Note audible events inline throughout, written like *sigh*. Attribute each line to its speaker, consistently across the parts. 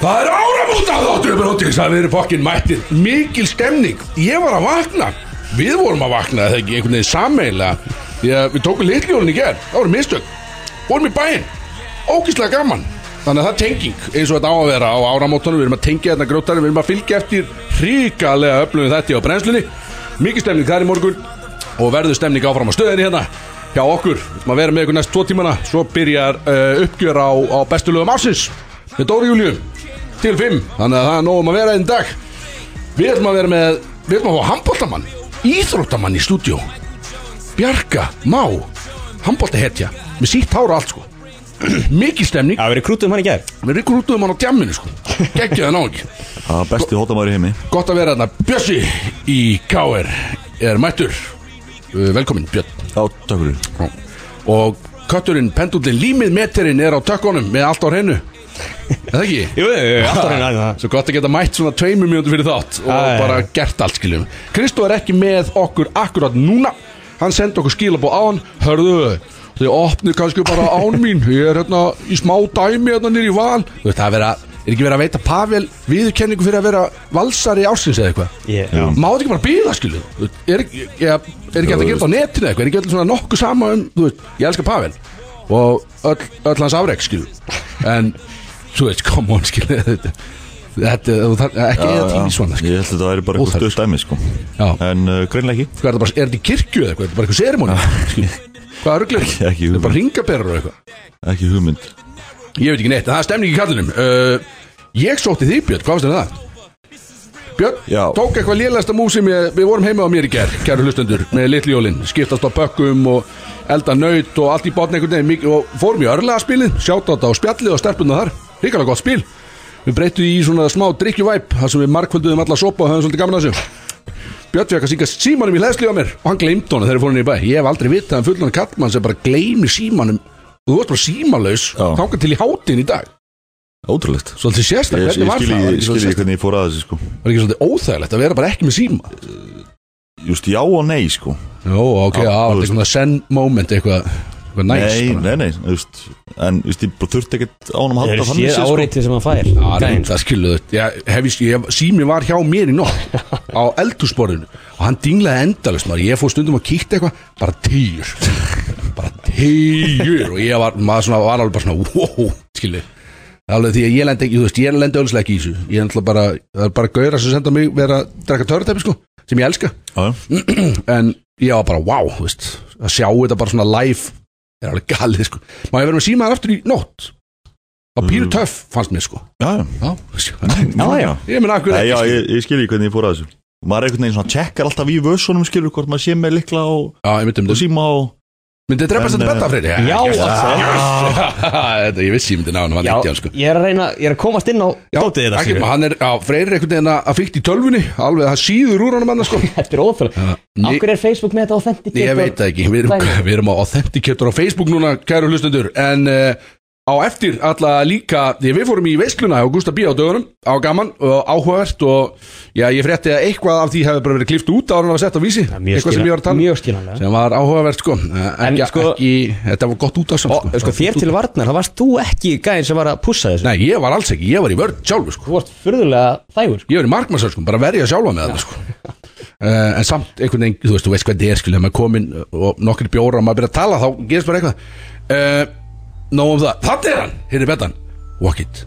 Speaker 1: Það er áramóta þáttur brotis Það eru fokkin mættir Mikil stemning Ég var að vakna Við vorum að vakna eða ekki einhvern veginn sammeila Því að við tókum litljónin í gerð Það voru mistök Vorum í bæinn Ókislega gaman Þannig að það er tenging eins og þetta á að vera á áramótunum Við erum að tengja þarna grótari Við erum að fylgja eftir hrikalega öflunum þetta á brennslunni Mikið stemning þar í morgun og verður stemning áfram á stöðinni hérna hjá okkur. Við ætlum að vera með ykkur næst tvo tímana svo byrjar uh, uppgjör á, á bestu lögum ársins með Dóri Júliu til 5 þannig að það er nógum að vera einn dag Við ætlum að vera með við ætlum að fá handbóltamann íþróttamann í stúdíó Bjarka Má handbóltahetja með sítt hár og allt sko *clears throat* mikil stemning
Speaker 2: Það verið krútum hann í gær
Speaker 1: við rekrútuðum hann á djamminu sko geggjaði náðing
Speaker 3: Það er besti hóttamæður í heimi
Speaker 1: Gott að vera þarna Bjössi í KR er mættur Uh, velkomin Björn
Speaker 3: Já, takk fyrir
Speaker 1: Já. Og kötturinn, pendullin, límið meterinn er á tökkunum með allt á hreinu Er það ekki?
Speaker 2: Jú, jú, jú, alltaf hann aðeins það
Speaker 1: Svo gott að geta mætt svona tveimur mínútur fyrir þátt og
Speaker 2: Já, já, já.
Speaker 1: bara gert allt skiljum Kristó er ekki með okkur akkurat núna Hann sendi okkur skilabóð á hann Hörðu, þau opnið kannski bara án mín Ég er hérna í smá dæmi hérna nýr í val Þú veist, það er vera, er ekki verið að veita Pavel viðurkenningu fyrir að vera valsari ársins eða eitthvað
Speaker 2: Ég-
Speaker 3: Já.
Speaker 1: Má þetta ekki bara býða skilu Er, ekki- ja, er ekki hægt að gera þetta á netinu eitthvað Er ekki allir svona nokkuð sama um þú veist, Ég elska Pavel Og öll, öll hans afreg skilu En þú veist, come on skilu Þetta, þetta þú þarf ekki eða tími svona skilu
Speaker 3: Ég held að þetta væri bara
Speaker 1: Óþarft.
Speaker 3: eitthvað stöð dæmi sko
Speaker 1: Já.
Speaker 3: En uh, greinlega ekki
Speaker 1: Hvað Sko, er þetta bara, er þetta í kirkju eða eitthvað Er þetta bara eitthvað serimóni *laughs* skilu Hvað
Speaker 3: *laughs*
Speaker 1: er rugglega
Speaker 3: Ekki-
Speaker 1: Þetta
Speaker 3: ekki
Speaker 1: er bara
Speaker 3: hugmynd.
Speaker 1: ringaberur eitthvað
Speaker 3: Ekki hugmynd
Speaker 1: Ég veit ekki neitt, en það er stemning í kallinum uh, Ég sótti því Björn, hvað varst þetta það? Björn,
Speaker 3: Já.
Speaker 1: tók eitthvað lélægasta múf sem ég, við vorum heima á mér í ger Kæru hlustendur, með litli jólin Skiptast á pökkum og elda naut og allt í botn einhvern veginn mikið- Og fórum í örlega spilin, sjátt á þetta á spjallið og stelpunna þar Ríkala gott spil Við breytum í svona smá drikkjuvæp Þar sem við markvölduðum alla sopa og höfum svolítið gaman að þessu Björn fekk að syngja símanum í hlæðsli á mér og hann gleymd honum þegar ég fór hann í bæ ég hef aldrei vitað um fullan kallmann sem bara gleymi símanum og þú varst bara símanlaus
Speaker 3: Já.
Speaker 1: þáka til í hátin í dag
Speaker 3: Ótrúlegt
Speaker 1: svolítið sérstak,
Speaker 3: Ég, ég
Speaker 1: hvernig var
Speaker 3: skil
Speaker 1: það? Var
Speaker 3: ég
Speaker 1: ekki
Speaker 3: skil ég
Speaker 1: svolítið,
Speaker 3: hvernig ég fór að þessu sko
Speaker 1: var ekki svolítið óþægilegt að vera bara ekki með síma
Speaker 3: Just já og nei sko
Speaker 1: Jó, ok,
Speaker 3: Já,
Speaker 1: já,
Speaker 3: þú
Speaker 1: það er
Speaker 3: veist.
Speaker 1: svona send moment eitthvað eitthvað næs
Speaker 3: Nei,
Speaker 1: bara.
Speaker 3: nei, nei þú veist, En þú veist, ég bara þurfti ekkert ánum að
Speaker 2: Það
Speaker 3: halda
Speaker 2: eru
Speaker 3: þannig
Speaker 2: séð
Speaker 3: séð, sko.
Speaker 2: áreiti sem hann fær
Speaker 1: sko. Já, það er
Speaker 2: Dæn.
Speaker 1: það skiluðu Sími var hjá mér í nótt á eldhúsborðinu og hann dinglaði endalust maður. ég fór stundum að kíkta eitthvað bara týjur bara týjur og ég var, maður svona, var alveg bara svona wow, skilu alveg því að ég lendi ekki, þú veist, ég lendi öllislega ekki í þessu ég er náttúrulega bara, það er bara gauðra sem senda mig vera að drekka törutæpi sko sem ég elska
Speaker 3: sko. Já, já.
Speaker 1: en ég var bara, wow, þú veist að sjá þetta bara svona live er alveg galið sko, má ég vera með símaðar aftur í nótt það var pínu töff fannst mér sko
Speaker 3: Já, já.
Speaker 1: Já,
Speaker 3: já, já.
Speaker 1: Ég meina, akkur
Speaker 3: Nei, já,
Speaker 1: ekki
Speaker 3: ég, ég skil ég hvernig ég fór að þessu Og Maður er einhvern veginn svona Tjekkar alltaf í vössunum skilur Hvort maður sé með likla og,
Speaker 1: Já, ég myndi um
Speaker 3: og
Speaker 1: þetta
Speaker 3: síma og
Speaker 1: Myndi þið drepa
Speaker 3: En,
Speaker 1: þetta
Speaker 3: eh,
Speaker 1: betta, Freyri?
Speaker 2: Já,
Speaker 1: yes. Þetta, Ég vissi ég myndi ná hann, hann
Speaker 2: Já,
Speaker 1: hitti hann sko
Speaker 2: ég er að reyna, ég er að komast inn á dótið þetta
Speaker 1: ekki,
Speaker 2: skilur.
Speaker 1: hann er, já, Freyri er einhvern veginn að að fíkt í tölvunni Alveg, það síður úr honum annars sko
Speaker 2: Þetta er óþjóð
Speaker 1: Ég-
Speaker 2: Akkur er Facebook með þetta authentic
Speaker 1: Ég veit það ekki, við erum,
Speaker 2: Dæmi.
Speaker 1: við erum á Authenticator á Facebook núna, kæru hlustendur En uh, á eftir alla líka Því við fórum í veisluna á Gustaf B. á dögunum Á gaman og áhugavert Og já, ég frétti að eitthvað af því hefði bara verið klift út Ára hann var sett á vísi,
Speaker 2: Mjög
Speaker 1: eitthvað sem ég var að tala um.
Speaker 2: Mjög skiljanlega
Speaker 1: sem var áhugavert sko en, ekki,
Speaker 2: sko-
Speaker 1: ekki, þetta var gott út af samt
Speaker 2: Og sko þér til varnar, það varst þú ekki gæðin sem var að pússa þessu
Speaker 1: Nei, ég var alls ekki, ég var í vörð sjálfur sko
Speaker 2: Þú varst furðulega þægur sko.
Speaker 1: Ég var í markmannsöld sko, bara verja sjálfa með það sko uh, En samt einhvern veginn, þú veist, þú veist hvað þetta er skilja Maður komin og nokkur bjóra og maður byrja að tala Þá gerist bara eitthvað uh, Nó um það, þannig er hann, hér er betan Walk it,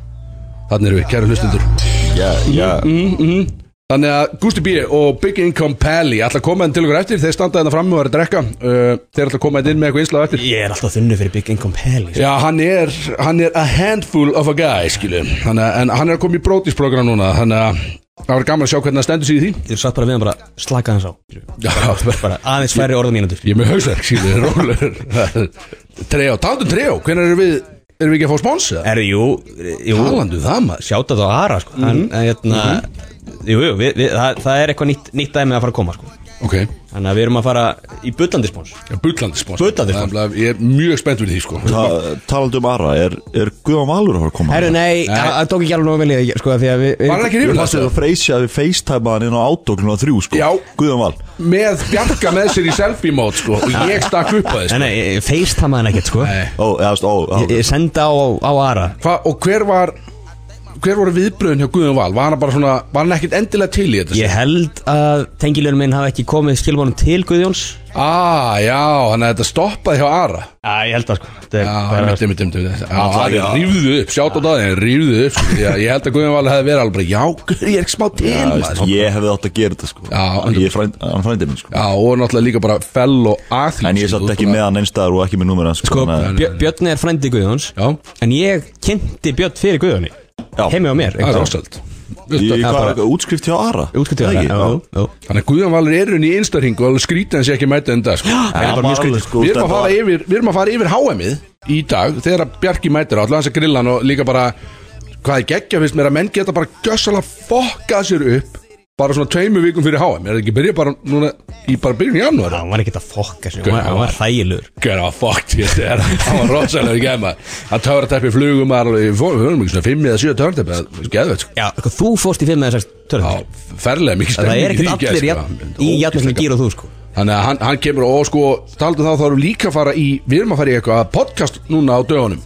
Speaker 1: þannig erum við, kæru hlustundur
Speaker 3: Já, já
Speaker 1: Þannig að Gusti B. og Big Income Pally ætla að koma enn til okkur eftir, þeir standa þetta fram og eru að drekka uh, Þeir ætla að koma enn inn með eitthvað einslag eftir
Speaker 2: Ég er alltaf þunnu fyrir Big Income Pally
Speaker 1: Já, hann er, hann er a handful of a guy, skilju hann er, En hann er að koma í brótisprogram núna Þannig að það var gaman að sjá hvernig það stendur sig í því
Speaker 2: Ég satt bara við hann bara slaka hans á
Speaker 1: Já, bara-
Speaker 2: Bara aðeins færri orða mínútur
Speaker 1: ég er með hausverk, skilju, *laughs* rólegur Trejó, taldu trejó, hvernig erum við, erum við ekki að fá sponsa?
Speaker 2: Erðu, jú, jú
Speaker 1: Talandu um það maður
Speaker 2: sjáta það á Ara sko. mm -hmm. en, hérna, jú, jú, við, við, það, það er eitthvað nýtt, nýtt dæmi að fara að koma sko.
Speaker 1: Ok,
Speaker 2: þannig að við erum að fara í buttlandispons
Speaker 1: bullandi sponsa
Speaker 2: Bullandi spons.
Speaker 1: Ég er mjög spennt fyrir því, sko
Speaker 3: Ta- Talandi um Ara, er, er Guðan Valur að fara að koma?
Speaker 2: Herru, nei,
Speaker 1: Nei.
Speaker 2: það það tók ekki alveg nóg vel í það, sko, af því að við, við,
Speaker 1: Var hann ekki
Speaker 3: Ég
Speaker 1: rífin
Speaker 3: passið
Speaker 1: þetta?
Speaker 3: að freysja við facetime hann inn á átoklun á þrjú sko
Speaker 1: Já.
Speaker 3: Guðan Val
Speaker 1: Með bjarga með sér í selfie-mót, sko Og ég stakk upp að
Speaker 2: Nei,
Speaker 1: þess
Speaker 2: nei, ég facetamaði hann ekkert, sko
Speaker 1: Nei.
Speaker 3: Ó, eða þú veist, ó, á
Speaker 2: Ég, ég sendi á, á Ara
Speaker 1: Hva, Og hver var, hver voru viðbröðin hjá Guðjón Val? Var hann bara svona, var hann ekkert endilega til í þetta?
Speaker 2: Ég held að tengilunum minn hafi ekki komið skilmónum til Guðjóns
Speaker 1: Ah, já, þannig að þetta stoppaði hjá Ara
Speaker 2: Já, ég held að sko Þetta er
Speaker 1: Já,
Speaker 2: bara-
Speaker 1: mitt, mitt, mitt, mitt Já, Ari
Speaker 3: já.
Speaker 1: rýfðu upp, sjátt á daginn, rýfðu upp sko. Já, ég held að Guðjón Val hefði verið alveg bara, Já, Guð, ég er ekki smá til
Speaker 3: Já,
Speaker 1: maður
Speaker 3: veist, ég hefði átt að gera þetta sko
Speaker 1: Já,
Speaker 3: Ég er frænd, hann frændi minn sko
Speaker 1: Já, og náttúrulega líka bara fell og sko, aðlýs
Speaker 3: En ég satt ekki með hann einstæðar og ekki með númur hans sko,
Speaker 2: Sko,
Speaker 3: þannig að-
Speaker 2: Björ- Björn er frændi Guðjóns
Speaker 1: Já,
Speaker 2: En ég kynnti Björn fyrir Guðjóni
Speaker 3: Já.
Speaker 2: Heimi á mér
Speaker 1: það er ástöld
Speaker 3: Í
Speaker 2: það er
Speaker 3: hvað,
Speaker 2: bara-
Speaker 3: útskrift hjá Ara?
Speaker 2: Útskutið
Speaker 3: Eða
Speaker 2: það
Speaker 3: ekki?
Speaker 2: já, já.
Speaker 1: Þannig að Guðjón Valur er unni í einstaring og alveg skrítið hans ég ekki mæta en dag sko.
Speaker 3: Já, hann var alveg, sko,
Speaker 1: Við erum að
Speaker 3: þetta var-
Speaker 1: fara yfir, við erum að fara yfir HM-ið í dag þegar að Bjarki mætir á allan hans að grilla hann og líka bara hvað er geggja finnst mér að menn geta bara gjössalega fokkað sér upp bara svona tveimu vikum fyrir HM er það ekki byrja bara núna í bara byrjun í janúar
Speaker 2: Hann var ekkert að fokka sig Hann var- hann var hlægilegur
Speaker 1: Get a fuck this er *laughs* það var rosalega gæma að töratæppi flugum að alveg við fórum ekki svona fimm eða sjö töratæppi það er geðveitt sko
Speaker 2: Já, sko, þú fórst í fimm eða sex törn
Speaker 1: Já, ferlega mikið
Speaker 2: Það er
Speaker 1: stemning í
Speaker 2: ekkert
Speaker 1: því,
Speaker 2: allir
Speaker 1: gæs,
Speaker 2: jafn-
Speaker 1: sko.
Speaker 2: í jafnmiklu
Speaker 1: Ógeðslega
Speaker 2: gýr og þú sko
Speaker 1: Þannig að hann, hann kemur og sko Taldu þá þá erum við líka að fara í Við erum að fara í eitthvað podcast núna á dögunum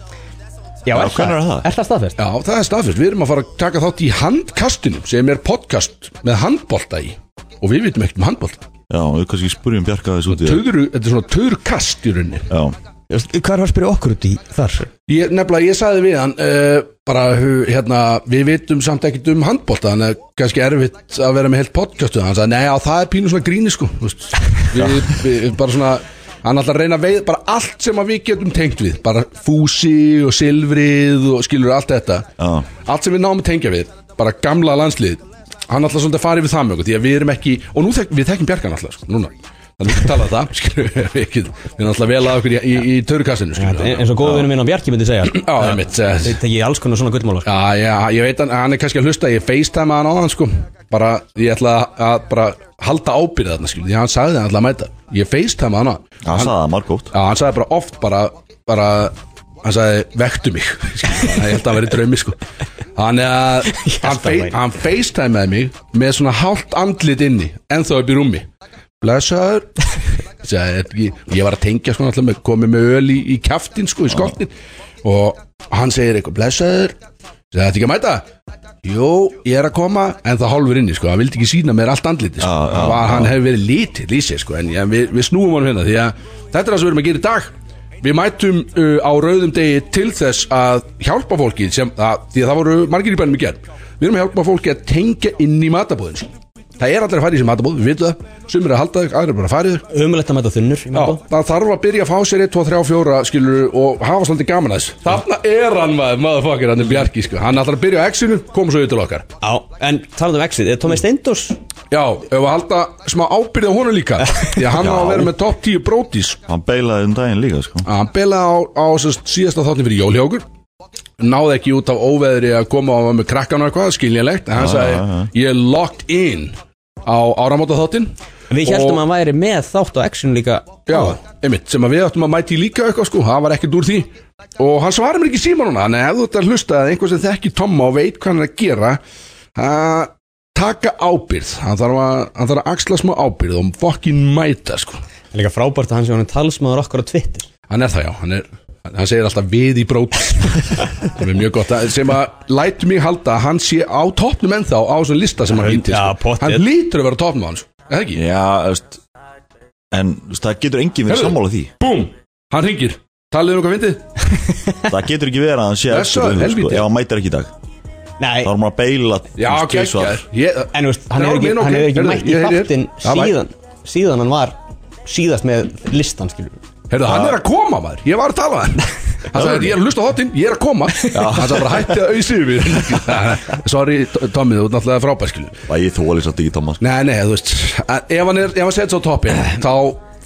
Speaker 2: Já,
Speaker 3: er hvenær er það?
Speaker 2: Er það staðfest?
Speaker 1: Já, það er staðfest, við erum að fara að taka þátt í handkastinum Sem er podcast með handbolta í Og við vitum ekkert um handbolta
Speaker 3: Já, við kannski spurjum Bjarka þessu út í það
Speaker 1: Töðru, Þetta er svona töðurkast í rauninni
Speaker 3: Já,
Speaker 2: Hvað er að spyrja okkur út í þar?
Speaker 1: ég, Nefnilega, ég sagði við hann uh, Bara, hu- hérna, við vitum samt ekkert um handbolta Þannig að kannski erfitt að vera með heilt podcastu Hann sagði, nei, já, það er pínu svona gríni sko þú veist. við, við, Bara svona Hann ætla að reyna að veið bara allt sem að við getum tengt við Bara fúsi og silfrið og skilur allt þetta
Speaker 3: já,
Speaker 1: allt sem við náum að tengja við bara gamla landslið hann alltaf svolítið að fara yfir það með okkur því að við erum ekki og nú þek, við þekkjum Bjarkan alltaf sko, núna þannig við talaðum það skilur við, við ekki- við erum alltaf vel að okkur í, í, í törukassinu skilur við.
Speaker 2: En svo góðu vinnum minn á Bjarki myndi segja
Speaker 1: já, einmitt eh,
Speaker 2: Þeir tekið alls konar svona guttmála sko.
Speaker 1: já, já, ég veit hann, hann er kannski að hlusta ég facetime hann á hann sko bara, ég ætla að bara halda ábyrða þarna skilur, við, því að hann sagði hann alltaf að mæta ég facetime hann á hann
Speaker 3: hann sagði það margótt
Speaker 1: Já, hann sagði bara oft bara, bara hann sagði, vektu mig *laughs* Skilur, ég held að hann verið draumi sko hann, uh,
Speaker 2: *laughs*
Speaker 1: hann,
Speaker 2: Ég held
Speaker 1: fei,
Speaker 2: að væri.
Speaker 1: hann facetimeði mig með svona hálft andlit inni ennþá upp í rúmi blessaður *laughs* sagði, "Er ekki-" ég var að tengja sko alltaf með komið með öl í, í kjaftin sko í skottin og hann segir eitthvað blessaður sagði þetta ekki að mæta jú, ég er að koma en það hálfur inni sko, hann vildi ekki sína mér allt andliti sko.
Speaker 3: Já, já,
Speaker 1: var, hann hefur verið lítill í sig sko, en, en við, við snúum hann hérna því að þetta er það sem við erum að gera í dag við mætum uh, á rauðum degi til þess að hjálpa fólki sem, að, því að það voru margir í bænum í gerð við erum að hjálpa fólki að tengja inn í matabóðin sín. það er allir að fara í þessi matabóð, við vitum það sumir að halda þau, aðrir bara að fara í þau
Speaker 2: Ömulegt að mæta þunnur í
Speaker 1: Já,
Speaker 2: mannbóð.
Speaker 1: það þarf að byrja að fá sér 1, 2, 3, 4 skilur og hafa svolítið gaman að þess Þarna er hann maður, motherfucker, hann er Bjarki sko. Hann ætlar að byrja á X-inu, koma svo yfir til okkar
Speaker 2: Já, en talað um exit, er Tómi Steindors?
Speaker 1: Já, ef að halda smá ábyrði á honum líka Því að hann á að vera með topp 10 brótis
Speaker 3: Hann beilaði um daginn líka sko
Speaker 1: að hann beilaði á, á sest, síðasta þáttin fyrir jólhjókur náði ekki út af óveðri að koma á með krakkan og eitthvað, skiljanlegt en hann sagði,
Speaker 3: já, já.
Speaker 1: ég er locked in á áramóta þáttin
Speaker 2: Við heldum að hann væri með þátt á exit líka
Speaker 1: Já, einmitt, sem að við áttum að mæti líka eitthvað sko, það var ekkert úr því og hann svarar mér ekki síma núna, en ef þú ert að hlusta að einhver sem þekki Tomma og veit hvað hann er að gera að taka ábyrð hann þarf að, hann þarf að axla smá ábyrð og fokkin mæta sko
Speaker 2: Það er Líka frábært að hann sé hann talsmaður okkar á Twitter
Speaker 1: hann er það já, hann er hann segir alltaf við í *laughs* brót sem er mjög gott, að- sem að læt mig halda að hann sé á toppnum ennþá á þessum lista sem hann hýtti
Speaker 2: Já,
Speaker 1: sko.
Speaker 2: pottþétt.
Speaker 1: hann lítur að vera á toppnum á hans eða ekki,
Speaker 3: Já, veist En þú veist, það getur enginn verið
Speaker 1: Heyrðu.
Speaker 3: sammála því
Speaker 1: búm, hann ringir talið um hvað fyndið,
Speaker 3: Það getur ekki verið að hann sé
Speaker 1: Blessaður,
Speaker 3: eftir þeim,
Speaker 1: helvíti.
Speaker 3: Ef hann mætir ekki í dag
Speaker 2: Nei,
Speaker 3: Þá er maður að beila þú
Speaker 1: já,
Speaker 3: veist, tvisvar.
Speaker 1: geggjær Ég-
Speaker 2: en þú veist, hann
Speaker 1: Já,
Speaker 2: hefur ekki,
Speaker 1: minn, ok,
Speaker 2: hann hefur ekki
Speaker 1: heyrðu,
Speaker 2: mætt í
Speaker 1: ég heyri þér.
Speaker 2: þáttin
Speaker 1: Já, mæ-
Speaker 2: síðan, síðan hann var síðast með listan, skilur
Speaker 1: Heyrðu, hann er að koma maður, ég var að tala við *laughs* hann Hann sagði, ég er að hlusta á þáttinn, ég er að koma Hann sagði bara hætti að auðsýðu mér *laughs* Sorry, T- Tommy, þú ert náttúrulega frábær skilu
Speaker 3: Æ, ég þóli satt ekki Thomas
Speaker 1: Nei, nei, þú veist, að- ef hann er, ef hann setja svo
Speaker 3: *clears throat*
Speaker 1: toppin Þá,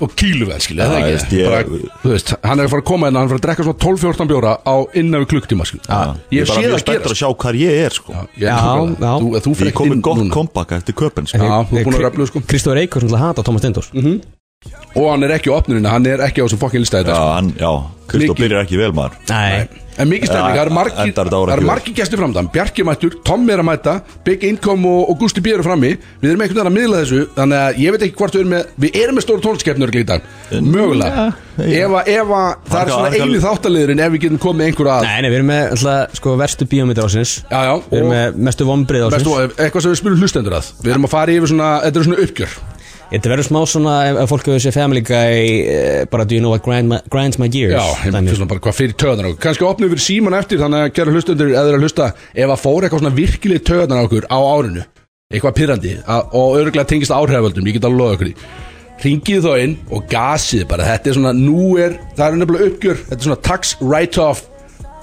Speaker 1: og kýlu vel skilu, það
Speaker 3: Já,
Speaker 1: er
Speaker 3: veist,
Speaker 1: ekki
Speaker 3: ég-
Speaker 1: bara, Þú veist, hann er að fara að koma inn Hann er að fara að drekka svona 12-14 bjóra á innan við klukktíma skilu
Speaker 3: Ég
Speaker 1: Ég sé
Speaker 3: er bara
Speaker 1: það
Speaker 3: mjög
Speaker 1: að
Speaker 3: spenntur
Speaker 1: gera
Speaker 3: að sjá hvar ég er sko
Speaker 2: Já, já.
Speaker 1: Þú, þú
Speaker 3: Ég
Speaker 1: fyrir ekki
Speaker 3: kom með
Speaker 1: inn
Speaker 3: gott
Speaker 1: núna
Speaker 3: kompakka eftir köpen sko.
Speaker 1: Já, þú er búin að röflu sko
Speaker 2: Kristóður Eikos náttúrulega hata Tómas Steindors
Speaker 1: Og hann er ekki á opnunina, hann er ekki á þessum fokkin lista í dag,
Speaker 3: Já,
Speaker 1: sko.
Speaker 3: hann, já, Kristó
Speaker 1: Mikið.
Speaker 3: byrjar ekki vel maður
Speaker 2: Nei,
Speaker 1: En mikið stemning,
Speaker 3: Ja,
Speaker 1: það eru margir,
Speaker 3: enda er þetta ára
Speaker 1: það eru
Speaker 3: fjör.
Speaker 1: margir gestir framdann Bjarki er mættur, Tommi er að mæta Big Income og, og Gusti B eru frammi Við erum einhvern veginn að miðla þessu Þannig að ég veit ekki hvort við erum með Við erum með stóra tónliskeppnur í dag Mögulega
Speaker 3: ja, ja.
Speaker 1: Ef, að- ef að það er
Speaker 3: Marga-
Speaker 1: svona
Speaker 3: marga-
Speaker 1: einu þáttaliðurinn Ef við getum komið einhverja að
Speaker 2: Nei, nei, við erum með alltaf, sko, verstu bíómyndar ásins
Speaker 1: Já, já,
Speaker 2: Við erum
Speaker 1: og-
Speaker 2: með mestu vombrið
Speaker 1: Veist
Speaker 2: ásins
Speaker 1: þú, eitthvað sem við spyrum hlustendur að Við erum að fara yfir svona, þetta er svona uppgjör
Speaker 2: Þetta verður smá svona ef ef fólk hefur séð Family Guy eh, bara do you know what grind my, grinds my gears
Speaker 1: Já, ég
Speaker 2: dæmi.
Speaker 1: finnst svona bara hvað fyrir töðan okkur Kanski opnum við síman eftir þannig að gera hlustendur eða þeir að hlusta ef að fór eitthvað svona virkileg töðan okkur á árinu eitthvað pyrrandi og örgulega tengist áhrifaldum ég get að loða okkur því Ringið þá inn og gasið bara þetta er svona, nú er, það er nefnilega uppgjör þetta er svona tax write-off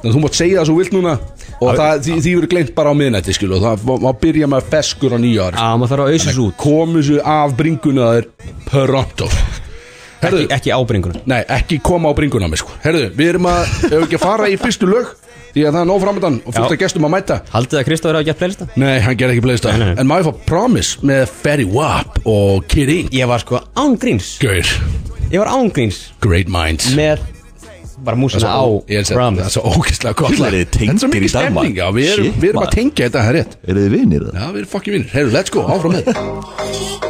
Speaker 1: þannig að þú mátt segja það svo vilt núna og það, því, því verður gleymt bara á miðnætti skilu og það má- má byrja með feskur á nýja ári
Speaker 2: Á, maður þarf að auðsins út
Speaker 1: komu sér af bringuna þær pronto Herðu,
Speaker 2: Ekki ábringunum
Speaker 1: Nei, ekki koma á bringuna á mig sko Herðu, við erum að, ef við ekki að fara í fyrstu lög Því að það er nóg framöndan og fullt
Speaker 2: Já.
Speaker 1: að gestum að mæta
Speaker 2: Haldið þið að Kristóður hafa gert playlista?
Speaker 1: Nei, hann gerði ekki playlista
Speaker 2: Nei, nei.
Speaker 1: En maður fá Promise með Ferry Wap og Kid Ink
Speaker 2: Ég var sko ángríns
Speaker 1: Gaur,
Speaker 2: Ég var ángríns
Speaker 1: Great Minds
Speaker 2: með bara músina á
Speaker 1: Ég er sem-
Speaker 2: Promise
Speaker 1: Það er svo ógeðslega gott
Speaker 3: Fyllir
Speaker 1: lag.
Speaker 3: þið
Speaker 1: Þetta er
Speaker 3: tengdir
Speaker 1: svo mikið
Speaker 3: í dag, maður?
Speaker 1: stemning, já, Við erum,
Speaker 3: Shit,
Speaker 1: við erum að
Speaker 3: maður.
Speaker 1: tengja þetta, það er rétt
Speaker 3: Eru þið vinir það?
Speaker 1: Já, við erum fokkin vinnir Herru, let's go, áfram með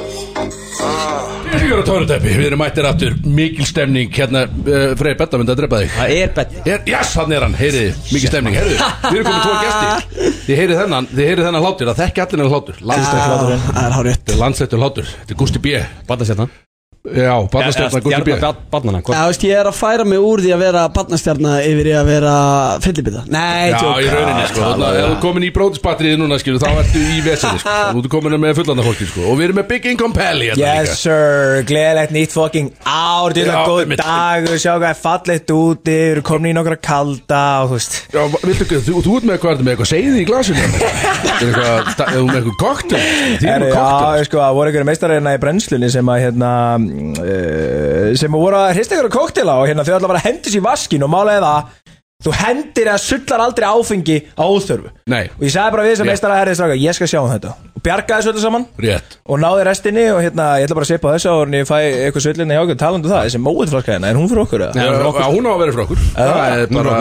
Speaker 1: Peningur og tónutæpi, við erum mættir aftur Mikil stemning, hérna uh, Freyr Betta myndi að drepa þig
Speaker 2: Það er bett
Speaker 1: Er, yes, hann er hann, heyriði, mikið stemning Heyriði, við erum komið tvo gesti Þið heyrið þennan, þið heyrið þennan hlátur, það þekki allir hennar hlátur Landslættur
Speaker 2: Það er hárið
Speaker 1: Landslættur hlátur, þetta er Gusti B
Speaker 2: Batnastjarnan
Speaker 1: Já, barnastjörna Gusti B
Speaker 2: Batnana
Speaker 4: Já, þú veist, ég er að færa mig úr því að vera barnastjarnar yfir í að vera fyllibita. Nei,
Speaker 1: Já,
Speaker 4: tjók.
Speaker 1: í rauninni, sko Þannig að ef þú komin í brótisbatterið núna, skilu, þá ertu í vesinni, sko Þú ert komin með fullandar fólki, sko Og við erum með Big Income Pally hérna
Speaker 5: Yes sir, gleðilegt nýtt fucking ár Þetta
Speaker 1: Já,
Speaker 5: er góð
Speaker 1: einmitt.
Speaker 5: dagur, sjá hvað er fallegt úti Við erum komin í nokkra kalda og þú veist
Speaker 1: Já, viltu ekki, þú, þú ert með hvað, ertu með eitthvað seiði í glasinu Er eitthvað, er þú með eitthvað koktel Þið
Speaker 5: Herru,
Speaker 1: erum koktel
Speaker 5: Já, sko, það voru einhverju meistarina í brennslunni sem að hérna uh, sem að voru að hrista einhverju koktela og hérna þau allavega bara hendur sér í vaskin og málega það þú hendir eða sullar aldrei áfengi á óþörfu
Speaker 1: Nei.
Speaker 5: og ég sagði bara við þessar
Speaker 1: Rétt.
Speaker 5: meistara herrið stráka, ég skal sjá um þetta og bjargaði þessu öllu saman
Speaker 1: Rétt
Speaker 5: og náði restinni og hérna ég ætla bara að seipa þessu áður en ég fæ eitthvað svolítið hjá okkur talandu það, þessi móðflaska hérna, er hún fyrir okkur eða?
Speaker 1: Eh, Já, Hún á að vera frá okkur Það er bara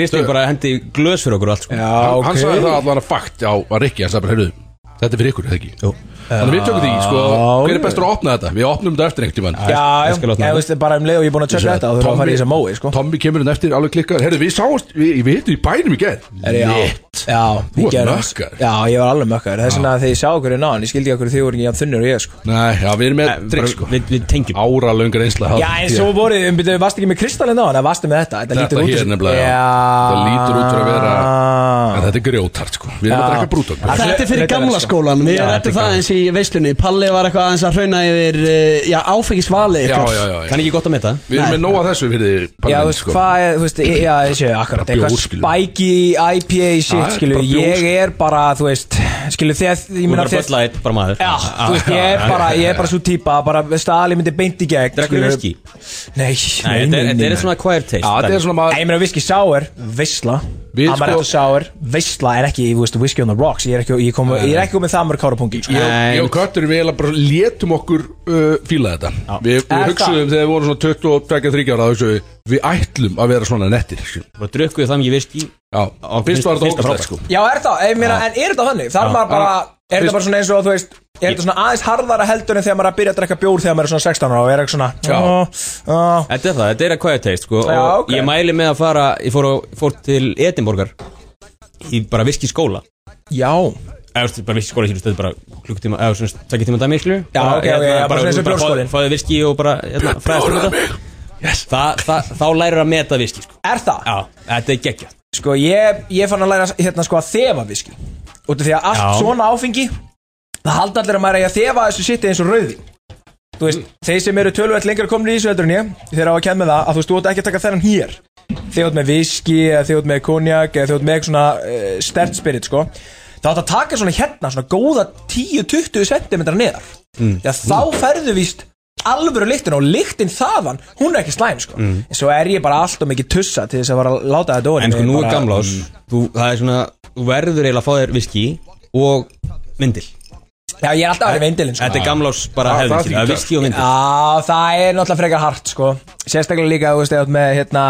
Speaker 2: Kristóður bara hendi í glös fyrir okkur og allt sko.
Speaker 1: hann,
Speaker 5: ok.
Speaker 1: hann sagði það allan að fakt á að Rikki hann sagði bara, heyrðu, þetta er fyrir ykkur, eða ekki þannig að við tökum því, sko, hver er bestur að opna þetta við opnum þetta eftir einhvern tímann
Speaker 5: Já,
Speaker 2: ég skal
Speaker 5: já,
Speaker 2: opna
Speaker 5: ég
Speaker 2: það.
Speaker 5: veist bara um leið og ég er búin að tjöka þetta og þú erum að fara í þess að mói, sko
Speaker 1: Tommy kemur hann eftir, alveg klikkar heyrðu, við sáumst, við, við hittum í bænum í gerð
Speaker 5: Er ég á? Já,
Speaker 1: Þú
Speaker 5: ég
Speaker 1: ert
Speaker 5: gerði
Speaker 1: mökkar.
Speaker 5: Já, ég var alveg mökkar Þess vegna að þegar ég sá okkur í náðan Ég skildi ekki okkur því voru ekki jafn þunnur og ég, sko
Speaker 1: Nei, já, við erum með
Speaker 2: Bara
Speaker 1: drikk, sko
Speaker 2: Við, við tengjum
Speaker 1: ára löngar einsla
Speaker 5: Já, en svo voru, um byrjuðu, varstu ekki með kristallin náðan Það varstu með þetta, þetta
Speaker 1: Þetta
Speaker 5: lítur út
Speaker 1: hér nefnilega, já. Það lítur út fyrir að vera- en þetta er grjótart, sko við erum að
Speaker 5: Já.
Speaker 1: drekka brútok
Speaker 5: Já.
Speaker 4: Þetta er fyrir
Speaker 5: Þetta er
Speaker 4: gamla
Speaker 5: sko.
Speaker 4: skólan, við
Speaker 5: Já,
Speaker 4: rættum það eins í veislunni Palli var eitthvað aðeins að hrauna yfir, eh, já, áfengisvali
Speaker 1: já,
Speaker 4: ykkar.
Speaker 1: já, já, já.
Speaker 2: Kann ekki gott að metta
Speaker 1: við erum með nóga þessu fyrir þið,
Speaker 5: Já,
Speaker 1: Palli,
Speaker 5: þú veist, hvað er, þú veist, ég- já, þessi,
Speaker 1: sko.
Speaker 5: akkurat,
Speaker 1: Bara bjór,
Speaker 5: eitthvað
Speaker 1: skilur.
Speaker 5: spæki, IPA,
Speaker 1: Já,
Speaker 5: shit,
Speaker 1: bara
Speaker 5: skilu,
Speaker 1: bjór, sko.
Speaker 5: ég
Speaker 1: skilur.
Speaker 5: er bara, þú veist, skilu, þegar, ég
Speaker 2: Þú
Speaker 5: meina,
Speaker 2: verður bara
Speaker 5: þegar,
Speaker 2: böllæðið bara maður
Speaker 5: Já, þú veist, ég er bara, ég er bara svo típa, bara stali myndi beint í gegn
Speaker 2: Drekkur
Speaker 5: skilur.
Speaker 2: viski?
Speaker 5: Nei,
Speaker 2: Nei, þetta
Speaker 5: nei,
Speaker 2: er-
Speaker 5: nei,
Speaker 2: þetta er
Speaker 5: nei.
Speaker 2: svona acquired taste
Speaker 1: Já, þetta er svona
Speaker 5: Nei,
Speaker 1: maður
Speaker 5: ég meina viski sour, veisla
Speaker 1: Við
Speaker 5: Amaretto
Speaker 1: sko-
Speaker 5: sour, veisla er ekki, þú veist, whisky on the rocks Ég er ekki, ég kom, ég er ekki komið það mörg kárapungi sko.
Speaker 1: Ég og-
Speaker 2: En-
Speaker 1: ég og Köttur við eiginlega bara létum okkur uh, fíla þetta Við, við
Speaker 5: Er
Speaker 1: hugsuðum þegar við vorum svona 22-23 ára þá hugsuðum við, við ætlum að vera svona nettir skilur.
Speaker 2: Bara drukkuðu það mikið viski
Speaker 1: Já,
Speaker 2: Á,
Speaker 1: fyrst var þetta
Speaker 2: fyrsta
Speaker 1: ógæslega
Speaker 2: frábært.
Speaker 1: sko
Speaker 5: Já, er það, ég meina, en er þetta þannig? Þar maður bara, er
Speaker 1: Fyrst-
Speaker 5: þetta bara svona eins og, þú veist Er þetta svona aðeins harðara heldur en þegar maður er að byrja að drekka bjór þegar maður er svona 16 ára og er eitthvað svona
Speaker 1: Já.
Speaker 5: ó, ó.
Speaker 2: Þetta er það, þetta er acquired taste sko
Speaker 5: Já,
Speaker 2: Og
Speaker 5: ok.
Speaker 2: ég mæli með að fara Ég fór, á, fór til Edinborgar Í bara viski skóla
Speaker 5: Já,
Speaker 2: eða þú veist, bara viski skóla skilur stöðu bara klukkutíma eða svona tvekja tíma dæmi hérna, skilur
Speaker 5: Já, ok, ok, já, bara svona eins og bjórskólinn.
Speaker 2: fáðu viski og bara hérna, fræðast um þetta yes. þa, þa, þá lærir að meta viski sko.
Speaker 5: er það?
Speaker 2: já, þetta er geggja
Speaker 5: Sko ég, ég fann að læra hérna sko að þefa viski Út af því að allt
Speaker 2: Já.
Speaker 5: svona áfengi Það halda allir að maður eigi að þefa þessu sitti eins og rauði Þú veist, þeir sem eru tölvægt lengra komin í þessu heldur en ég Þeir á að kenna það að þú veist, þú átt ekki að taka þennan hér Þeir átt með viski, eða þeir átt með konjak Eða þeir átt með eitthvað svona uh, stert spirit sko Það átt að taka svona hérna, svona góða 10-20 cm neðar mm. Þegar þá ferðu víst alvöru lyktin og lyktin þaðan, hún er ekki slæm sko mm. En svo er ég bara alltaf mikið tussa til þess að vara að láta þetta
Speaker 2: en sko nú er
Speaker 5: Bara-
Speaker 2: gamlás þú, það er svona, þú verður eiginlega að fá þér viski og vindil
Speaker 5: Já, ég er alltaf að vera veindilinn sko.
Speaker 2: þetta er gamlás bara
Speaker 1: Það- það
Speaker 2: hefðin skilur,
Speaker 1: þýtur.
Speaker 2: það er viski og vindil
Speaker 5: Já, það er náttúrulega frekar hart sko Sérstaklega líka, þú veist, eða með, hérna,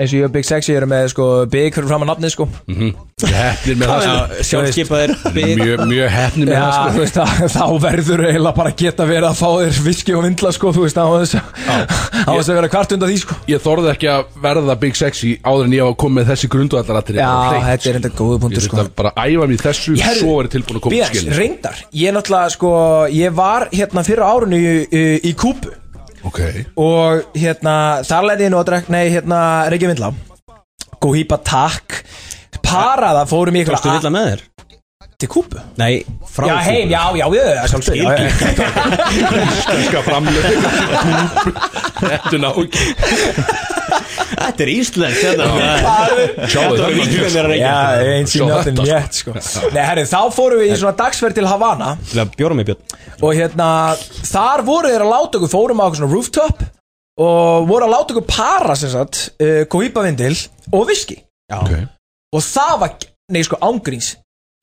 Speaker 5: eins og ég og Big Sexy eru með, sko, Big fyrir fram að nafnið, sko
Speaker 1: Hefnir Mhm. með það sko.
Speaker 2: Sjálfskipaðir bygg
Speaker 1: Mjög, mjög hefnir með
Speaker 5: Já,
Speaker 1: það sko.
Speaker 5: þú veist, að, þá verður eiginlega bara að geta verið að fá þér viski og vindla, sko, þú veist, á þess að, á þess að vera kvart undan því, sko
Speaker 1: Ég þorði ekki að verða Big Sexy áður en ég var að koma með þessi grundvallaratir
Speaker 5: Já, þetta er enda góðu
Speaker 1: Ég
Speaker 5: punktur,
Speaker 1: þurfti
Speaker 5: sko
Speaker 1: að bara æfa mér í þessu
Speaker 5: Herðu,
Speaker 1: Svo er ég tilbúin að koma
Speaker 5: Bíðans,
Speaker 1: til skilin
Speaker 5: reyndar, ég náttúrulega, sko, ég var, hérna, fyrra árinu í, í, í Kúbu
Speaker 1: Ok
Speaker 5: og, hérna, þar lærði ég nú að drekk, nei, hérna, Reykjavík Vindla Góhýpa takk Paraða fórum í eitthvað
Speaker 2: Tókstu vilja með þér?
Speaker 5: til Kúbu
Speaker 2: Nei, frá
Speaker 5: Já, heim, já, já, já, já, sjálfsög já, já.
Speaker 1: Íslenska framlega Þetta er ná
Speaker 2: Þetta er Ísland Þetta
Speaker 1: Sjáðu
Speaker 2: var
Speaker 1: það
Speaker 2: mikilvæg
Speaker 5: Já, eins í
Speaker 1: Sjá
Speaker 5: njóttin
Speaker 1: þetta,
Speaker 5: létt, sko Nei, herri, þá fórum við í svona dagsferð til Havana
Speaker 2: Bjórum í björn
Speaker 5: Og hérna, þar voru þeir að láta okkur Fórum á okkur svona rooftop Og voru að láta okkur para, sem sagt uh, Kóhýpa vindil og viski
Speaker 1: Ok.
Speaker 5: Og það var, nei, sko, ángríns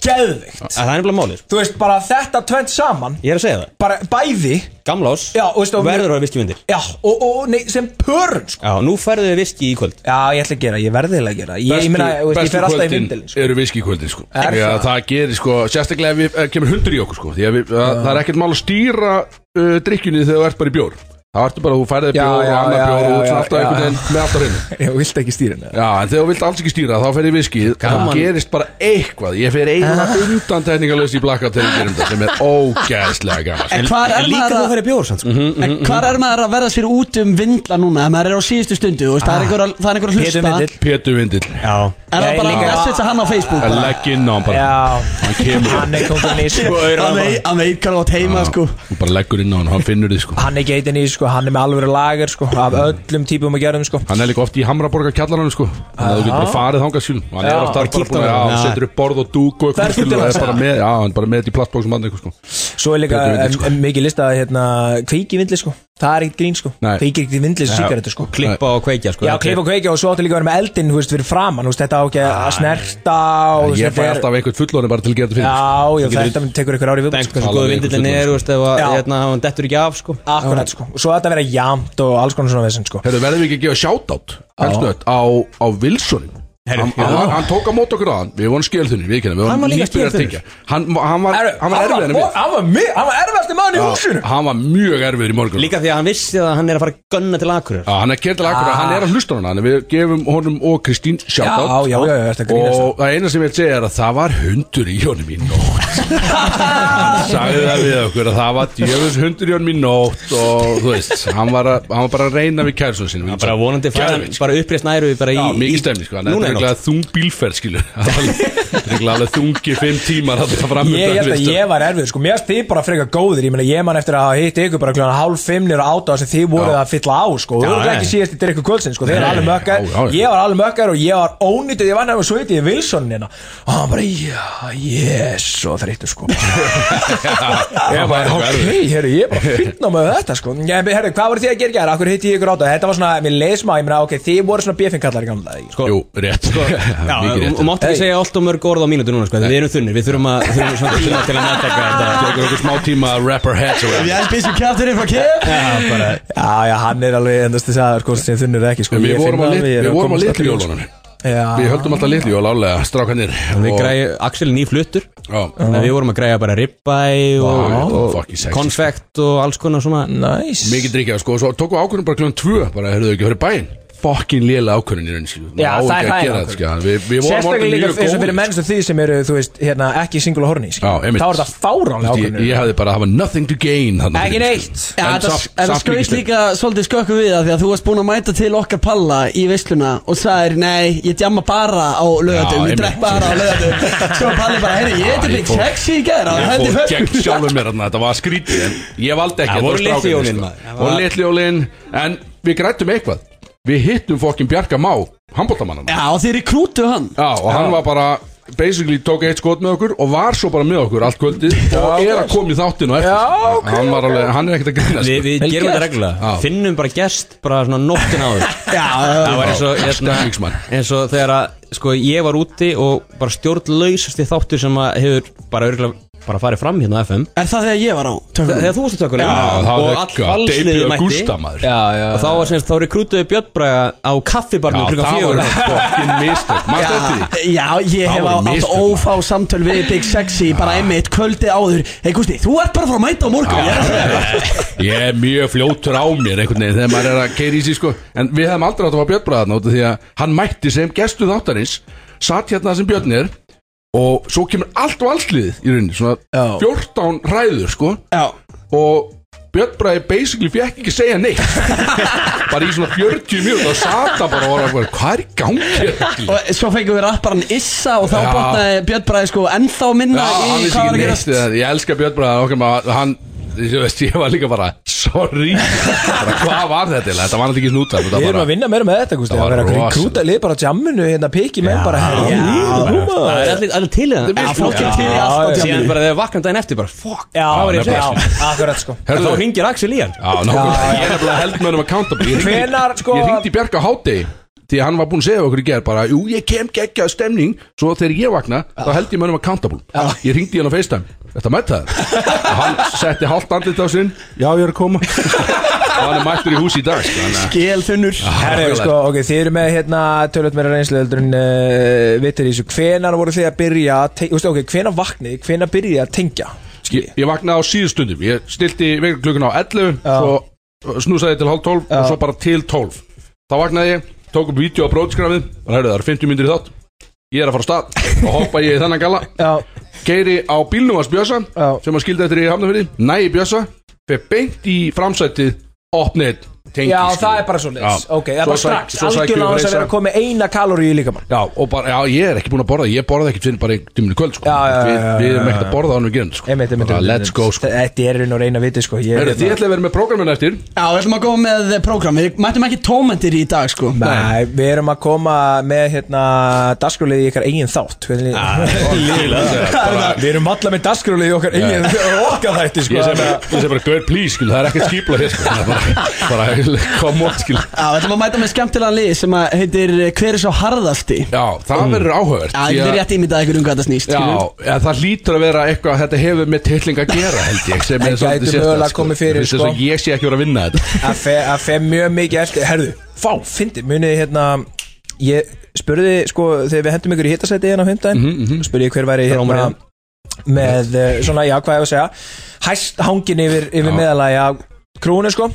Speaker 5: Geðveikt
Speaker 2: Að Það er nefnilega málið sko.
Speaker 5: Þú veist, bara þetta tvent saman
Speaker 2: Ég er að segja það
Speaker 5: Bara bæði,
Speaker 2: Gamla ás
Speaker 5: já, og veist og,
Speaker 2: Verður að viski vindir
Speaker 5: Já, og, og, nei, sem pörun, sko
Speaker 2: Já, nú færðu við viski í kvöld
Speaker 5: Já, ég ætla að gera, ég verði eiginlega að gera Ég, ég meina, þú veist, ég fer alltaf í vindilin, *laughs* sko
Speaker 1: eru viskikvöldin sko.
Speaker 5: Er
Speaker 1: Því að
Speaker 5: það?
Speaker 1: það gerir sko sérstaklega ef við, eh, kemur hundur í okkur sko. Því að við, að, það er ekkert mál að stýra uh, drikkjunni þegar þú ert bara í bjór þá ertu bara að þú færði
Speaker 5: Já,
Speaker 1: bjór
Speaker 5: já,
Speaker 1: og annar
Speaker 5: já,
Speaker 1: bjór
Speaker 5: já,
Speaker 1: og
Speaker 5: já,
Speaker 1: svona alltaf
Speaker 5: já.
Speaker 1: einhvern veginn með alltaf reynu
Speaker 5: Ég vilt ekki stýrin eða?
Speaker 1: Já, en þegar þú vilt alls ekki stýra þá fer ég viskið þá
Speaker 2: Gaman.
Speaker 1: gerist bara eitthvað ég fer
Speaker 5: Ah.
Speaker 1: eiginlega undan tekningalösi í blakka þegar ég gerum þetta sem er ógæðslega gaman
Speaker 4: En hvar er
Speaker 2: En líka
Speaker 4: maður
Speaker 2: þú
Speaker 4: að
Speaker 2: færðu bjór sann sko
Speaker 4: En hvar er maður að verða sér út um vindla núna ef maður er á síðustu stundu þú veist, það er einhver að- það er einhver að
Speaker 5: Pétur
Speaker 4: hlusta
Speaker 5: Vindill
Speaker 1: Pétur Vindil,
Speaker 2: Já
Speaker 4: Er
Speaker 5: Nei,
Speaker 4: það bara
Speaker 5: líka-
Speaker 4: að messagea hann á Facebook bara?
Speaker 1: legg inn á hann bara
Speaker 5: Já,
Speaker 1: hann kemur
Speaker 5: hann er kóngurinn í sko
Speaker 4: Hann vei- hann veit hvað það átt heima sko
Speaker 1: og bara leggur inn á hann, hann finnur þið sko
Speaker 5: Hann er geitin í sko, hann er með alvöru lager sko Af öllum típum að gera um sko
Speaker 1: Hann er líka oft í Hamraborga kjallarannu sko Þannig að þú getur bara farið þangað sílum Hann er
Speaker 5: Já.
Speaker 1: oft þar bara
Speaker 2: kíkt
Speaker 1: búin
Speaker 2: á
Speaker 1: að já,
Speaker 2: hann.
Speaker 1: hann
Speaker 2: Já.
Speaker 1: setur upp borð og dúk og
Speaker 5: Ferð
Speaker 1: eitthvað
Speaker 5: þú
Speaker 1: skilur
Speaker 5: til
Speaker 1: og
Speaker 5: hans?
Speaker 1: er bara með Já, hann er bara með þetta í plattbóksum hann eitthvað sko
Speaker 5: Svo er líka
Speaker 1: Pétur Vindill,
Speaker 5: em-
Speaker 1: sko.
Speaker 5: em- mikið listað hérna Kveiki vindli sko, það er ekkert grín sko
Speaker 1: Nei.
Speaker 5: Kveiki ekkert í vindli sem sigarettu sko
Speaker 2: Klippa og kveikja sko
Speaker 5: Já, klipp og kveiki og svo áttu líka að vera með eldin, hú veist, fyrir framan, hú veist, þetta á ekki að snerta og þú veist,
Speaker 1: Ég fæ
Speaker 5: þetta er-
Speaker 1: alltaf sko. einhvern fullorinn bara til að gera þetta fyrir
Speaker 5: Já, já, þetta mun tekur ykkur ári viðbútt
Speaker 2: Dengt
Speaker 5: sko.
Speaker 2: hversu góðu vindillin er Þú veist, ef að
Speaker 5: Já.
Speaker 2: hérna, hann dettur ekki af sko
Speaker 5: Akkurat sko, og svo þetta vera jamt og alls konar svona vesend sko
Speaker 1: Herru, verðum við ekki að gefa shoutout Helstnött á, á Wilsonin
Speaker 2: Herru,
Speaker 1: Hann,
Speaker 2: já.
Speaker 1: hann, hann tók á mót okkur aðan Við vorum skilþunni, við kennum Við
Speaker 2: Hann var
Speaker 1: vorum nýbyrjar
Speaker 2: líka
Speaker 1: að
Speaker 2: skelþunnur.
Speaker 1: tengja Hann, hann var, hann var erfiðan
Speaker 5: hann var, hann var, mi- hann var erfasti maður í húsinu
Speaker 1: Hann var mjög erfiður í morgun
Speaker 2: Líka því að hann vissi að hann er að fara að gunna til Akureyrar
Speaker 1: Já, hann er kertil akkur,
Speaker 5: Ah.
Speaker 1: hann er að hlusta á hana Þannig við gefum honum og Kristín shoutout
Speaker 5: Já, já, já, já, ertu að grínast?
Speaker 1: sko. Og það eina sem ég vil segja er að það var hundur í honum í nótt Hann sagði það við okkur að það var djöfus hundur í honum í nótt Og þú veist, hann var, að, hann var bara að reyna við kærsun sinni
Speaker 2: Bara vonandi fara
Speaker 1: Geðveikt, sko.
Speaker 2: Bara uppreist næru bara í
Speaker 1: Já,
Speaker 2: í-
Speaker 1: mikið stemni sko, en þetta
Speaker 2: Núna
Speaker 1: er
Speaker 2: er
Speaker 1: eitthvað þung bílferð skilur Það er alveg- Þetta er eitthvað alveg þungi fimm tímar að það
Speaker 5: Ég held
Speaker 1: framöndan *laughs*
Speaker 5: að ég var erfið, sko, mér finnst þið bara frekar góðir Ég meina, ég man eftir að hitta ykkur bara kljóðan hálf fimm nýra átta sem þið voruð
Speaker 1: Já.
Speaker 5: að fylla á, sko Þú
Speaker 2: Já,
Speaker 5: voruð ekki
Speaker 2: nei.
Speaker 5: síðast í Dirkku Kvöldsinn, sko, þið er
Speaker 1: Nei,
Speaker 5: alveg mökkar
Speaker 1: já, já, já.
Speaker 5: Ég var alveg mökkar og ég var ónýtið Ég var nefnum svo hitti í Wilsonina hérna. Og hann bara, já, yes, og þreyttu,
Speaker 1: *laughs*
Speaker 5: sko Ég
Speaker 1: var
Speaker 5: bara, ok,
Speaker 1: erfiður.
Speaker 5: herru, ég er bara fyrna með þetta, sko Já, herru, hvað voruð þið að gera í gær? Akkur hitti ég ykkur átta? Þetta var svona, mér leið smá, ég meina, ok, þið voruð svona BFN-kallar í gamla daga, sko. um-
Speaker 1: Jú, rétt
Speaker 2: Já,
Speaker 1: Mikið rétt.
Speaker 2: og og máttu
Speaker 5: Hey.
Speaker 2: ekki segja allt og mörg orð á mínútu núna sko, því Við erum þunnir, við þurfum að þurfum svona tíma til að meðtaka
Speaker 1: *laughs*
Speaker 5: um-
Speaker 1: Það
Speaker 2: þetta
Speaker 1: tekur okkur smá tíma að wrap our heads around
Speaker 4: Ég býst um kjátturinn frá kef
Speaker 2: Já, bara
Speaker 5: Já, já, hann er alveg endast þess að sko, sem þunnur ekki sko.
Speaker 1: En Við
Speaker 5: Ég
Speaker 1: vorum
Speaker 5: finn
Speaker 1: á
Speaker 5: það,
Speaker 1: lit-
Speaker 5: ég er
Speaker 1: við vorum á
Speaker 5: komast
Speaker 1: litlu
Speaker 5: allir í-
Speaker 1: jólunum
Speaker 5: Já.
Speaker 1: Við höldum alltaf litlu jól álega, strákanir
Speaker 2: Við
Speaker 1: og-
Speaker 2: græði Axel er nýfluttur
Speaker 1: Já.
Speaker 2: Þannig að við vorum að græja bara ribbæ
Speaker 1: Vá,
Speaker 2: og,
Speaker 1: fucking sko. sexy,
Speaker 2: og konfekt og alls konar svona
Speaker 5: Nice
Speaker 1: Mikið drikkjað sko, svo tókum við ákvörðum bara kljóðan tvö Bara, heyrðu ekki, hörðu bæinn Fokkin lélega ákvörðin í raun skilur. Má
Speaker 5: Já, það er
Speaker 1: ekki að
Speaker 5: hræðileg
Speaker 1: gera þetta,
Speaker 5: ákvörðun.
Speaker 1: skilur. Við- Við vorum
Speaker 5: Sérstaklega
Speaker 1: orðin
Speaker 5: líka
Speaker 1: mjög
Speaker 5: eins og fyrir
Speaker 1: góð sko.
Speaker 5: menn sem því sem eru, þú veist, hérna, ekki single og horny sko.
Speaker 1: Já, einmitt.
Speaker 5: Þá er það fáránlega
Speaker 1: Ég,
Speaker 5: ákvörðin
Speaker 1: ég hefði bara að hafa nothing to gain þarna
Speaker 5: Ekki
Speaker 1: fyrir,
Speaker 5: neitt.
Speaker 1: skilur.
Speaker 4: Já,
Speaker 1: En
Speaker 4: þetta-
Speaker 1: samt-
Speaker 4: en það
Speaker 1: samt
Speaker 4: skauðist
Speaker 1: mikið
Speaker 4: líka svolítið skökkum við það því að þú varst búin að mæta til okkar palla í veisluna og sagðir nei, ég djamma bara á lögatum,
Speaker 1: Já,
Speaker 4: ég drekk
Speaker 1: einmitt.
Speaker 4: bara á lögatum
Speaker 1: *laughs*
Speaker 4: Svo var palli bara, heyrðu, ég
Speaker 1: Já,
Speaker 4: heiti
Speaker 1: ég
Speaker 4: Big
Speaker 1: fór-
Speaker 4: Sexy í gæra og
Speaker 1: Ég
Speaker 4: hendi
Speaker 1: fór gegn
Speaker 4: fötum
Speaker 1: sjálfum mér þarna, þetta var skrítið En ég valdi ekki
Speaker 2: Það
Speaker 1: þetta var
Speaker 2: voru
Speaker 1: strákarnir,
Speaker 2: litlihjólin,
Speaker 1: sko.
Speaker 2: maður. Það var-
Speaker 1: Voru litlihjólin En við grættum eitthvað Við hittum fokkin Bjarka Má, handbóltamannan
Speaker 4: Já, og þeir rekrútu hann
Speaker 1: Já, og hann var bara basically tók eitt skot með okkur og var svo bara með okkur allt kvöldið og er að koma í þáttinu eftir
Speaker 5: Já,
Speaker 1: sko.
Speaker 5: ok,
Speaker 1: hann, var alveg, hann er ekkert að grina
Speaker 2: Við,
Speaker 1: sko.
Speaker 2: við
Speaker 5: Vel
Speaker 2: gerum
Speaker 5: gert.
Speaker 2: þetta reglulega
Speaker 1: Já.
Speaker 2: Finnum bara gest bara svona nóttin áður
Speaker 1: *laughs*
Speaker 4: Já,
Speaker 2: Það var eins og,
Speaker 1: Já,
Speaker 2: hérna,
Speaker 1: stemningsmann.
Speaker 2: eins og þegar að sko, ég var úti og bara stjórnlausasti þáttur sem að hefur bara örgulega bara farið fram hérna á FM
Speaker 4: Er það þegar ég var á tökum?
Speaker 2: þegar þú varst að tökuna
Speaker 1: Já, það var
Speaker 2: og
Speaker 1: ekki að
Speaker 2: all valsliði
Speaker 1: debut
Speaker 2: mætti
Speaker 1: Augusta, maður.
Speaker 2: já, já, og þá var semst þá rekrútuðu Björnbraga á
Speaker 1: Já,
Speaker 2: kaffibarnum klukkan
Speaker 1: það
Speaker 2: fjögur
Speaker 1: voru fokkin mistök Mást eftir því?
Speaker 4: Já, ég
Speaker 1: Það
Speaker 4: hef
Speaker 1: voru
Speaker 4: átt
Speaker 1: mistök,
Speaker 4: ófá samtöl við Big Sexy bara einmitt kvöldi áður Hei Gusti, þú ert bara að fara að mæta á morgun ég er að segja þér.
Speaker 1: Ég er mjög fljótur á mér einhvern veginn þegar maður er að keira í sig sko En við hefum aldrei átt að fá Björn Braga þarna út af því að hann mætti sem gestu þáttarins Satt hérna sem Björn er Og svo kemur allt og allsliðið í rauninni Svona
Speaker 4: Já.
Speaker 1: 14 ræður sko
Speaker 4: Já,
Speaker 1: Og Björn Braga basically fekk ekki segja
Speaker 4: *laughs*
Speaker 1: neitt Bara í svona 40 mjög Og satt hann bara og var að hvað er í gangi hérna?"
Speaker 4: og svo fengum við rapparan Issa og þá
Speaker 1: Já.
Speaker 4: botnaði Björn Bræði sko ennþá minna
Speaker 1: hann
Speaker 4: í
Speaker 1: vissi
Speaker 4: hvað var
Speaker 1: ekki
Speaker 4: að
Speaker 1: neitt
Speaker 4: gerast
Speaker 1: við það. Ég elska Björn Bræðar okkar maður Hann, þú veist, ég var líka bara Sorry, bara, hvað var þetta eiginlega? Þetta var náttúrulega ekki snúta
Speaker 5: Við erum að vinna meira með þetta, Gústi
Speaker 1: Það
Speaker 5: Það
Speaker 1: var
Speaker 5: verður að
Speaker 1: rosalegt.
Speaker 5: krúta lið bara á jamminu Hérna piki menn bara
Speaker 2: Já,
Speaker 5: herri, jú, jú,
Speaker 2: það
Speaker 5: maður.
Speaker 2: er allir, allir til í það
Speaker 1: er
Speaker 2: Já,
Speaker 1: mjög
Speaker 2: fólk er
Speaker 1: flott.
Speaker 2: til í
Speaker 5: Já,
Speaker 2: alltaf
Speaker 5: já.
Speaker 2: síðan bara þegar vaknar daginn eftir bara fuck,
Speaker 5: Já,
Speaker 2: það var ég að
Speaker 1: nefnilega.
Speaker 2: segja
Speaker 5: já, akkurat sko
Speaker 2: En þá
Speaker 1: Herðu,
Speaker 2: hringir Axel í hann
Speaker 1: já, nákvæmlega Ég er bara held með hann um accountable Ég hringdi-
Speaker 5: Hvenær, sko-
Speaker 1: Ég ringdi Björk á háti Því að hann var búinn að segja okkur í gerð bara Jú, ég kem geggjað stemning Svo þegar ég vakna, þá held ég mönnum accountable Ég ringdi hann á FaceTime Þetta mætti það Og hann setti hálft andlit á sinn Já, ég er að koma *laughs* Og hann er mættur í hús í dag sko, þannig að-
Speaker 4: Gél þunnur
Speaker 5: Herri, sko, ok, þið eru með hérna tölvöld meira reynsluöldur en uh, vittir í þessu Hvenar voru þið að byrja að tengja, ok, hvenar vaknið, hvenar byrjið þið að tengja?
Speaker 1: Ég, ég vaknaði á síðustundum Ég stilti veiklukkan á 11 Svo snúsaði ég til halv 12 Og svo bara til 12 Þá vaknaði ég, tók upp vídeo á brótskrafið Og heyrðu það eru 50 myndir í þátt Ég er að fara á stað og hoppa ég í þennan galla
Speaker 5: Já,
Speaker 1: Keiri á bílnum hans Bjösa
Speaker 5: Já.
Speaker 1: Sem hann skildi eftir í hafnafyrði Næi Bjösa Fer beint í framsætið Opnið tengi,
Speaker 5: já
Speaker 1: skilur.
Speaker 5: það er bara svo leiðis,
Speaker 1: Já.
Speaker 5: ok, það er
Speaker 1: Svo
Speaker 5: bara
Speaker 1: sæk-
Speaker 5: strax,
Speaker 1: svo sækjum við
Speaker 5: algjörlega á þess að
Speaker 1: Freysa.
Speaker 5: vera að koma með eina kaloríu í líkamann
Speaker 1: Já, og bara, já, ég er ekki búin að borða Ég borða ekkert fyrir bara tíminu kvöld sko.
Speaker 5: Já, já, já,
Speaker 1: Við,
Speaker 5: já,
Speaker 1: við erum
Speaker 5: já,
Speaker 1: ekkert að borða ánum gerund sko.
Speaker 5: Einmitt, einmitt,
Speaker 1: Bara
Speaker 5: einmitt.
Speaker 1: Let's go sko.
Speaker 5: Þetta er einn og reyna viti sko Ég
Speaker 1: Heyrðu, Þið ætlaði að vera með prógraminu eftir
Speaker 4: Já, við ætlum að góða með prógram Við mættum ekki tómentir í dag sko
Speaker 5: Nei, við erum að koma með hérna dagskrálið í ykkar eigin þátt hvernig-
Speaker 1: Ah,
Speaker 5: *laughs* Við erum alla með dagskrálið í okkar eigin *laughs* okkar þætti sko
Speaker 1: Ég segi bara, ég segi bara, girl please, skil, það er ekkert skýpla hér, skil, það er bara, bara, kom on, skil.
Speaker 4: Já, við ætlum að mæta með skemmtilegan lið sem að heitir eh, Hver er svo harðasti?
Speaker 1: Já, það verður áhugavert.
Speaker 4: Já, ég
Speaker 1: því
Speaker 4: er
Speaker 1: að-
Speaker 4: rétt ímyndað ykkur um hvað það snýst
Speaker 1: Já,
Speaker 4: skilur.
Speaker 1: eða það lítur að vera eitthvað að þetta hefur með tilling að gera, held ég, sem er
Speaker 5: Það gæti
Speaker 1: sérstakt,
Speaker 5: mögulega
Speaker 1: sko.
Speaker 5: komið
Speaker 1: Mér
Speaker 5: fyrir,
Speaker 1: finnst
Speaker 5: sko.
Speaker 1: þess að ég sé ekki verið að vinna þetta.
Speaker 5: að fe, að fe mjög mikið eftir herðu, fá, fyndi, munið þið, hérna ég spurði sko þegar við hendum ykkur í hittasæti hérna á hundaginn
Speaker 1: Mhm,
Speaker 5: spurði ég hver væri hérna
Speaker 1: Rómurinn.
Speaker 5: með eh, svona, já hvað ég á að segja hæst hangin yfir, yfir
Speaker 1: Já.
Speaker 5: meðalagi af krúnu sko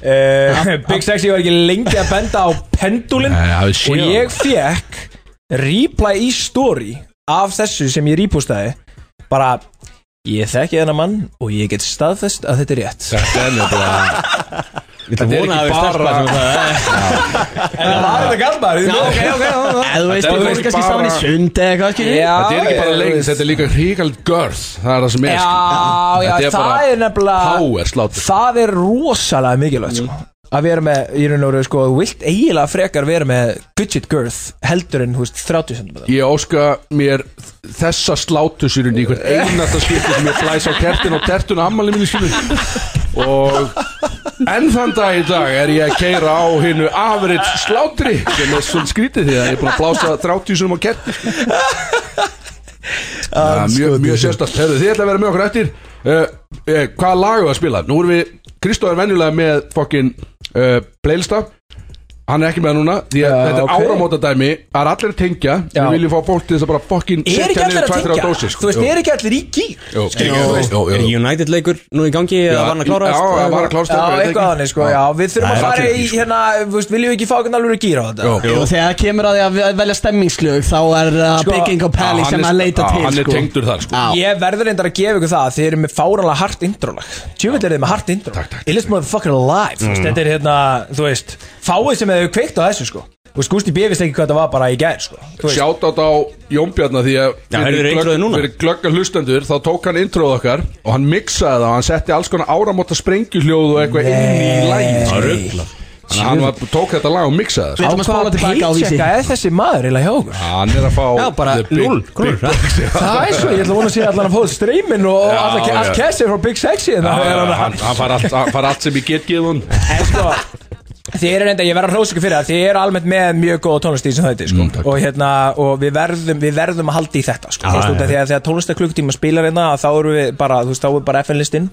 Speaker 5: uh, Big Sexy var ekki lengi að benda á pendulin
Speaker 1: Nei, það við
Speaker 5: og
Speaker 1: séum.
Speaker 5: ég fekk reply í story af þessu sem ég rýpústaði bara ég þekki þennan mann og ég get staðfest að þetta er rétt
Speaker 1: Þetta er nefnilega,
Speaker 2: Ég ætla
Speaker 1: þetta er
Speaker 2: að vona að
Speaker 1: ekki
Speaker 2: við stelpa sem
Speaker 1: bara,
Speaker 2: það er
Speaker 5: en það var þetta gallmaður
Speaker 4: Já, ok, ok, já, já. Ef þú veist,
Speaker 1: Þetta
Speaker 4: við
Speaker 1: er
Speaker 4: vorum
Speaker 1: ekki
Speaker 4: kannski
Speaker 1: bara-
Speaker 4: saman í sund eða eitthvað, skilur
Speaker 5: Já.
Speaker 1: þetta er ekki bara
Speaker 5: ég-
Speaker 1: lengst, þetta er líka hríkald görð, það er það sem er,
Speaker 5: Já, já,
Speaker 1: Þetta er bara
Speaker 5: það er nefnilega
Speaker 1: Power slátur.
Speaker 5: Það er rosalega mikilvægt sko.
Speaker 4: Mm.
Speaker 5: að vera með, ég raun og veru sko þú vilt eiginlega frekar vera með gudget girth heldur en, hú veist, 30 cm
Speaker 1: Ég óska mér þessa slátusurinn í hvert einasta skipti sem ég flæs á kertin og tertun ammali minni skilur og enn þann dag í dag er ég að keira á hinnu average slátri sem er svona skrítið því að ég er búin að blása 30 sinum á kertin ja,
Speaker 5: Ah,
Speaker 1: mjög, mjög sérstast Herðu, þið ætla að vera með okkur eftir uh, uh, Hvaða lag er að spila? Nú erum við, Kristóð er venjulega með fokkin uh, playlista Hann er ekki með það núna Því að
Speaker 5: Já,
Speaker 1: þetta er
Speaker 5: ok.
Speaker 1: okay. áramótadæmi Það er allir að tengja Við
Speaker 5: Já.
Speaker 1: viljum fá fólk til þess að bara fokkin
Speaker 5: Er ekki allir að tengja?
Speaker 1: dósi, sko.
Speaker 5: Þú veist, er ekki allir í gýr?
Speaker 1: Jú, jú, jú, jú,
Speaker 2: Er
Speaker 1: jú.
Speaker 2: United leikur nú í gangi eða var hann að klára
Speaker 1: Já, það var að klárast
Speaker 5: Já,
Speaker 1: þetta, ég veit
Speaker 5: eitthvað
Speaker 1: ekki.
Speaker 5: þannig sko, já, við þurfum
Speaker 1: Nei,
Speaker 5: að fara
Speaker 1: allir í
Speaker 5: í,
Speaker 1: gír, sko.
Speaker 5: hérna, þú veist, viljum við ekki fá okkur alveg gýr á þetta?
Speaker 1: Jú.
Speaker 4: Og þegar það kemur að því að ve- velja stemmingslög þá er eh, það
Speaker 5: Sko,
Speaker 4: Bigging og
Speaker 1: Já,
Speaker 4: Pally
Speaker 1: Ah, hann
Speaker 4: sem
Speaker 1: er-
Speaker 4: að leita
Speaker 1: já,
Speaker 4: til
Speaker 1: Hann er
Speaker 4: sko.
Speaker 1: tengdur þar sko
Speaker 4: Já.
Speaker 5: Ég verður reyndar að gefa ykkur það Þið eru með fáranlega hart intrólag Tjúvill er þið með hart
Speaker 1: Takk,
Speaker 5: intrólag
Speaker 1: takk,
Speaker 5: It is motherfucking alive mm. Þetta er hérna, þú veist Fáið sem hefur kveikt á þessu sko Þú veist, Gústi B. veist ekki hvað það var bara í gær sko Þú veist,
Speaker 1: Sjátt á Jón Bjarnar því að
Speaker 2: Já, heyrðu
Speaker 1: fyrir
Speaker 2: introið núna?
Speaker 1: fyrir glöggar hlustendur þá tók hann introð okkar og hann mixaði það og hann setti alls konar áramóta sprengjuhljóð og eitthvað inn í lægi hann var, tók þetta lag og mixaði það
Speaker 4: Við
Speaker 1: sko.
Speaker 4: ætlum að spála tilbaka á vísi
Speaker 5: paychecka er þessi maður eiginlega hjá okkur?
Speaker 1: *laughs* Hann er að fá
Speaker 2: Já, bara
Speaker 1: the big-
Speaker 2: núll krónur,
Speaker 1: big bucks, já.
Speaker 5: Það er svo, ég ætla að vona að sé allan að fóða streymin og
Speaker 1: Já,
Speaker 5: allt
Speaker 1: já.
Speaker 5: all kessir frá Big Sexy hérna.
Speaker 1: Já,
Speaker 5: en það
Speaker 1: já,
Speaker 5: er
Speaker 1: já,
Speaker 5: hann
Speaker 1: Hann hann fær allt- hann fær allt sem ég get gefun
Speaker 5: En sko, Þið eru reynda, ég verð að hrósa ykkur fyrir það Þið eru almennt með mjög góða tónlist í þessum þætti sko.
Speaker 1: Mm, takk.
Speaker 5: Og, hérna, og við, verðum, við verðum að halda í þetta sko.
Speaker 2: Já, já,
Speaker 5: ah, ja,
Speaker 2: já.
Speaker 5: Þegar, þegar tónlistar klukktíma spilar hérna Þá eru við bara, þú veist, þá er bara FN-listin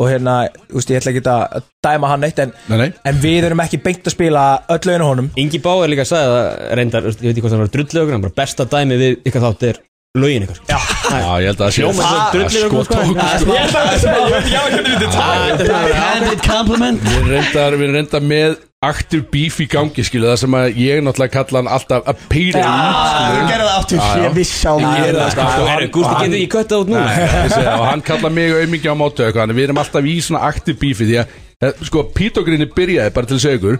Speaker 5: Og hérna, þú veist, ég ætla ekki að dæma hann neitt en,
Speaker 1: Mhm. Nei, nei.
Speaker 5: en við erum ekki beint að spila öll lögin á honum
Speaker 2: *laughs* Ingi Báer líka sagði það reyndar, ég veit ekki hvort það var drullögur en bara besta dæmi við ykkar þátt er lögin ykkar sko. Já,
Speaker 1: Já, ég held að það sé
Speaker 2: Hljómar svo drullið
Speaker 1: sko
Speaker 2: okkur, sko.
Speaker 1: tók sko.
Speaker 5: Ég ætla að segja, ég veit ekki á hvernig við þetta
Speaker 4: Handed compliment
Speaker 1: Við erum reyndar, við erum reyndar með aktiv bíf í gangi, skilu Það sem að ég náttúrulega kalla hann alltaf að peyra
Speaker 4: Þú gerði það aftur,
Speaker 1: Já, já.
Speaker 4: ég vissi á
Speaker 1: Ég
Speaker 4: mig
Speaker 1: er það, sko.
Speaker 2: Þú eru, Gústi,
Speaker 1: Hann-
Speaker 2: getur ég kött það út núna? *laughs*
Speaker 1: Nei, ég segi, og hann kallaði mig auðmikið á mátu eitthvað, þannig við erum alltaf í svona aktiv bífi því að, eh, sko, Pítogrinni byrjaði bara til að segja ykkur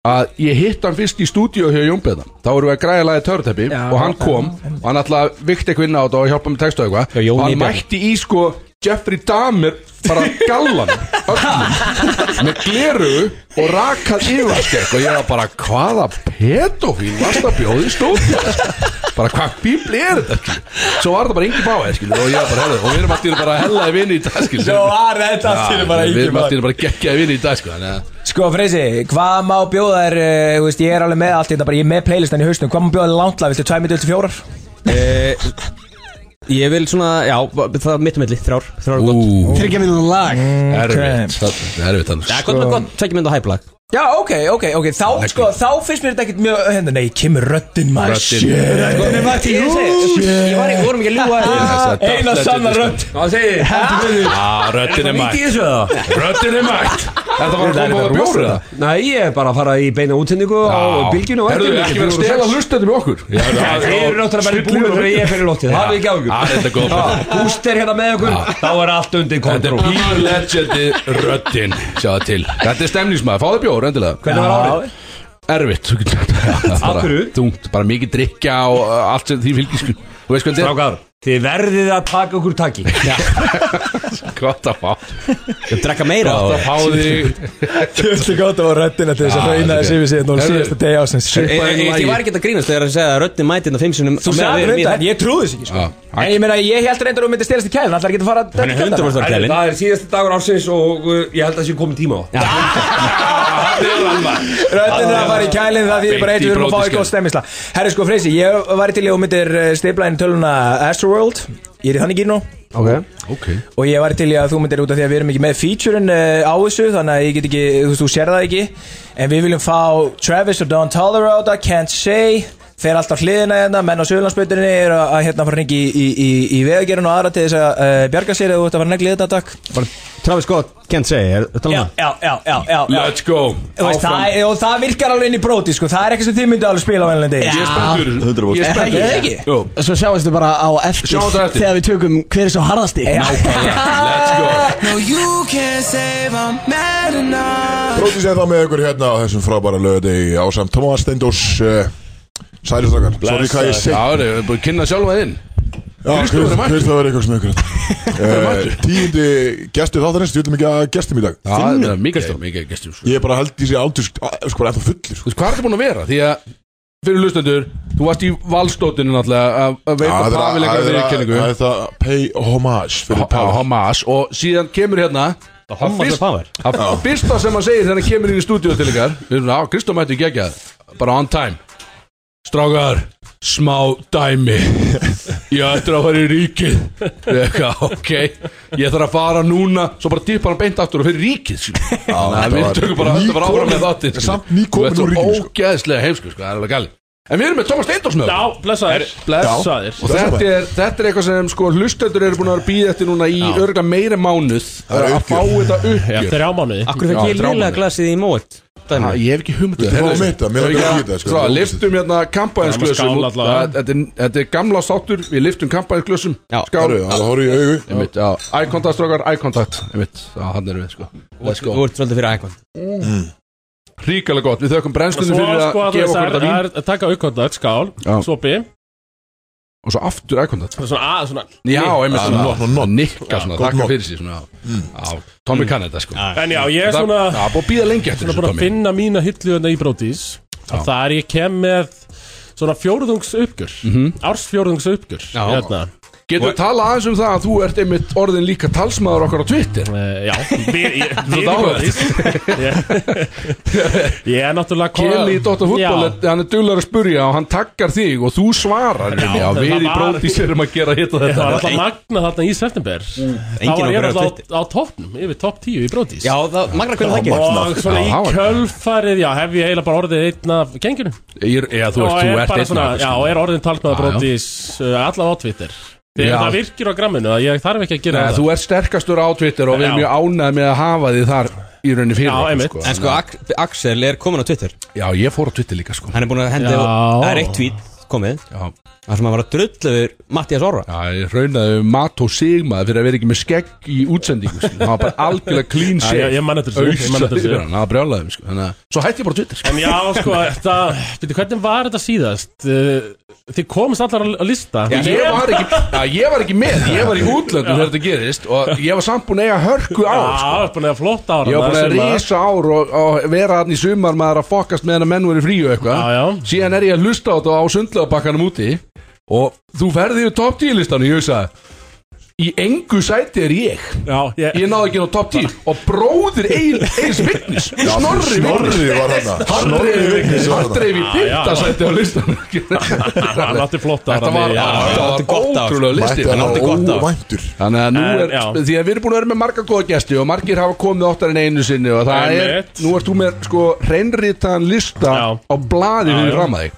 Speaker 1: að ég hitt hann fyrst í stúdíu hjá Jónbeða þá vorum við að græja lagið Törteppi og hann kom og hann alltaf vikti eitthvað inn á þetta og hjálpa með textu og
Speaker 2: Já,
Speaker 1: eitthvað
Speaker 2: Jóni
Speaker 1: og hann
Speaker 2: Bjarni.
Speaker 1: mætti í sko Jeffrey Dahmer bara gallan öllum með gleru og rakað yfirskegg og ég var bara hvaða pedofín varst að bjóða í stóðið bara hvað bíbli er þetta skilur? svo var það bara Ingi Báði skilur, og ég var bara herðu og við erum alltaf bara að hellaði vinni í dag skilur.
Speaker 5: Svo var þetta allt í einu bara
Speaker 1: Já, við
Speaker 5: Ingi
Speaker 1: erum
Speaker 5: Bauer.
Speaker 1: alltaf bara geggjaði vinni í dag sko, þannig að-
Speaker 5: Sko Freysi, hvað má bjóða þér eh, Þú veist, ég er alveg með allt þetta bara Ég er með playlistan í hausnum Hvað má bjóða þér langtla, viltu 2 mitt til 4?
Speaker 2: Eh, Ég vil svona, já, það er mitt og milli, þrjár, þrjár er gott
Speaker 1: ú,
Speaker 4: Tryggja minn á lag
Speaker 1: erfitt það er erfitt Sko,
Speaker 2: Já,
Speaker 1: annars
Speaker 2: gott með gott, tvekki mynd og hæplag
Speaker 5: Já, ok, ok, ok, þá, sko, þá finnst mér þetta ekkert mjög, hérna, nei, kemur röddinn
Speaker 1: Röddin.
Speaker 5: maður Shit. Sko,
Speaker 2: Ég segi, ég var ekki, vorum ekki að ljúga
Speaker 1: Þessa dafla-
Speaker 5: Eina sanna rödd
Speaker 2: Hvað segir þið?
Speaker 1: Já, röddin er mætt
Speaker 6: þessu það?
Speaker 1: Röddin er mætt Þetta var að koma á bjóru það
Speaker 6: Nei, ég er bara að fara í beina útsendingu á bylginu og
Speaker 1: Herðu, ekki verið að stela hlustandi með okkur Já,
Speaker 6: Þeir eru náttúrulega bara búin
Speaker 2: E
Speaker 6: fyrir ég fyrir lóttið Það er ekki
Speaker 1: Já, Ah,
Speaker 6: áhugjum
Speaker 1: þetta er góð bjór.
Speaker 6: Gúst er hérna með okkur Þá er allt undir
Speaker 1: Þetta
Speaker 6: kontrol
Speaker 1: er pure legendi röddin Sjá það til Þetta er stemningsmaður, fáðu bjór endilega
Speaker 6: Hvernig var árið?
Speaker 1: Erfitt *laughs* Af
Speaker 6: hverju?
Speaker 1: Tungt, bara mikið drikja og uh, allt sem því fylgiskun Þú veist hvað þetta
Speaker 6: Strákar, þið verðið að taka okkur
Speaker 1: *laughs*
Speaker 6: taki
Speaker 1: er? Gott að fá
Speaker 2: Ég drekka meira
Speaker 1: Gott að fá þig
Speaker 5: Kjöfstu gott á röddina til þess að
Speaker 1: Já,
Speaker 5: hreina
Speaker 1: þetta
Speaker 5: þessi
Speaker 1: er-
Speaker 5: yfir síðan og
Speaker 1: Herðu.
Speaker 5: síðasta degi ásins
Speaker 2: Ég, ég, ég var ekki að grínast þegar að segja að röddin mæti þetta fimm sinum
Speaker 5: Þú sagði reynda, en ég trúði þess ekki, sko
Speaker 1: Já, hann-
Speaker 5: En ég meina, ég held reynda að þú myndir stelast í kælun, allar getur fara að
Speaker 2: Hann er 100% var
Speaker 6: Herri,
Speaker 2: kælinn.
Speaker 6: Það er síðasti dagur ársins og uh, ég held að sé komið tíma á
Speaker 5: Röddin er að fara í kælinn, það þýðir bara eitt, við erum að fá
Speaker 1: Beint í
Speaker 5: ekki góð stemmisla Herri, sko, Freysi, ég var til í og myndir eh, stipla inn töluna Astroworld Ég er í þannig gínu
Speaker 6: okay.
Speaker 1: Ok
Speaker 5: Og ég var til í að þú myndir út af því að við erum ekki með featurein uh, á þessu Þannig að ég get ekki, þú veist, þú sér það ekki En við viljum fá Travis og Don Tolero á þetta, Can't Say Þeir alltaf hliðina hérna, menn á Suðurlandsbautinni er að, að hérna fara hringi í, í, í, í vegagerun og aðra til þess að uh, bjarga sér eða þú ert að fara neglið þetta takk
Speaker 2: Travis Scott, can't say, er um þetta
Speaker 5: Já,
Speaker 2: langt?
Speaker 5: já, já, já, já, já.
Speaker 1: Let's go
Speaker 5: Þú Veist, það, og það virkar alveg inn í bróti sko. það er ekki sem þið myndu alveg spila á ennlega degi
Speaker 1: Ég er spenntur Ég
Speaker 3: 100%.
Speaker 1: er spenntur
Speaker 5: Er það ekki?
Speaker 1: Jú
Speaker 4: Svo sjáast þið bara á eftir
Speaker 1: Sjáumst á eftir.
Speaker 4: Þegar við tökum hver er svo harðasti
Speaker 6: *laughs*
Speaker 1: Let's go
Speaker 7: No, you can't save, I'm mad enough.
Speaker 8: Brótið séð þá með ykkur hérna á þessum frábæra lögadegi á samt Tómas Steindós uh, Sælustrakar, sorry hvað ég segi
Speaker 1: Já, það er búin að kynna sjálfa þinn
Speaker 8: Já,
Speaker 1: Kristofur er mættur.
Speaker 8: Kristofur er ykkur sem
Speaker 1: *laughs*
Speaker 8: ykkur uh, Tíundi gestur þáttarins, ég vil mikið að gestum í dag
Speaker 1: Já, það er mikið Mikið gestur sko.
Speaker 8: Ég er bara held í sér aldur, sko, bara ennþá fullur
Speaker 1: Þú veist, hvað er þetta búin að vera? Því að fyrir lustendur Þú varst í valstótinu náttúrulega að- Að
Speaker 8: Já,
Speaker 1: veipa
Speaker 8: það er að-
Speaker 1: pavilega
Speaker 8: það er að-
Speaker 1: viðurkenningu
Speaker 8: það er það pay homage fyrir Pavel
Speaker 1: Hamas Og síðan kemur hérna Það
Speaker 2: homage
Speaker 1: fyrst-
Speaker 2: og Pavel.
Speaker 1: það fyrsta sem hann segir þegar hann kemur inn í stúdíu til ykkar er, Já, Kristó mætti gegja Bara on time Strákar, smá
Speaker 8: *laughs*
Speaker 1: dæmi Ég ættir að fara í ríkið Eka, Ok, ég þarf að fara núna Svo bara tippa hann beint aftur og fyrir ríkið skilur. Þannig að
Speaker 8: þetta
Speaker 1: Við
Speaker 8: var
Speaker 1: tökum bara þetta var áfram
Speaker 8: nýkomin-
Speaker 1: með þáttinn skilur.
Speaker 8: samt nýkomin
Speaker 1: Þú ert
Speaker 8: úr
Speaker 1: svo
Speaker 8: ríkinu, sko.
Speaker 1: Ógeðslega heimsku, sko, það er alveg gæli En við erum með Thomas Steindors með okkur.
Speaker 9: blessaður Blessaður
Speaker 1: Og þetta er, þetta er eitthvað sem sko hlustendur eru búin að býða eftir núna í örgla meira mánuð
Speaker 8: Það er
Speaker 1: að fá þetta uppgjör
Speaker 9: Þrjá mánuði
Speaker 2: Akkur fekk
Speaker 1: Já,
Speaker 2: ég
Speaker 1: drámar.
Speaker 2: liðlega glasið í mót
Speaker 1: Ha,
Speaker 2: Dæmi
Speaker 1: Ég hef ekki hugmynd um
Speaker 8: Þú fáum eitt það, mér langar ekki í þetta, sko.
Speaker 1: Svo, liftum hérna kampaðinsglösum
Speaker 9: Það er með skál allavega.
Speaker 1: Þetta er- þetta er gamla sáttur, við liftum kampaðinsglösum
Speaker 2: Já.
Speaker 1: Skál
Speaker 8: Herru, Það horfði í augu
Speaker 1: Einmitt, já, eye contact strókar, eye contact Einmitt, já, hann erum við sko Let's
Speaker 2: Þú
Speaker 1: go
Speaker 2: ert svolítið fyrir ækvæm
Speaker 1: Ríkalega gott, við þökkum brennstunum
Speaker 9: Svo
Speaker 1: fyrir að
Speaker 9: sko þú
Speaker 1: gefa
Speaker 9: veist
Speaker 1: okkur
Speaker 9: það
Speaker 1: þetta
Speaker 9: er-
Speaker 1: vín
Speaker 9: er að taka aukvöndat skál
Speaker 1: Já.
Speaker 9: Svopi
Speaker 1: Og svo aftur eye contact
Speaker 9: Svona að svona
Speaker 1: Já, einmitt,
Speaker 8: not, not,
Speaker 1: svona
Speaker 8: not.
Speaker 1: Nikka svona,
Speaker 8: gott
Speaker 1: þakka
Speaker 8: not.
Speaker 1: fyrir sig svona Já, Tommy kann þetta sko
Speaker 9: En já ég er
Speaker 1: Það
Speaker 9: svona
Speaker 1: það er búið að býða lengi eftir
Speaker 9: Svona
Speaker 1: þessu
Speaker 9: búin að
Speaker 1: Tommy
Speaker 9: finna mína hillu hérna í brótis Og það
Speaker 1: Mhm.
Speaker 9: er ég kem með Svona fjórðungs uppgjör Ársfjórðungs uppgjör Hérna
Speaker 1: Getur við tala aðeins um það að þú ert einmitt orðin líka talsmaður okkar á Twitter *laughs*
Speaker 9: Eh, Já, við
Speaker 1: Þú
Speaker 9: erum
Speaker 1: dáðar.
Speaker 9: *laughs* Ég er náttúrulega
Speaker 1: Kelly í Dóttar fútbol,
Speaker 9: Já,
Speaker 1: hann er duglar að spurja og hann takkar þig og þú svarar Já, já
Speaker 9: það
Speaker 1: við í
Speaker 9: var-
Speaker 1: brótis erum að gera hitta
Speaker 9: Það
Speaker 1: þetta
Speaker 9: var alltaf magna þarna í september Þá
Speaker 2: Enginn
Speaker 9: var ég
Speaker 2: okkar á
Speaker 9: alltaf á, á toppnum Yfir topp 10 í brótis
Speaker 2: Já, það, magna hvernig það gerir
Speaker 9: Og
Speaker 1: Já, það
Speaker 9: svona í
Speaker 1: var-
Speaker 9: kjölfarið Já, hef ég eiginlega bara orðið einn af gengjunum
Speaker 1: Ég er- Já, þú
Speaker 9: Og
Speaker 1: ert,
Speaker 9: er
Speaker 1: þú ert
Speaker 9: bara
Speaker 1: einn
Speaker 9: svona,
Speaker 1: af
Speaker 9: Já,
Speaker 1: þessu.
Speaker 9: og er orðin
Speaker 1: Já, já.
Speaker 9: talsmaður brótis uh, Allavega á Twitter
Speaker 1: Já.
Speaker 9: Þegar það virkir á gramminu að Ég þarf ekki að gera
Speaker 1: Nei,
Speaker 9: það
Speaker 1: Þú ert sterkastur á Twitter og við erum
Speaker 9: Já.
Speaker 1: mjög ánæð með að hafa þig þar í rauninni fyrir
Speaker 9: Já,
Speaker 1: okkur,
Speaker 9: einmitt.
Speaker 2: En sko, Ak- Axel er komin á Twitter
Speaker 1: Já, ég fór á Twitter líka sko
Speaker 2: Hann er búin að hendi
Speaker 9: Já.
Speaker 2: Það er eitt tweet komið
Speaker 1: Já,
Speaker 2: Það sem að var að drullu yfir Mattias Orra
Speaker 1: já ég raunaði mat og sigma fyrir að vera ekki með skegg í útsendingu sko. Það var bara algjörlega clean
Speaker 9: Já,
Speaker 1: shit
Speaker 9: ég- ég man eftir þessu, ég man eftir þessu.
Speaker 1: Það brjálaði mig sko Þannig að svo hætti ég bara á Twitter sko.
Speaker 9: En já, sko, þetta Býttu, hvernig var þetta síðast? Uh, Þið komist allar á- á lista
Speaker 1: Já, ég, var ekki, já, ég var ekki með, ég var í útlöndum þegar þetta gerist og ég var samt búin að eiga hörku á sko.
Speaker 9: Já, búin að hafa flott ára
Speaker 1: Ég var búin að rísa ár og, og vera hann í sumar maður að fokast með hann að menn voru í fríu eitthvað
Speaker 9: Já, já.
Speaker 1: Síðan er ég að hlusta á þetta á sundlöðabakkanum úti og þú ferði yfir top 10 listanum, ég hugsaði Í engu sæti er ég
Speaker 9: Já, ég,
Speaker 1: Ég náði ekki inn á top 10 og bróðir Egil- Egils Vignis Snorri Vignis
Speaker 8: Snorri var hérna. hann
Speaker 1: Hann
Speaker 8: var þarna.
Speaker 1: dreif í
Speaker 9: já.
Speaker 1: fyrta sæti á listanum
Speaker 9: *laughs* hann
Speaker 1: Þetta
Speaker 9: átti flott ára
Speaker 1: var,
Speaker 9: já,
Speaker 1: þetta var
Speaker 2: átti gott ár.
Speaker 1: ótrúlega listi
Speaker 8: Mætti hann
Speaker 2: átti gott
Speaker 8: á
Speaker 2: ár.
Speaker 8: óvæntur
Speaker 1: Þannig að nú
Speaker 9: En,
Speaker 1: er,
Speaker 9: já.
Speaker 1: því að við erum búin að vera með marga góða gæsti og margir hafa komið oftar en einu sinni og það er,
Speaker 9: Einmitt.
Speaker 1: nú ert þú með sko hreinritaðan lista
Speaker 9: Já.
Speaker 1: á blaði
Speaker 9: Já,
Speaker 1: fyrir
Speaker 9: já.
Speaker 1: ramaði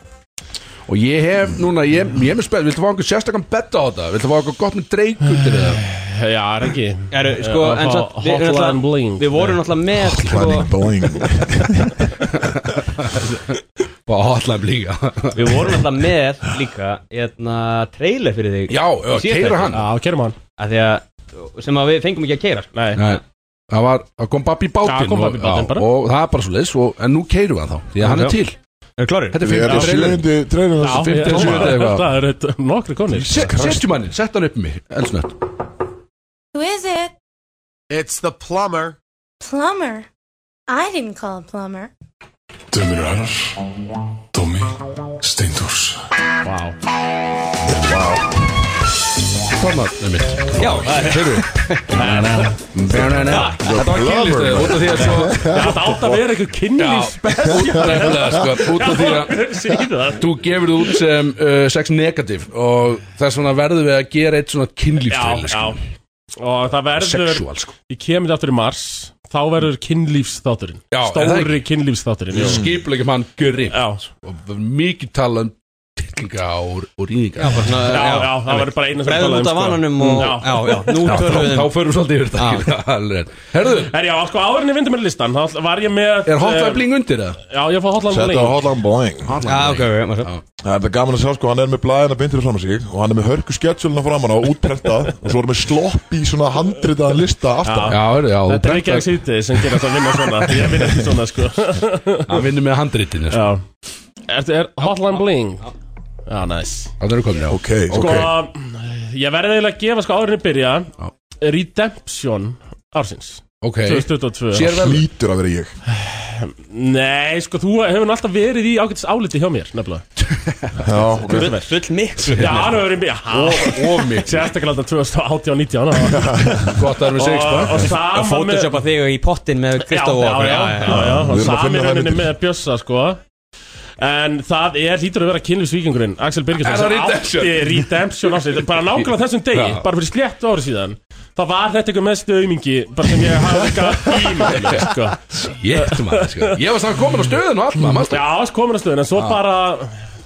Speaker 1: og ég hef, núna, ég, ég er með spenn viltu fá einhvern sérstakann betta á þetta, viltu fá einhvern gott með dreikundir eða,
Speaker 9: já, er ekki
Speaker 2: Er, sko,
Speaker 9: Já,
Speaker 2: en
Speaker 9: fá
Speaker 2: samt, við, erum
Speaker 9: Hotline
Speaker 2: náttúrulega-
Speaker 9: Bling.
Speaker 2: við vorum náttúrulega með sko,
Speaker 8: Planning bling
Speaker 1: og hotline líka
Speaker 2: Við vorum alltaf með líka hérna, trailer fyrir þig
Speaker 1: já, já,
Speaker 2: Síðasta
Speaker 1: keira
Speaker 2: ekki.
Speaker 1: hann
Speaker 9: Já, kerum hann
Speaker 2: að því að sem að við fengum ekki að keira sko.
Speaker 9: Nei,
Speaker 1: Nei, það var, það kom babb í bátinn
Speaker 9: Já, kom babb í bátinn
Speaker 1: og,
Speaker 9: bara.
Speaker 1: já, og það er bara svo leis og, en nú keirum við hann þá, því að hann
Speaker 2: Já.
Speaker 1: er til
Speaker 2: Er klárir?
Speaker 1: þetta er
Speaker 8: Við erum
Speaker 1: fyrsta trailer
Speaker 8: sjöndi treinu
Speaker 9: já,
Speaker 1: fimmti,
Speaker 9: ég-
Speaker 1: sjöundi eitthvað.
Speaker 9: það eru þetta- nokkri konir
Speaker 1: Se- setjum hann, inn, sett hann upp um mig, elsnött
Speaker 10: Who is it?
Speaker 7: It's the plumber.
Speaker 10: Plumber. I didn't call a plumber.
Speaker 8: Dömur Arar Dómi Steindors
Speaker 1: Thomas, það er mitt
Speaker 2: Já, það er
Speaker 1: Þetta var kynlýstu út af því að svo
Speaker 9: Það átt að vera eitthvað kynlýs
Speaker 1: Nefnilega sko, út af því að
Speaker 9: Síðan
Speaker 1: þú gefur þú út sem uh, sex negativ og þess vegna verðum við að gera eitt svona
Speaker 9: Já,
Speaker 1: kynlýfstril
Speaker 9: já
Speaker 1: sko,
Speaker 9: Og það verður,
Speaker 1: sexual sko
Speaker 9: ég kemur þetta aftur í mars Þá verður kynlýfsþátturinn
Speaker 1: Já, er það
Speaker 9: Stóri kynlýfsþátturinn
Speaker 1: Ég
Speaker 9: já.
Speaker 1: skipulegum hann grip
Speaker 9: Já,
Speaker 1: og mikið tala um tillinga og, og rýðinga
Speaker 9: já,
Speaker 2: bara
Speaker 9: já, það verður bara eina sem um, sko.
Speaker 2: Breiðum
Speaker 9: talaði
Speaker 2: út af vananum og
Speaker 9: Mm. Já.
Speaker 2: Já, já, nú
Speaker 1: Já,
Speaker 2: tölum við um-
Speaker 1: þá, þá
Speaker 2: þeim
Speaker 1: förum við svolítið yfir þetta *laughs* Alveg rétt. Herðu,
Speaker 9: Herri, já, sko, árinni vindum með listan Þá var ég með
Speaker 1: er
Speaker 9: eh,
Speaker 1: hotlæbling undir það?
Speaker 9: Já, ég fór hotline
Speaker 8: Þetta
Speaker 9: bling
Speaker 8: var hotline bling
Speaker 2: Já, ok, ok, maður svo
Speaker 8: Það er þetta gaman að sjá sko, hann er með blæðina beintur fram að sig og hann er með hörku sketsjöluna framan á útprentað og svo er hann með slopp í svona handritaðan lista aftan
Speaker 1: Já, herðu, já, þú
Speaker 9: Þetta er ekki að
Speaker 1: brentar-
Speaker 9: sýti sem gerir þetta að vinna svona Ég vinn ekki svona,
Speaker 1: *laughs*
Speaker 9: sko
Speaker 1: hann vinnur með handritinu sko.
Speaker 9: Já Ertu, er hotline bling? Já, næs
Speaker 1: Það eru komin, já
Speaker 8: Ok, ok
Speaker 9: Sko, ég verði eiginlega að gefa sko árinni byrja
Speaker 1: Já.
Speaker 9: Redemption ársins
Speaker 1: Ok,
Speaker 9: 2022
Speaker 1: sér vel
Speaker 8: Lítur að vera ég
Speaker 9: Nei, sko, þú hefur nú alltaf verið í ágætis áliti hjá mér, nefnilega
Speaker 8: Já, ok
Speaker 2: Full- Full miklu
Speaker 9: Já, hann hefur verið í Já,
Speaker 1: Of mikið,
Speaker 9: sérstaklega þetta 2018 og 19
Speaker 1: gott að erum við sex
Speaker 9: Og, og sama
Speaker 2: Photoshopa þig í pottin með Kristof
Speaker 9: já,
Speaker 2: og
Speaker 9: já, já, já, já,
Speaker 8: Við erum
Speaker 9: og
Speaker 8: að
Speaker 9: sami
Speaker 8: finna þær
Speaker 9: rauninni
Speaker 8: myndir.
Speaker 9: með Bjössa sko En það er, hlýtur að vera kynlífsvíkingurinn Axel Birgisson
Speaker 1: Er það
Speaker 9: sem
Speaker 1: Redemption?
Speaker 9: átti Redemption ársins Bara nákvæmlega þessum degi,
Speaker 1: Já.
Speaker 9: bara fyrir sléttu ári síðan Það var þetta eitthvað mestu aumingi Bara sem ég hafði eitthvað ímyndinni
Speaker 1: *laughs*
Speaker 9: sko.
Speaker 1: Jétt maður, sko Ég var samt komin á stöðun og allt maður, maður
Speaker 9: Já, þess komin að stöðun En svo bara,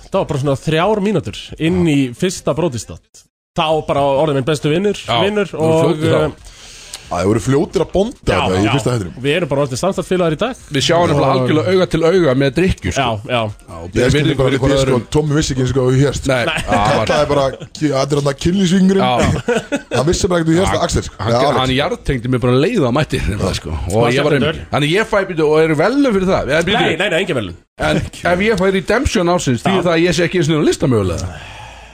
Speaker 9: það var bara svona þrjár mínútur Inn í fyrsta brótistátt Þá bara orðið minn bestu vinnur,
Speaker 1: Já,
Speaker 9: vinnur
Speaker 1: þú
Speaker 9: og,
Speaker 1: fljótur þá.
Speaker 9: eh,
Speaker 8: Það eru fljótir að bonda
Speaker 9: já,
Speaker 8: þetta í fyrsta
Speaker 9: já,
Speaker 8: hættinum
Speaker 9: Við erum bara orðið samstættfélagar í dag sko.
Speaker 1: Við sjáum nefnilega algjörlega auga til auga með drikkju sko.
Speaker 9: Já, já,
Speaker 8: Ég
Speaker 1: við
Speaker 8: skildi
Speaker 1: erum
Speaker 8: bara
Speaker 1: bara
Speaker 8: við því sko,
Speaker 1: öðrum
Speaker 8: Tommi vissi ekki eins og hvað við hérst
Speaker 1: Nei, það var
Speaker 8: Kallaði bara, ki- þetta er hann að kynlýsvingurinn
Speaker 1: Já.
Speaker 8: Hann vissi bara ekki þú hérst að Axel sko.
Speaker 1: Hann,
Speaker 8: Nei,
Speaker 1: hann,
Speaker 8: Alex.
Speaker 1: hann jartengdi mig bara að leiða á mættir nefnilega, sko. og
Speaker 9: Smá
Speaker 1: ég var um
Speaker 9: skemmtilegur.
Speaker 1: þannig ég fæ býtu og eru velu fyrir það ég,
Speaker 9: Nei,
Speaker 1: býtu,
Speaker 9: nei, nei, engin velun
Speaker 1: en ef ég fæ redemption ásins því það að ég sé ekki eins og listamögulega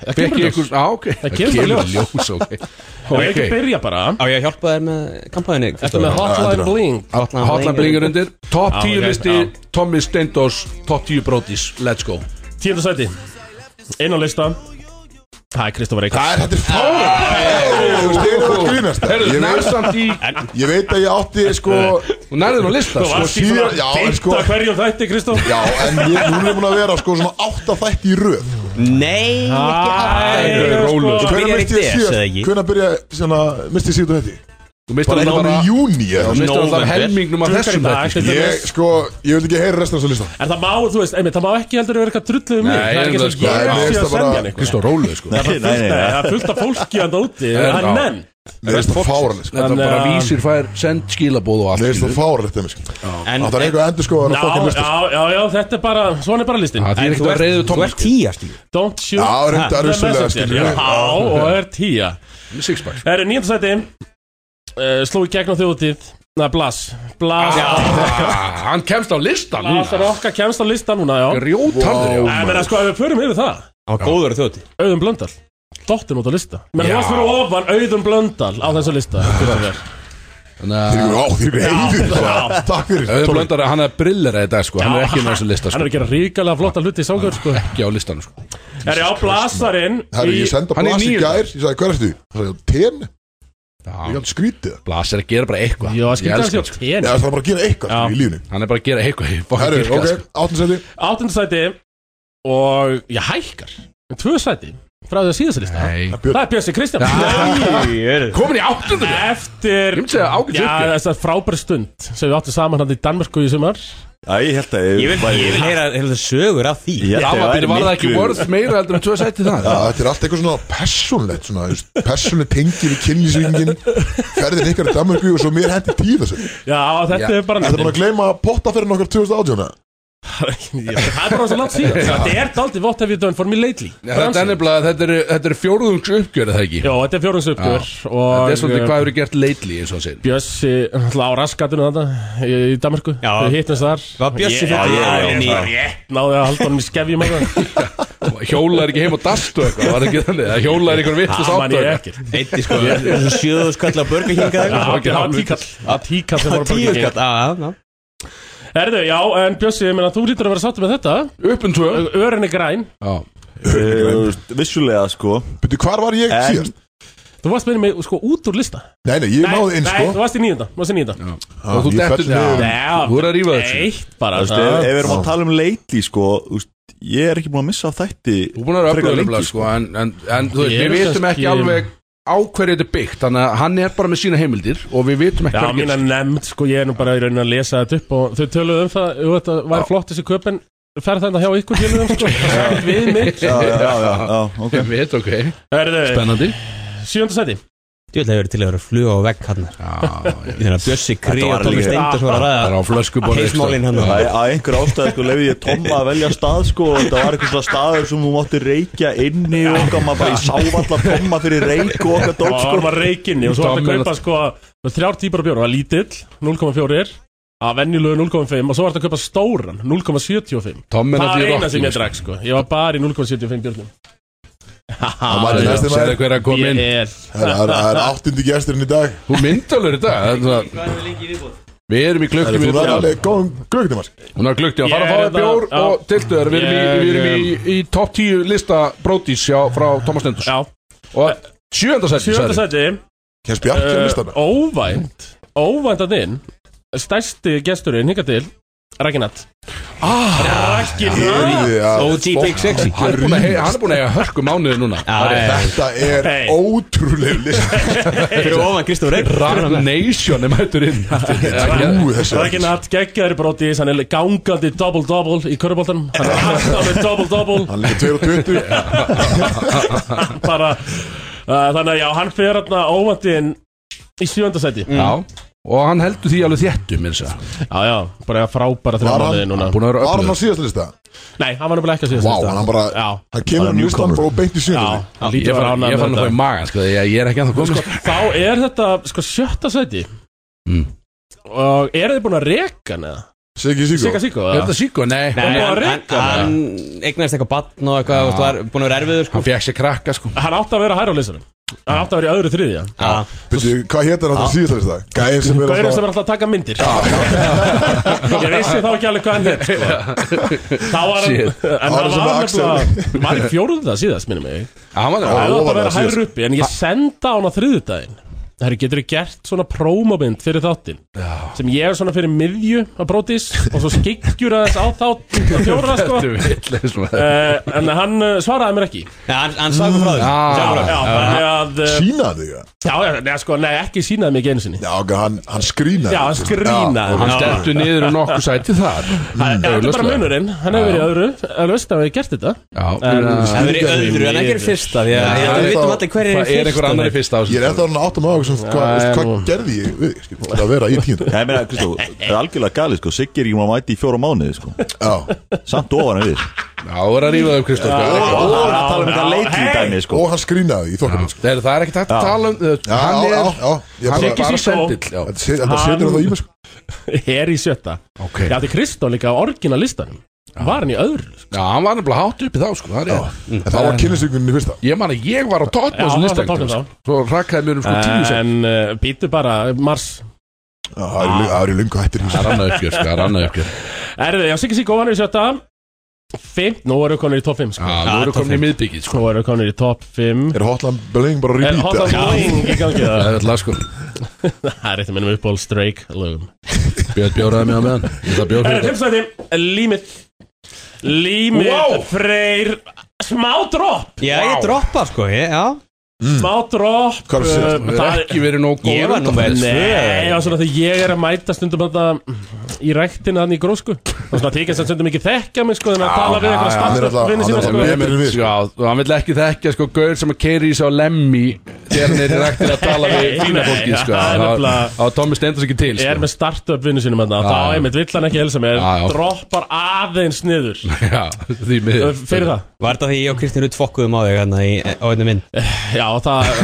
Speaker 9: Það
Speaker 1: Fekk ég
Speaker 9: kemur í ljós.
Speaker 1: einhvers- á, ok.
Speaker 9: Það kemur bara
Speaker 1: í
Speaker 9: ljós.
Speaker 1: ljós
Speaker 9: *laughs*
Speaker 1: ok.
Speaker 9: Ef við ekki
Speaker 1: Ok.
Speaker 9: byrja bara
Speaker 2: Á ég að hjálpa þér með kampaðinni
Speaker 9: Ertu með Hotline Bling
Speaker 2: Hotline
Speaker 1: Hotline blingur undir Top
Speaker 9: Já,
Speaker 1: 10
Speaker 9: ok,
Speaker 1: listi
Speaker 9: já.
Speaker 1: Tommy Steindors Top 10 brótis Let's go
Speaker 9: Tíunda sæti Einn á lista Það er Kristofar Eikars
Speaker 8: Það er, þetta er fáránlegt. Heyrðu,
Speaker 1: Herru,
Speaker 8: ég veit-
Speaker 1: nærsamt í
Speaker 8: Ég veit að ég átti sko
Speaker 1: Þú nærðir á lista
Speaker 9: Þú
Speaker 1: sko.
Speaker 9: varst í
Speaker 8: síðan-
Speaker 9: svona
Speaker 8: já, en
Speaker 9: 50
Speaker 8: sko-
Speaker 9: hverjum þætti, Kristof
Speaker 8: Já, en ég, hún er búin að vera sko svona átta þætti í röð
Speaker 2: Nei, ekki
Speaker 9: Æ,
Speaker 2: alltaf
Speaker 9: sko.
Speaker 2: Það
Speaker 8: Hvenær
Speaker 2: byrjar í
Speaker 8: misti ég
Speaker 2: DS, eða ekki?
Speaker 8: síðast? Hvenær byrja, svona, misti ég síðast þetta?
Speaker 1: Þú mistur
Speaker 8: Bara
Speaker 1: alltaf
Speaker 8: bara í
Speaker 1: bara
Speaker 8: júni
Speaker 1: Þú
Speaker 8: eða?
Speaker 1: mistur alltaf
Speaker 2: Nóvember.
Speaker 1: helmingnum af
Speaker 9: Klukkan í
Speaker 1: þessum
Speaker 9: dag,
Speaker 1: þetta
Speaker 9: þetta er
Speaker 8: Ég, sko, ég vil ekki heyra restan af þessu lista
Speaker 9: En það má, þú veist, einmitt, það má ekki heldur vera eitthvað drulluð um
Speaker 1: Nei,
Speaker 9: mig Það er ekki
Speaker 1: ég
Speaker 9: eins og
Speaker 1: sko,
Speaker 8: já,
Speaker 9: ég
Speaker 8: ég
Speaker 9: sé að
Speaker 8: veist það
Speaker 9: semja
Speaker 8: bara-
Speaker 9: neitt
Speaker 1: Kristó, róleðu sko
Speaker 3: Nei, nei,
Speaker 9: Nei,
Speaker 3: nei
Speaker 9: það er fullt af fólki hann úti
Speaker 1: Er
Speaker 9: Það er
Speaker 1: það?
Speaker 9: menn
Speaker 8: Mér finnst það fáralegt sko.
Speaker 1: Þetta er
Speaker 9: Þannig
Speaker 1: bara
Speaker 9: að-
Speaker 1: vísir fær send skilabóð og allt
Speaker 8: Mér finnst það
Speaker 1: skilur.
Speaker 8: fáralegt þeim sko.
Speaker 2: En
Speaker 8: Það er eitthvað endur sko að
Speaker 9: Já,
Speaker 8: fokkin lista
Speaker 9: já, já, já, þetta er bara, svona er bara listin
Speaker 1: Það
Speaker 2: en
Speaker 1: er ekkert
Speaker 2: þú
Speaker 1: að
Speaker 2: ert-
Speaker 1: reyðu
Speaker 2: Þú
Speaker 1: tóma
Speaker 2: ert tíja, skilur
Speaker 9: Don't shoot
Speaker 8: Já, reyndar
Speaker 9: the
Speaker 8: vissulega,
Speaker 9: messenger.
Speaker 8: skilur við.
Speaker 9: Já, og er tíja *laughs*
Speaker 1: Sixpack
Speaker 9: Það eru nýjum sæti uh, Sló í gegn á þjóðutíð Na, Blas Blas
Speaker 1: Ah, Hann kemst á lista
Speaker 9: Blas er okkar kemst á lista núna, já
Speaker 1: Rjótarður
Speaker 9: En meina, sko, ef við förum yfir það
Speaker 2: Það var góður þjóti
Speaker 9: Auðun Blöndal Dottin út á lista Menn
Speaker 1: Já.
Speaker 9: þú varst fyrir ofan Auðun Blöndal á þessu lista Kristoffer.
Speaker 1: Þannig
Speaker 8: Já, þér er heiður það sko. Takk fyrir
Speaker 1: að
Speaker 8: Sorry.
Speaker 1: Blöndar hann er brillir að þetta sko Hann er ekki með þessu lista
Speaker 9: Hann
Speaker 1: sko
Speaker 9: er að gera ríkalega flotta hluti í sákur sko.
Speaker 1: Ekki á listanum sko
Speaker 9: Er ég á blasarin
Speaker 8: Herru, ég senda
Speaker 1: Hann er
Speaker 8: blasi í
Speaker 1: nýr.
Speaker 8: gær Ég sagði, hver ertu? Það sagði, ten Ég er
Speaker 1: Já,
Speaker 8: alveg skrítið
Speaker 1: Blas er að gera bara eitthvað
Speaker 9: Jó,
Speaker 1: Ég
Speaker 9: skilta
Speaker 1: elska
Speaker 9: hans hjá
Speaker 1: hann, sko.
Speaker 8: Já,
Speaker 9: tén
Speaker 8: það er bara að gera eitthvað
Speaker 9: Já.
Speaker 8: sko, í lífni
Speaker 1: Hann er bara að gera eitthvað Ég bara
Speaker 8: Herru,
Speaker 1: dýrka það,
Speaker 8: ok,
Speaker 1: sko.
Speaker 8: áttundsæti
Speaker 9: Áttundsæti Og ég hækkar En Tvö sæti Frá því að síðast lista
Speaker 1: Nei
Speaker 8: Björn.
Speaker 9: Það er Björnsi Kristján
Speaker 1: Komin í áttundur
Speaker 9: Eftir
Speaker 1: Ég myndi segja ágætis
Speaker 9: Já,
Speaker 1: uppgjör.
Speaker 9: þessar frábæri stund sem við áttum saman hann í Danmarku í sumar
Speaker 3: Æ, ég held að
Speaker 2: Ég vil, ég vil heyra, heyra sögur af því
Speaker 3: Ég held
Speaker 1: Það
Speaker 3: að
Speaker 1: var
Speaker 3: væri
Speaker 1: var það ekki
Speaker 3: miklu-
Speaker 1: vorð meira heldur en tvö sæti það
Speaker 8: Já, þetta er allt eitthvað svona persónlegt svona, þú veist, persónleg tengi við kynlýsingin ferðin ykkar í Danmarku og svo mér hendi tíð þessu Þetta
Speaker 9: Já, þetta
Speaker 1: Já.
Speaker 9: er bara
Speaker 8: er bara að gleyma pottaferðin okkar 2018 eða?
Speaker 9: Ég- Það er bara svo langt síðan Þetta er daldið What have you done for me lately
Speaker 1: Já, Þetta er nefnilega, þetta eru- þetta er fjórðungs uppgjörð það ekki
Speaker 9: Jó, þetta er fjórums uppgjör
Speaker 1: Þetta er
Speaker 9: og
Speaker 1: svolítið hvað eru gert lately eins og það segir
Speaker 9: Bjössi náttúrulega á raskatunum þetta í, í Danmarku
Speaker 2: Já.
Speaker 9: Við hittumst þar
Speaker 2: Var Bjössi
Speaker 9: Ég-
Speaker 2: fyrir- Já,
Speaker 9: Já, ég-
Speaker 2: já, já.
Speaker 9: Rétt náði að halda honum í skefjum að það
Speaker 1: *laughs* Hjóla er ekki heim á dastu eitthvað Var það ekki þannig Það hjóla er einhver vittlust
Speaker 9: Það Ah, man
Speaker 1: áttu
Speaker 9: ég
Speaker 1: eitthvað
Speaker 9: ekki
Speaker 2: Eitti sko Sjöðu skall á börgahinga
Speaker 9: Já,
Speaker 2: þegar
Speaker 9: Það var tíkall Það var tíkall sem voru
Speaker 2: Tíu skall
Speaker 9: borgið
Speaker 2: Já, já, já
Speaker 9: Herðu, já, en Bjössi, ég meina, þú lítur að vera sáttur með þetta
Speaker 1: Uppin um tvö
Speaker 9: Örin er græn
Speaker 1: Já
Speaker 3: Ég Vissulega sko
Speaker 8: Byrju, hvar var ég
Speaker 3: En-
Speaker 8: síðast?
Speaker 9: Þú varst með mig sko út úr lista
Speaker 8: Nei, nei, ég náði inn
Speaker 9: nei, þú
Speaker 8: sko
Speaker 9: varst í nýjunda Þú varst í nýjunda
Speaker 8: Ah,
Speaker 1: Og þú
Speaker 8: ég
Speaker 1: dettur-
Speaker 8: fell niður.
Speaker 1: Já. Þú er að rífa þessu.
Speaker 9: Eitt bara
Speaker 3: Þú veist, ef, ef við erum að tala um leiti sko þú veist, Ég er ekki búin að missa af þætti
Speaker 1: Þú er búin að vera
Speaker 3: frekar
Speaker 1: öflugur
Speaker 3: lengi,
Speaker 1: nefnilega sko En, en, en þú veist,
Speaker 9: Ég
Speaker 1: við
Speaker 9: er
Speaker 1: vitum ekki
Speaker 9: kannski-
Speaker 1: alveg á hverju þetta er byggt Þannig að hann er bara með sína heimildir Og við vitum ekki
Speaker 9: Já,
Speaker 1: hvað *laughs*
Speaker 9: mína
Speaker 1: gerist.
Speaker 9: nefnd, sko, ég er nú bara í raunin að lesa þetta upp og þau töluðu um það, jú, þetta var
Speaker 1: Já.
Speaker 9: flott þessi köpinn ferð þetta hjá ykkur félugum, sko, það er ekkert við mig
Speaker 3: Já, já, já, já, já, ok
Speaker 1: Ég veit, ok
Speaker 9: Herðu,
Speaker 1: Spennandi
Speaker 9: sjönda sæti
Speaker 2: Ég vil hefur til að vera fluga á vegg hann
Speaker 1: Já, ég veit
Speaker 2: Þannig að Bjössi Kri
Speaker 3: Þetta var
Speaker 2: og Tómi
Speaker 3: líka-
Speaker 2: Steindars voru að
Speaker 1: Það er
Speaker 2: ræða
Speaker 1: á flöskuborði
Speaker 2: Heismálin hann
Speaker 3: Það er að einhver ástæði sko lefði ég Tomma að velja stað sko og þetta var eitthvað staður sem hún mátti reykja inni og okkar maður bara í sávallar Tomma fyrir reyk og okkar
Speaker 9: og
Speaker 3: dót
Speaker 9: það
Speaker 3: sko
Speaker 9: var reikinni og svo var þetta að kaupa, sko, þrjár típar af bjór, það var lítill, 0,4 að venjulegu 0,5 og svo var þetta að kaupa stóran, 0,75
Speaker 1: Tommen
Speaker 9: það
Speaker 1: af
Speaker 9: var
Speaker 1: því
Speaker 9: eina
Speaker 1: rocking
Speaker 9: sem ég drakk, sko, ég var bara í 0,75 björnum
Speaker 8: Það var næsti
Speaker 1: Sæði
Speaker 8: maður
Speaker 1: hver að koma inn
Speaker 9: Ég er
Speaker 8: Það er- það er áttundi gesturinn í dag
Speaker 1: Þú myndalur þetta Hvað er lengi viðbúð? Við erum í
Speaker 8: Það
Speaker 1: klukktum í
Speaker 8: er þú
Speaker 1: viðbúð.
Speaker 8: verður alveg góðum glöggnum hans
Speaker 1: Hún er klukkti, hann fara að
Speaker 9: Ég
Speaker 1: fá
Speaker 9: er
Speaker 1: þér bjór
Speaker 9: þetta-
Speaker 1: og tiltu þér, við erum í, við erum í,
Speaker 9: Ég-
Speaker 1: í topp 10 lista brótis hjá, frá Thomas Nendus
Speaker 9: Já,
Speaker 1: og sjönda sæti,
Speaker 9: sjönda
Speaker 1: sagði
Speaker 9: sæti
Speaker 8: Kjens Bjarki á
Speaker 9: Eh,
Speaker 8: listana
Speaker 9: Óvænt Óvænt að þinn Stærsti gesturinn hinga til Rækinat ah, Rækinat
Speaker 8: Heyrðu, já,
Speaker 2: OG Big Sexy
Speaker 1: hann er búinn að heyja- hann er búin að eiga hörku mánuði núna
Speaker 8: Þetta er
Speaker 9: Hey.
Speaker 8: ótrúlega list
Speaker 2: Fyrir ofan Kristof Reyk
Speaker 1: Run Nation er mættur inn
Speaker 8: Ú, þessi
Speaker 9: Rækinat geggjari brotis Hann er gangandi double-double í körubóltanum Hann er alltaf með double-double
Speaker 8: Hann er líka 22
Speaker 9: Bara uh, Þannig að já, hann fer hérna óvænt inn Í sjönda seti
Speaker 1: Já, og hann heldur því alveg þéttum eins og
Speaker 9: Já, já, bara frábæra þrjá
Speaker 8: Var hann-
Speaker 9: mánuði núna
Speaker 1: búin að vera
Speaker 8: Var hann á
Speaker 1: öflugur
Speaker 8: síðast lista?
Speaker 9: Nei, hann var nefnilega ekki að síðast
Speaker 8: Vá, hann bara
Speaker 9: Já,
Speaker 8: Hann
Speaker 3: Bara
Speaker 8: kemur hann í listan
Speaker 3: newcomer.
Speaker 8: bara og beint í
Speaker 9: já,
Speaker 8: sjöndinni
Speaker 9: hann
Speaker 1: Ég fann
Speaker 9: lítur að vera
Speaker 1: hann
Speaker 9: ánægður
Speaker 1: ég fann
Speaker 9: með
Speaker 1: að fá í
Speaker 9: þetta.
Speaker 1: magan, sko, ég, ég er ekki að það komið sko.
Speaker 9: Þá er þetta, sko, sjötta seti
Speaker 1: Mm.
Speaker 9: Og eru þið búin að reka hann eða?
Speaker 8: Siggi Siggo
Speaker 9: Sigga Siggo
Speaker 1: Er
Speaker 9: eða?
Speaker 1: þetta síko? Nei,
Speaker 2: Nei,
Speaker 9: búin að
Speaker 2: hann, hann,
Speaker 9: reka það.
Speaker 2: hann eignast eitthvað batn og eitthvað, þú veist, var búin að vera erfiður sko.
Speaker 1: hann fekk sér krakka sko
Speaker 9: Hann átti að vera hær á listanum Það átti að vera í öðru þriðja
Speaker 8: Veitu, hvað hétar þetta síðast þess dag? Gæðin sem er
Speaker 9: Gaurin
Speaker 8: alltaf-
Speaker 9: sem er alltaf að taka myndir *laughs* Ég vissi þá ekki alveg hvað hann hér sko. Þá var hann
Speaker 8: Shit.
Speaker 9: En
Speaker 8: Áður
Speaker 9: það
Speaker 8: sem
Speaker 9: var
Speaker 8: Axel-
Speaker 9: nefnilega Var í fjórða síðast, minnum ég
Speaker 1: Það var
Speaker 9: Það átti að
Speaker 8: ofarlega
Speaker 9: vera hærur
Speaker 8: síðast.
Speaker 9: uppi En ég senda hann á þriðudaginn Herru, getur þið gert svona prómómynd fyrir þáttinn Sem ég er svona fyrir miðju á brótis Og svo skikjur aðeins á þátt á Fjóra sko
Speaker 1: Þetta er vitlaust, maður.
Speaker 9: Eh, En hann eh, svaraði mér ekki
Speaker 2: Já, hann, hann sagði frá þér
Speaker 9: Já, þannig að eh, Mm,
Speaker 8: Sýnaði þig það?
Speaker 9: Já, já, nei, sko, nei, ekki sínaði mig ekki einu sinni
Speaker 8: Já, ok, hann, hann skrýnaði
Speaker 9: Já, hann skrýnaði.
Speaker 1: Hann
Speaker 9: Já.
Speaker 1: stettu niður um nokkuð sæti þar
Speaker 9: Það þetta er bara munurinn, hann hefur verið í öðru Öðvist, hann hefur gert þetta En-
Speaker 1: Það
Speaker 2: Það verið öðru en ekki er fyrsta Því að
Speaker 1: Já,
Speaker 2: ég held að við
Speaker 8: það-
Speaker 2: vitum allir hverjir
Speaker 1: er
Speaker 2: er
Speaker 1: einhver
Speaker 2: fyrsta
Speaker 1: annar í fyrsta
Speaker 8: Ég er eftir að hann áttum á sem, hva,
Speaker 9: Já,
Speaker 8: veist,
Speaker 9: já,
Speaker 8: Hvað
Speaker 9: nú.
Speaker 8: gerði ég við skil, Það vera í tíund
Speaker 3: Já, ég meina, Kristó, það er algjörlega galið, sko Siggi er ekki maður mæti í fjóra mánuði, sko
Speaker 8: Já,
Speaker 3: Samt ofan en við
Speaker 1: Já, þú er að rífa þau Kristóf
Speaker 3: Og
Speaker 1: Það
Speaker 3: og hann er að tala um þetta
Speaker 9: já,
Speaker 3: leiti í
Speaker 9: hey.
Speaker 3: dæmi, sko
Speaker 8: og hann skrýnaði í þokkaböld
Speaker 1: er- það er ekki hægt að tala um uh,
Speaker 8: Já,
Speaker 1: Hann
Speaker 8: já,
Speaker 1: er
Speaker 8: já, já ég
Speaker 1: Hann er
Speaker 8: bara-
Speaker 9: Siggi
Speaker 1: bara
Speaker 9: Siggo.
Speaker 1: sendill já.
Speaker 8: Þetta se- þetta setur það í mig sko.
Speaker 9: er í sjötta
Speaker 1: Ok.
Speaker 9: Já, þetta er Kristó líka á orginalistanum Var hann í öðru sko.
Speaker 1: já, hann var nefnilega hátt uppi þá sko það er rétt.
Speaker 8: En það var kynlisíkunni fyrsta
Speaker 1: Ég man að ég var á toppum á
Speaker 9: Já,
Speaker 1: þessum
Speaker 9: hann var á
Speaker 1: listan
Speaker 9: toppnum þá.
Speaker 1: Svo rakkaði mér um sko tíu sem
Speaker 9: En uh, býtu bara, Mars
Speaker 8: Já, Það eru- það eru lungu hættir í þessu.
Speaker 1: Það rann að uppgjör, sko, það rann að uppgjör
Speaker 9: Erðu, já, Siggi Siggo var hann í sjötta Fimm, nú eru konir í topp 5
Speaker 1: Já,
Speaker 9: sko.
Speaker 1: þú eru komin í miðbyggið sko
Speaker 9: Nú eru konir í topp Eh, 5
Speaker 8: Er hotline bling bara
Speaker 9: Er
Speaker 8: repeat
Speaker 9: Hot
Speaker 8: eða?
Speaker 9: on Boeing í gangi
Speaker 1: Það
Speaker 9: *laughs* það?
Speaker 1: er alltaf sko
Speaker 9: Það er eitt að minnum uppból Drake lögum
Speaker 1: Björn bjóraði mig á meðan Ég ætla að bjóra fyrir
Speaker 9: Erðu, fimmstæði, límið Límið,
Speaker 1: Wow.
Speaker 9: freyr Smá dropp,
Speaker 2: Já, ég droppa sko ég, Já,
Speaker 9: smá dropp
Speaker 8: Hvað er
Speaker 9: uh,
Speaker 8: það?
Speaker 1: Það er ekki verið nóg góð
Speaker 2: Ég var númer
Speaker 9: Nei, já, svona þegar ég er að mæta stundum þetta í ræktina þannig í grósku og svona þykir sem stundum ekki þekkja mig sko en að tala við
Speaker 8: já, hann er
Speaker 9: eitthvað
Speaker 8: alltaf- hann
Speaker 9: starfsvinni
Speaker 8: er
Speaker 9: sína
Speaker 8: alltaf
Speaker 9: sko
Speaker 8: með- Betri en við, sko.
Speaker 1: Já, og hann vill ekki þekkja sko Gaur sem að keiri í sig á lemmi Þegar hann er í ræktin að tala *laughs* við
Speaker 9: Nei,
Speaker 1: fína
Speaker 9: nei,
Speaker 1: fólki sko
Speaker 9: það er nefnilega-
Speaker 1: Þá Tommi stendur sér ekki til
Speaker 9: Ég er
Speaker 1: sko
Speaker 9: með startup vinnu sínum þarna
Speaker 1: Já, já.
Speaker 9: þá einmitt vill hann ekki helsa mér
Speaker 1: Já, já.
Speaker 9: droppar aðeins niður
Speaker 1: Já, því miður
Speaker 9: Ö, fyrir það
Speaker 2: Var þetta því ég og Kristján Rutt fokkuðum á þig hérna í, á einu minn?
Speaker 9: Já, það,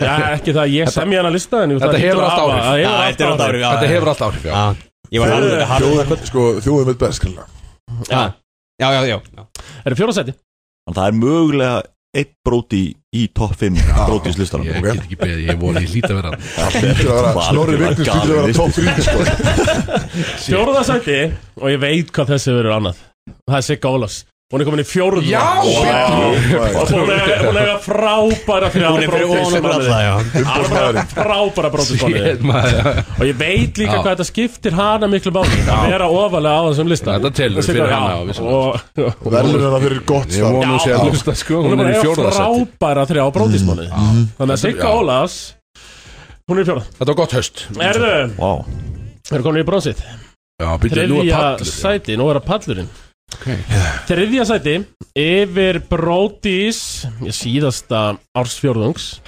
Speaker 9: já, ekki það ég semja hann að lista en jú,
Speaker 1: Þetta
Speaker 9: það
Speaker 1: hefur
Speaker 9: hlýtur að
Speaker 1: allt
Speaker 9: hafa-
Speaker 1: áhrif.
Speaker 9: það
Speaker 2: Já,
Speaker 9: hefur allt
Speaker 2: þetta er átt
Speaker 9: áhrif.
Speaker 2: árið já,
Speaker 1: Þetta
Speaker 2: já,
Speaker 1: hefur alltaf áhrif, já
Speaker 2: já. Ég var alveg harður
Speaker 8: Þjóðin, sko, þjóðin veit best skilja
Speaker 2: Já, já, já, já.
Speaker 9: Er það fjóra seti?
Speaker 3: Þannig að það er mögulega eitt bróti í topp 5 brótislistanum
Speaker 1: Ég
Speaker 3: ok?
Speaker 1: get ekki beðið, ég voru, ég hlýta að vera hann.
Speaker 8: Það hlýtur að vera,
Speaker 3: Var
Speaker 8: snorri
Speaker 3: algjörlega
Speaker 8: viknist hlýtur að vera
Speaker 3: galið.
Speaker 8: top 3 sko.
Speaker 9: Fjóra seti og ég veit hvað þessi verður annað Það er Sigga Ólafs Hún er komin í fjórða
Speaker 8: Wow.
Speaker 9: Og hún er- hún er frábæra þrjá
Speaker 2: Hún er fyrir ofan okkur alla, já.
Speaker 9: Alveg frábæra brótisbónið
Speaker 1: Shit, maður, já.
Speaker 9: Og ég veit líka
Speaker 1: Já.
Speaker 9: hvað þetta skiptir hana miklu máli Að vera ofalega á þessum lista
Speaker 1: Þetta telur
Speaker 9: Þessi-
Speaker 1: fyrir
Speaker 9: já,
Speaker 1: hana, vissulega.
Speaker 9: og- og-
Speaker 8: Verður hennar fyrir gott
Speaker 1: Ég
Speaker 8: starf
Speaker 1: vona að sé að
Speaker 9: Já.
Speaker 1: hlusta sko,
Speaker 9: Hún er
Speaker 1: hún er í
Speaker 9: bara
Speaker 1: fjórða seti
Speaker 9: frábæra þrjá brótisbónið Þannig að Sigga
Speaker 1: Já.
Speaker 9: Ólafs Hún er í fjórða
Speaker 1: Þetta var gott höst
Speaker 9: Erðu,
Speaker 3: Vá
Speaker 9: við erum komin í brónsið
Speaker 1: Já, býttu, nú er
Speaker 9: Þriðja
Speaker 1: pallur já.
Speaker 9: sæti, nú er það pallurinn Þriðja sæti Yfir Brodís Síðasta ársfjórðungs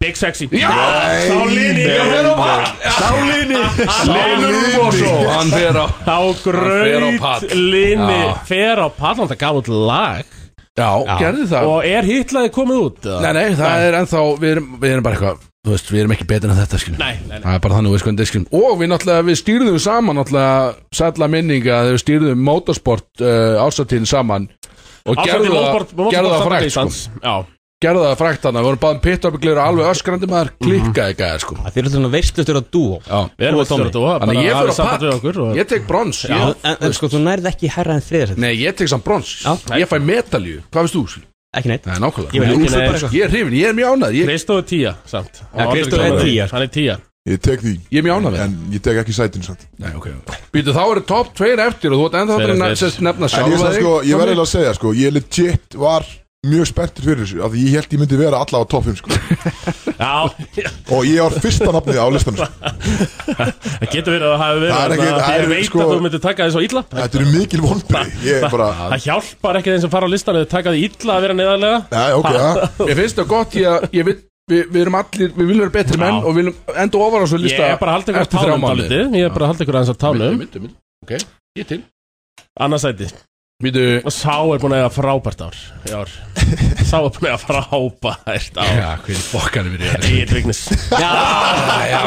Speaker 9: Big Sexy Já, Sálinni Sálinni Sálinni
Speaker 1: Svo, hann fer á
Speaker 9: Þá
Speaker 1: fer á
Speaker 9: gröð
Speaker 1: pall.
Speaker 9: Linni
Speaker 1: Já.
Speaker 9: fer á pall Hann það gaf út lag
Speaker 1: Já, gerði það
Speaker 9: Og er hitlaði komið út? eða?
Speaker 1: Nei, nei, það er ennþá, við erum, við erum bara eitthvað Þú veist, við erum ekki betur en þetta skilum
Speaker 9: Nei, nei, nei
Speaker 1: Það er bara þannig, við sko, en þetta skilum Og við náttúrulega, við stýrðum saman náttúrulega Sætla minninga, þegar við stýrðum motorsport uh, ásatíðin saman Og gerðu það, gerðu það frækt sko
Speaker 9: Já
Speaker 1: Gerðu það frækt þannig, við vorum báðum pitt upp í glera Alveg öskrandi maður, klikkaði gæði sko
Speaker 2: Það fyrir svona veistlustur á dúo.
Speaker 1: Já,
Speaker 9: Við erum að stjórna þú
Speaker 1: Þannig að ég fyrir að
Speaker 9: við okkur
Speaker 1: pakk
Speaker 9: og-
Speaker 1: Ég tek brons
Speaker 2: Já,
Speaker 1: ég-
Speaker 2: en, en sko, þú nærði ekki herra en þriðarsett.
Speaker 1: Nei, ég tek samt brons
Speaker 2: Já.
Speaker 1: Ég fæ medalju Hvað veist þú? Sili?
Speaker 2: Ekki neitt.
Speaker 1: Nei, nákvæmlega
Speaker 2: Ég veit
Speaker 1: Ég,
Speaker 2: ekki
Speaker 1: ég,
Speaker 9: nei,
Speaker 1: ég,
Speaker 2: sko.
Speaker 1: ég er hrifin, ég er mjög ánað Ég,
Speaker 9: Kristó er tíja samt
Speaker 2: Já, Kristó er tíja.
Speaker 9: Hann er tíja
Speaker 8: Ég tek því,
Speaker 1: ég er mjög ánað við það.
Speaker 8: en ég tek ekki sætin samt
Speaker 1: Nei, ok Býtu, þá eru topp tveir eftir Og þú ert ennþá
Speaker 9: Tveir
Speaker 1: að nefna,
Speaker 9: eftir.
Speaker 1: sérst nefna
Speaker 8: En ég,
Speaker 1: sjálfa
Speaker 8: sagði,
Speaker 1: þig
Speaker 8: sko, ég verði eiginlega að segja sko, ég legit var mjög spenntur fyrir þessu af því ég held ég myndi vera allavega á topp
Speaker 1: *laughs*
Speaker 8: 5 sko.
Speaker 9: Já,
Speaker 8: og ég var fyrsta nafnið á listanum sko.
Speaker 9: Það getur verið að það hafi verið
Speaker 8: Það er ekki-
Speaker 9: þarna,
Speaker 8: það
Speaker 9: því
Speaker 8: er
Speaker 9: Ég veit
Speaker 8: sko-
Speaker 9: að þú myndir taka því svo illa
Speaker 8: Þetta eru mikil vonbrið Ég er bara,
Speaker 1: *laughs*
Speaker 9: Það hjálpar ekki þeim sem fara á listan eða taka því illa að vera neðarlega
Speaker 8: Nei, ok, ja.
Speaker 1: Ég finnst það gott Ég, ég vil Við vi erum allir, við viljum vera betri menn og við viljum enda ofar á svo
Speaker 9: Ég
Speaker 1: lista
Speaker 9: er bara að halda ykkur að
Speaker 1: eftir þrjá
Speaker 9: tánum
Speaker 1: mánuði.
Speaker 9: dálítið Ég er bara að halda ykkur aðeins að tánum
Speaker 1: Myndu, myndu, ok, ég er til
Speaker 9: Annarsæti
Speaker 1: Býtu,
Speaker 9: Og Sá er búin að eiga frábært ár í *laughs* ár. Sá er búin að eiga frábært ár *laughs*
Speaker 1: já, hvernig fokkanum við erum
Speaker 9: Egil Vignis
Speaker 1: Já, já,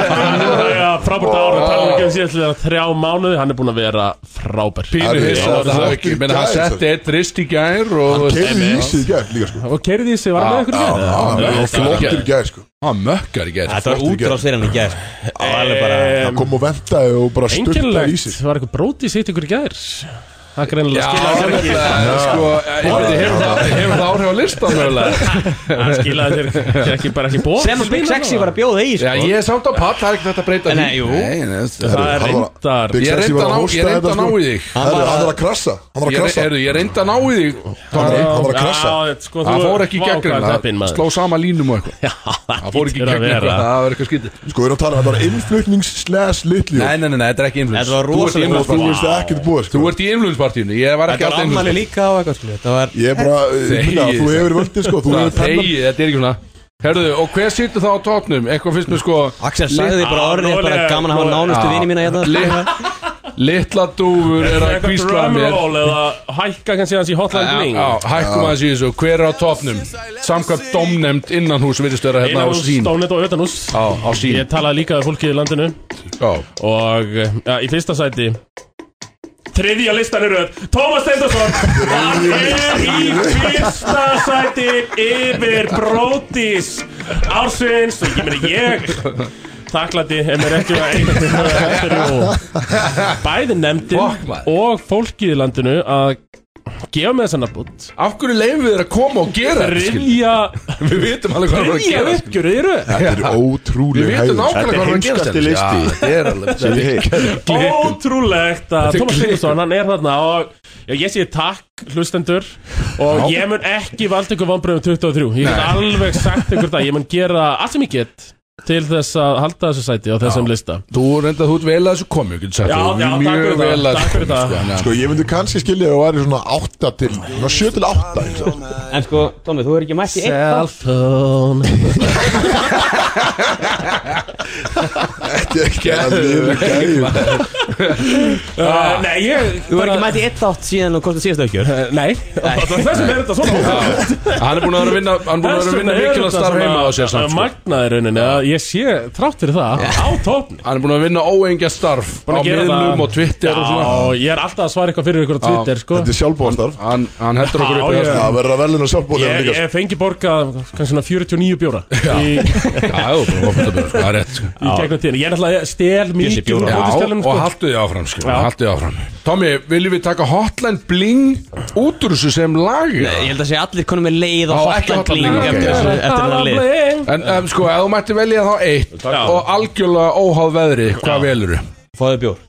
Speaker 9: Frábært ára talar ekki um síðastlega þrjá mánuði Hann er búin að vera frábær
Speaker 1: Pínu hissa að það hafi ekki Menna hann setti eitt rist í gær og
Speaker 8: Hann keyrði í sig í gær líka sko
Speaker 9: Og keirði í sig, var hann með ykkur í gær?
Speaker 8: Það var flottur í gær sko
Speaker 1: Hann mökkar í gær
Speaker 2: Þetta var
Speaker 8: Flottur í gær.
Speaker 2: útrás fyrir hann í gær sko. Það var alveg bara
Speaker 8: Hann kom og vendaði og bara styrta í sig
Speaker 9: Engilegt, var eitthvað brótið sitt ykkur í gær Það er
Speaker 1: Já,
Speaker 9: greinilega *laughs* skilað sér ekki
Speaker 1: nefnilega, sko, ég veit ekki, hefur það- hefur það áhrif á listan mögulega?
Speaker 9: Það skilaði sér ekki bara ekki bóð
Speaker 2: Sem að Big Sexy var að bjóða í
Speaker 1: Já,
Speaker 2: sko.
Speaker 1: ég er samt á pall, það er ekki þetta að breyta
Speaker 2: Nei, jú.
Speaker 1: jú
Speaker 9: Það er
Speaker 8: Hann var-
Speaker 9: reyndar
Speaker 8: Big
Speaker 1: Ég
Speaker 8: Sexy
Speaker 1: reyndi að
Speaker 8: var
Speaker 1: ná- ég
Speaker 8: hósta
Speaker 1: reyndi
Speaker 8: þetta,
Speaker 1: að ná
Speaker 8: sko.
Speaker 1: í þig
Speaker 8: Herru, Hann er að krassa Hann er að
Speaker 1: Ég
Speaker 8: krassa
Speaker 1: heyrðu, ég reyndi að ná í þig
Speaker 8: Hann er- hann er að
Speaker 9: Já,
Speaker 8: krassa
Speaker 9: sko,
Speaker 1: Það
Speaker 9: þú-
Speaker 1: fór ekki í
Speaker 9: vá, hvað er heppinn,
Speaker 1: gegnum, það
Speaker 9: maður.
Speaker 1: sló sama línum og eitthvað
Speaker 9: Já,
Speaker 1: Það fór ekki í
Speaker 9: hlýtur að
Speaker 1: gegnum
Speaker 9: vera.
Speaker 1: eitthvað, það var eitthvað skítið
Speaker 8: Sko við erum að tala um Þetta var innflutnings slash litli
Speaker 1: Nei, nei, nei, nei, þetta er ekki influens
Speaker 2: Þetta var
Speaker 1: Þú ert í
Speaker 2: rosalega
Speaker 1: influence partíinu.
Speaker 2: Vá.
Speaker 8: Þú veist það ekkert búið
Speaker 1: Þú
Speaker 8: sko
Speaker 1: ert í influenspartíinu, ég var ekki
Speaker 2: Þetta var
Speaker 1: alltaf
Speaker 2: ammali
Speaker 1: influens
Speaker 2: líka og eitthvað skilur Það var
Speaker 8: Ég er bara ég meina,
Speaker 1: Þegið.
Speaker 8: Þú hefur völdið sko Þú hefur þennan
Speaker 1: Þegi, þetta er ekki svona Herðu, og hver sýttu þá á tóknum? Eitthvað finnst mér sko
Speaker 2: Axel sagði bara
Speaker 9: Já,
Speaker 2: orðinni bara
Speaker 9: rólega,
Speaker 2: gaman að hafa
Speaker 9: rólega.
Speaker 2: nánustu vini mína hérna
Speaker 5: *laughs*
Speaker 1: lit- Litla dúfur er að kvísla
Speaker 9: Eitthvað
Speaker 1: mér
Speaker 9: drumroll eða hækka kannski hans í Hotline
Speaker 1: Já,
Speaker 9: Bling
Speaker 1: já, hækkum aðeins í þessu Hver er á tóknum? Samkvæmt domnemnd innan hús virðist vera hérna á
Speaker 9: Einanús,
Speaker 1: sín
Speaker 9: Stónet og Ötanús
Speaker 1: Á, á sín
Speaker 9: Ég talaði líka við fólkið í landinu
Speaker 1: Já,
Speaker 9: Og ja, í fyrsta sæti Þriðja listan er öð Tómas Steindorsson Hann er í fyrsta sæti Yfir brótis Ársins Ég meni ég Þaklandi er mér ekki að einu Bæði
Speaker 1: Fuck,
Speaker 9: nefndin
Speaker 1: maður.
Speaker 9: Og fólkið í landinu Að gefa með þessan aðbútt
Speaker 1: af hverju leifum við þér að koma og gera þetta skilur?
Speaker 9: Þriðja
Speaker 1: Við vitum alveg hvað er að fara að
Speaker 9: Þriðja
Speaker 1: gera skilur.
Speaker 9: uppgjörið í röð
Speaker 8: Þetta er
Speaker 1: Við
Speaker 8: ótrúlega
Speaker 1: vitum
Speaker 8: hægður
Speaker 1: nákvæmlega hvað er að fara að gera
Speaker 3: Þetta
Speaker 1: þetta
Speaker 3: er heimskasti
Speaker 1: Já, þetta er alveg
Speaker 3: sem ég heit
Speaker 9: Ótrúlegt að
Speaker 1: Þetta er
Speaker 9: Tómas
Speaker 1: klikkun.
Speaker 9: Finnsson, hann er þarna og já, ég sé takk hlustendur og ég mun ekki valda ykkur um vonbröðum 23, ég get alveg sagt ykkur það, ég mun gera allt sem ég get til þess að halda þessu sæti á þessum lista
Speaker 1: Þú reynda þú ert vel að þessu komi, getur sagt
Speaker 9: Já,
Speaker 1: það.
Speaker 9: já, takk
Speaker 1: Mjög
Speaker 9: fyrir það,
Speaker 1: vel að
Speaker 9: takk
Speaker 1: þessu
Speaker 9: fyrir
Speaker 1: komi,
Speaker 9: það.
Speaker 1: sko, en,
Speaker 8: Sko ég myndi kannski skilja að það væri svona 8 til Svona 7 til 8 eins og.
Speaker 2: En sko, Tómi, þú er ekki mætt í eitt
Speaker 9: Cellphone
Speaker 8: Þetta er ekki að liður gæði
Speaker 9: uh,
Speaker 1: Ah.
Speaker 9: Nei, ég
Speaker 2: Þú er ekki mætt í eitt átt síðan og komst að síðast aukjör
Speaker 1: Eh,
Speaker 9: uh, Nei, þessum er þetta svona
Speaker 1: já. Hann er búin að vera að vinna, hann er búin að vera að vinna mikilvægt starf heima á sér samt, sko.
Speaker 9: Magnaði rauninni að ég sé þrátt fyrir það á tópni
Speaker 1: Hann er búin að vinna óengja starf á
Speaker 9: Búin að gera
Speaker 1: miðlum
Speaker 9: það.
Speaker 1: og Twitter og svona.
Speaker 9: Já, ég er alltaf að svara eitthvað fyrir ykkur á Twitter, sko
Speaker 8: Þetta er sjálfbóðastarf
Speaker 1: Hann, hann heldur okkur
Speaker 9: Já,
Speaker 1: upp í
Speaker 9: já.
Speaker 1: það.
Speaker 8: Það verður að verðluna sjálfbóðlega
Speaker 9: Ég,
Speaker 8: líka sko.
Speaker 9: ég fengi borgað kannski svona 49 bjóra í,
Speaker 1: Já, þú er búin að fóta björn, það er rétt, sko.
Speaker 9: í gegnum tíðina Ég er náttúrulega stel
Speaker 2: Bjössi
Speaker 9: mikið
Speaker 2: bjóra.
Speaker 9: úr
Speaker 1: Já,
Speaker 9: mótistelum
Speaker 1: og
Speaker 9: sko.
Speaker 1: haltu því áfram, sko,
Speaker 9: Já.
Speaker 1: haltu því áfram. Tommy, viljum við taka Hotline Bling út úr þessu sem lag?
Speaker 5: Eh,
Speaker 2: Ég held að segja allir konum með leið og
Speaker 1: Já, ekki
Speaker 2: hotland
Speaker 1: Hotline
Speaker 2: bling
Speaker 1: Bling,
Speaker 2: eftir
Speaker 1: ok.
Speaker 2: þessu- eftir hennar lið
Speaker 1: En um, sko, ef þú mætti velja þá eitt
Speaker 9: Já.
Speaker 1: og algjörlega óháð veðri, hvað velur þú?
Speaker 2: Fáðu bjór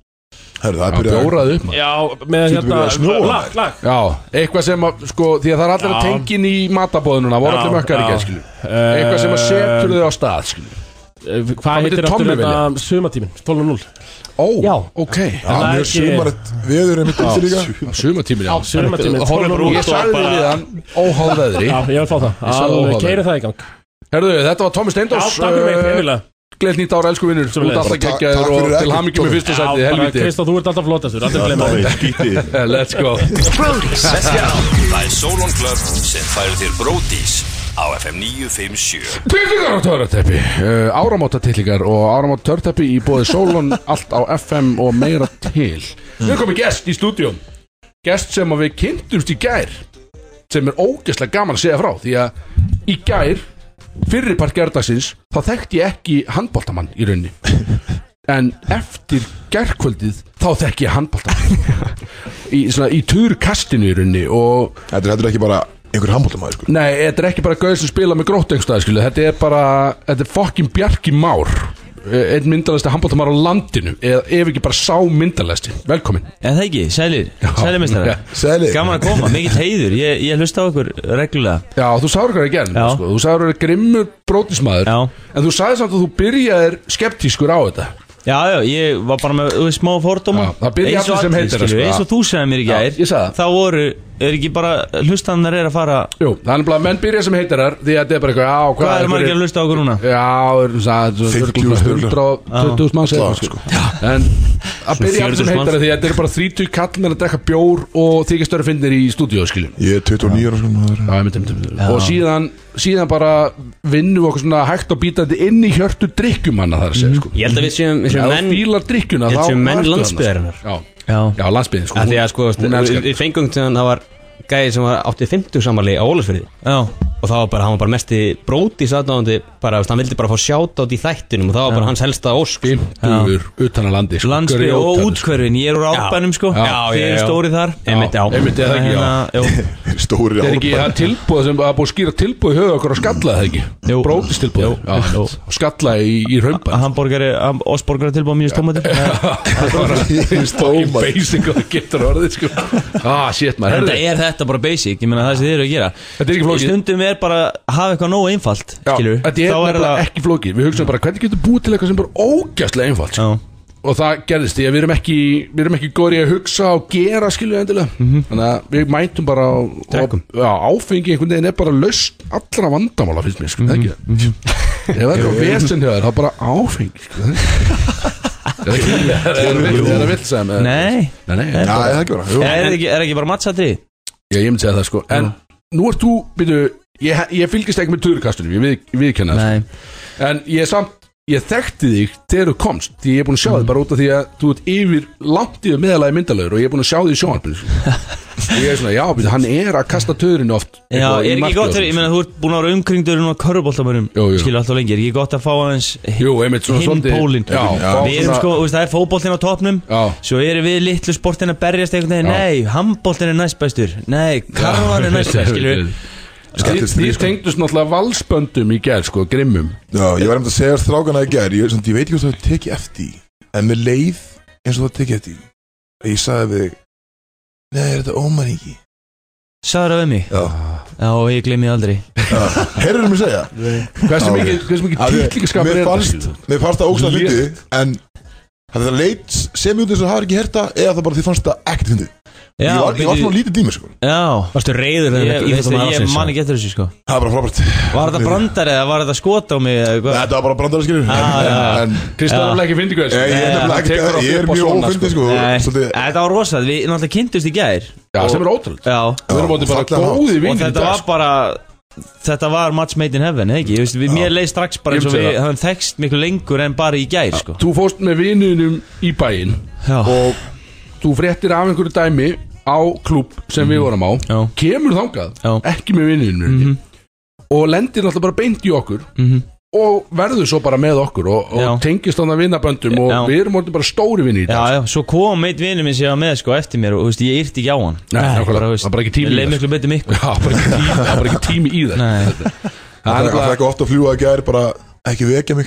Speaker 8: Herru það er
Speaker 1: Það
Speaker 8: byrjað
Speaker 1: bjóraði upp, maður.
Speaker 9: Já, með
Speaker 8: Sýndu mér að
Speaker 9: hérna
Speaker 8: snjóa.
Speaker 9: Lag, lag
Speaker 1: Já, eitthvað sem að, sko, því að það er allir að
Speaker 9: Já.
Speaker 1: tengin í matabóðununa, voru
Speaker 9: Já,
Speaker 1: allir mökkar
Speaker 9: já.
Speaker 1: ekki, skilju. Eitthvað sem að setur þau á stað, skilju.
Speaker 9: Eh,
Speaker 1: Hvað
Speaker 9: Hvað
Speaker 1: myndi
Speaker 9: heitir
Speaker 1: Tommi
Speaker 9: aftur
Speaker 1: velja?
Speaker 9: þetta sumatíminn? 12.0
Speaker 1: Ó,
Speaker 9: Já.
Speaker 1: ok.
Speaker 8: Já,
Speaker 9: það
Speaker 8: mjög
Speaker 9: ekki-
Speaker 8: sumarett veður er mitt út líka
Speaker 1: Sumatíminn, já.
Speaker 9: Sumatíminn
Speaker 1: Horfum
Speaker 9: 12.0
Speaker 1: Ég sagði við hann, óháð veðri.
Speaker 9: Já, ég vil fá það
Speaker 1: Ég sagði
Speaker 9: Alveg
Speaker 1: óháð.
Speaker 9: keiri það í gang
Speaker 1: Herðu, þetta var Tommy
Speaker 9: Já,
Speaker 1: Steindors.
Speaker 9: takk um mig, einnilega
Speaker 1: Gleilt nýtt ára, elsku vinnur. Þú
Speaker 9: Sömuleiðis.
Speaker 1: ert alltaf
Speaker 8: Bara takk-
Speaker 1: geggjaður
Speaker 8: takk
Speaker 1: og
Speaker 8: fyrir
Speaker 1: til
Speaker 8: ekkert,
Speaker 1: hamingjum í
Speaker 8: Tommy.
Speaker 1: fyrsta
Speaker 9: Já,
Speaker 1: sæti,
Speaker 9: bara
Speaker 1: helviti.
Speaker 9: Kristó, þú ert alltaf flotastur Aldrei
Speaker 3: Það
Speaker 9: glemma
Speaker 3: var
Speaker 9: því
Speaker 3: eitt skítið
Speaker 1: Eh, Let's go.
Speaker 11: Það er Solon Club sem færir þér bródís á FM 957
Speaker 1: Tillingar á törðarteppi uh, Áramóta tillingar og áramóta törðarteppi í bóði Solon allt á FM og meira til Við erum komið gest í stúdíum Gest sem að við kynntumst í gær sem er ógeðslega gaman að segja frá því að í gær fyrirpart gerðagsins þá þekkti ég ekki handbóltamann í raunni en eftir gærkvöldið þá þekki ég handbóltamann *laughs* í, svona, í turkastinu í raunni og
Speaker 8: Þetta er- þetta er ekki bara einhver handbóltamæður sko
Speaker 1: Nei, þetta er ekki bara gauð sem spila með grótt einhverstað, skilu, þetta er bara þetta er fokkin Bjarki Már eh, einn myndalæsti handbóltamar á landinu eða ef ekki bara sá myndalæsti Velkomin
Speaker 6: Eða það ekki, sælir, sælimistara
Speaker 8: Sæli
Speaker 6: Gaman að koma, mikill heiður Ég, ég hlusta á okkur reglulega
Speaker 1: Já, þú sagður hvað það gerðin,
Speaker 6: Já.
Speaker 1: sko, þú sagður hvað það grimmur brótismæður,
Speaker 6: Já.
Speaker 1: en þú sagði samt að þú byrjaðir skeptískur á þetta
Speaker 6: Já, já, ég var bara með þú veist, smá fordóma
Speaker 1: Já, það byrja
Speaker 6: Eins og
Speaker 1: allir sem heitir það,
Speaker 6: skilur,
Speaker 1: sko.
Speaker 6: Eins og þú sagði mér í
Speaker 1: Já,
Speaker 6: gær
Speaker 1: ég sagði það.
Speaker 6: Þá voru
Speaker 5: er ekki bara hlustannar er að fara
Speaker 1: Jú, það er bara menn byrja sem heitir þar Því að þetta er bara eitthvað, já,
Speaker 5: Hvað eru margir að hlusta á okkur núna?
Speaker 1: Já, 120 manns eða eitthvað, sko. En að
Speaker 5: Svona
Speaker 1: byrja allir sem heitir
Speaker 5: 40.000 manns.
Speaker 1: það Því að þetta er bara 30 kallmenn að drekka bjór Og þykja störu finnir í stúdíu, skiljum
Speaker 8: Ég er 29 ára sko maður.
Speaker 1: Já, einmitt, einmitt, einmitt. Og síðan, síðan bara vinnum við okkur svona hægt og bítandi inn í hjörtu drikkjumanna þar að segja sko.
Speaker 5: Ég held að við séum- við séum
Speaker 1: Ef þú
Speaker 5: menn-
Speaker 1: fílar drykkjuna
Speaker 5: Ég held
Speaker 1: þá
Speaker 5: séum menn
Speaker 1: ertu þarna,
Speaker 5: landsbyggðarinnar.
Speaker 1: sko. Já, já landsbyðin sko,
Speaker 5: Af Því að sko,
Speaker 1: hún- hún
Speaker 5: við
Speaker 1: elskar.
Speaker 5: við fengum þegar það var gæði sem var áttið 50 samali á Ólafsfyrði Já Og það var bara, hann var bara mesti bróti sátáðandi bara, þú veist, hann vildi bara fá sjátt átt í þættinum og það var bara hans helsta ósk
Speaker 1: 50 utan að landi sko,
Speaker 2: Landsbyggð
Speaker 1: grjótarnir,
Speaker 2: og
Speaker 1: sko.
Speaker 2: útkverfin, ég er úr
Speaker 1: Já.
Speaker 2: ábænum sko
Speaker 1: Já, já,
Speaker 2: Þið eru
Speaker 1: já.
Speaker 2: stórið þar hérna,
Speaker 1: Já, einmitt, eða ekki, já. *laughs*
Speaker 2: já
Speaker 8: Stóri
Speaker 1: Það er ekki það tilbúð sem að búið að skýra tilbúð í höfu okkur á skalla það ekki Brótist tilbúð Skalla í, í raunbæð
Speaker 2: Hamborgari, osborgari tilbúið mínus tómatir
Speaker 1: *laughs* Fucking basic og það getur orðið sko Ah shit maður
Speaker 2: Þetta
Speaker 1: Herðu,
Speaker 2: er þetta bara basic, ég meina það sem þið eru að gera
Speaker 1: Þetta er ekki flókið.
Speaker 2: Stundum er bara að hafa eitthvað nógu einfalt
Speaker 1: já,
Speaker 2: skilur við.
Speaker 1: Þetta er
Speaker 2: Þá
Speaker 1: nefnilega ekki flókið Við hugsaum bara hvernig getur búið til eitthvað sem er bara ógæslega einfalt sko. Og það gerðist því að við erum ekki Við erum ekki góri að hugsa og gera skilju endilega Þannig að við mætum bara og-
Speaker 5: Drekkum.
Speaker 1: og- Já, áfengi einhvern veginn er bara laust Allra vandamála finnst mér sko, mm -hmm. Ef það er
Speaker 5: Jú,
Speaker 1: eitthvað
Speaker 5: jú.
Speaker 1: vesen hjá þér, þá bara áfengi sko. Er það ekki- er það vilt sem
Speaker 2: Nei
Speaker 1: Nei, nei,
Speaker 2: Er
Speaker 1: bara-
Speaker 2: það ekki bara- Er það ekki- er það ekki bara mattsatrið?
Speaker 1: Já, ég myndi segja það sko En nú ert þú, byrju Ég, ég fylgist ekki með törukastunum, ég við, viðkenna það sko. En ég samt, ég þekkti þig Þegar þú komst, því ég er búin að sjá
Speaker 2: Mhm.
Speaker 1: þig Bara út af því að þú ert yfir langt yfir meðalagi myndalögur Og ég er búin að sjá þig í sjónarpinu
Speaker 2: *laughs*
Speaker 1: sko. Og ég er svona, já, byrju, hann er að kasta törinu oft eitthvað
Speaker 2: Já,
Speaker 1: í
Speaker 2: er ekki
Speaker 1: markið
Speaker 2: gott
Speaker 1: og
Speaker 2: fyrir, ég
Speaker 1: svona.
Speaker 2: meina þú ert búin að vera umkringdur og körubóltamörum, skilur alltaf lengi er ekki gott að fá aðeins
Speaker 1: Jú, einmitt, svona
Speaker 2: hinn
Speaker 1: svolítið-
Speaker 2: pólinn
Speaker 1: Já, fá
Speaker 2: Við erum
Speaker 1: svona-
Speaker 2: sko, þú veist, það er fótbóltinn á topnum
Speaker 1: Já.
Speaker 2: svo erum við litlu sportin að berjast einhvern veginn,
Speaker 1: Já.
Speaker 2: nei, handbóltinn er næstbæstur nei, karvan er næstbæstur,
Speaker 1: *laughs*
Speaker 2: skilur við
Speaker 1: Þið þið tengdust náttúrulega valsböndum í gerð, sko, grimmum
Speaker 8: Já, ég var eftir að segja strákana í gær Ég, samt, ég veit ekki hvort það tekið eftir því, En með leið eins og það tekið eftir því, að Ég sagði við þig, Nei, er þetta ómæningi?
Speaker 2: Sæður af mig
Speaker 8: Já
Speaker 2: Já, og ég gleymi því aldrei
Speaker 8: Herður mig segja
Speaker 1: Hversu
Speaker 8: Já,
Speaker 1: mikið-
Speaker 8: ok.
Speaker 1: hversu mikið
Speaker 8: Af því-
Speaker 1: tittlingaskapur
Speaker 8: mér
Speaker 1: er þetta,
Speaker 8: fannst-
Speaker 1: skilur?
Speaker 8: Mér fannst það ógst að fyndi
Speaker 1: Lét.
Speaker 8: En þetta leit sem út þess að hafa ekki herta Eða það bara þið fannst það ekkert fyndi
Speaker 2: Já,
Speaker 8: Ég var ég var
Speaker 2: byrju-
Speaker 8: svona lítið tími sko
Speaker 2: Já
Speaker 5: Varstu
Speaker 2: Ég,
Speaker 5: reyður þegar
Speaker 2: ég,
Speaker 5: þetta
Speaker 2: ég,
Speaker 5: íþróttum
Speaker 2: ég
Speaker 5: aðalsins,
Speaker 2: man ekki eftir þessu sko
Speaker 8: Það er bara frábært
Speaker 2: Var þetta brandar eða var þetta skot á mig eða hvað?
Speaker 8: Þetta var bara brandar skilur
Speaker 2: Ah,
Speaker 1: Kristján er alveg ekki fyndi
Speaker 8: Ég- ég er nefnilega ekki- ég er mjög ófyndið, sko. Svolítið-
Speaker 2: Þetta var rosað, við náttúrulega kynntust í gær
Speaker 1: Já,
Speaker 2: Og-
Speaker 1: sem er ótrúld
Speaker 2: Já
Speaker 1: Við erum orðin bara
Speaker 2: Fallega
Speaker 1: góðir
Speaker 2: hátt.
Speaker 1: vinir
Speaker 2: Og
Speaker 1: í
Speaker 2: þetta
Speaker 1: dag,
Speaker 2: var
Speaker 1: sko.
Speaker 2: bara Þetta var match made in heaven, eða ekki? Ég veist, við, mér leið strax bara eins
Speaker 1: Ég
Speaker 2: og
Speaker 1: myndi
Speaker 2: við
Speaker 1: það.
Speaker 2: höfum þekst miklu lengur en bara í gær, sko
Speaker 1: Þú fórst með vininum í bæinn og þú fréttir af einhverju dæmi á klúb sem
Speaker 2: Mhm.
Speaker 1: við vorum á Já. kemur þangað, ekki með vininum og lendir náttúrulega bara beint í okkur og verður svo bara með okkur og,
Speaker 2: Mhm. Já.
Speaker 1: og tengist þannig að vinnaböndum og
Speaker 2: Já.
Speaker 1: við erum orðin bara stóri vinni í dag
Speaker 2: Já, já, svo kom eitt vinur minn sem ég var með, sko, eftir mér og, þú veist, ég yrti ekki á hann
Speaker 1: Nei, nákvæmlega. Það var bara ekki tími í
Speaker 2: Ég leið
Speaker 1: það,
Speaker 2: miklu betur
Speaker 1: *laughs*
Speaker 2: miklu
Speaker 1: Já, bara ekki tími, það var ekki tími í það
Speaker 2: Nei
Speaker 8: Það er
Speaker 1: bara-
Speaker 8: ekki ofta að fljúa að gæri bara ekki vekja mig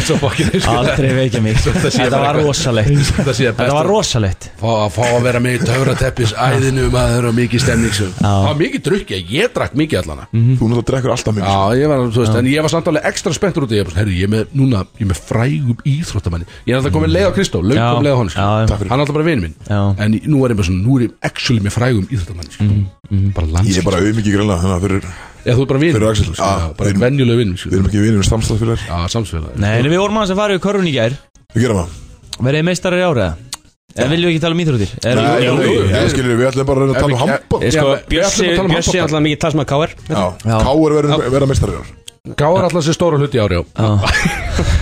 Speaker 1: Svo fucking- sko,
Speaker 2: Aldrei vekja mig
Speaker 1: Þetta sé
Speaker 2: Þetta
Speaker 1: bara
Speaker 2: var
Speaker 1: eitthvað-
Speaker 2: rosalegt
Speaker 1: Þetta sé best
Speaker 2: Þetta var
Speaker 1: að-
Speaker 2: rosalegt
Speaker 1: Fá að fá að vera með í töfrateppis æðinu maður og mikið stemningsum Það var mikið drukki, ég drakk mikið allana
Speaker 2: Mm.
Speaker 8: Þú náttúrulega drekkur alltaf mikið
Speaker 1: Já, ég var, þú veist, en ég var samt alveg ekstra spenntur út í því Herri, ég er með, núna, ég er með frægum íþróttamanni Ég er alltaf komið leið á Kristó, lög
Speaker 2: Já.
Speaker 1: komið leið á honum, skilur.
Speaker 2: Já, já.
Speaker 1: Takk fyrir. Hann er alltaf bara vinur minn
Speaker 2: Já. Mm,
Speaker 1: En nú er ég bara svona, nú er ég actually með frægum íþróttamanni skilur. Bara landskil
Speaker 8: Ég er bara auðmikið grilla Þannig að fyrir
Speaker 1: Já, þú er bara vinur
Speaker 8: Fyrir Axel, sko.
Speaker 1: skilur,
Speaker 8: já,
Speaker 1: já, Bara venjuleg vinur sko.
Speaker 8: Við erum ekki vinir, við erum samstagsfélagar
Speaker 1: Já, samsfélag
Speaker 2: Nei, en við vorum aðeins að fara við körfun í gær
Speaker 8: Við gerum það
Speaker 2: Verðið meistarar í ára En viljum við ekki tala um íþróttir? Erum við-
Speaker 8: Nei, jú, jú, jú. Ég skilur, við ætlum bara að reyna að tala um handbóð
Speaker 5: Sko, Bjössi
Speaker 8: um
Speaker 5: Bjössi er alltaf mikið talsmaður KR
Speaker 8: Káur verður- verða mistari
Speaker 1: Gáðar alltaf sér stóra hluti ári á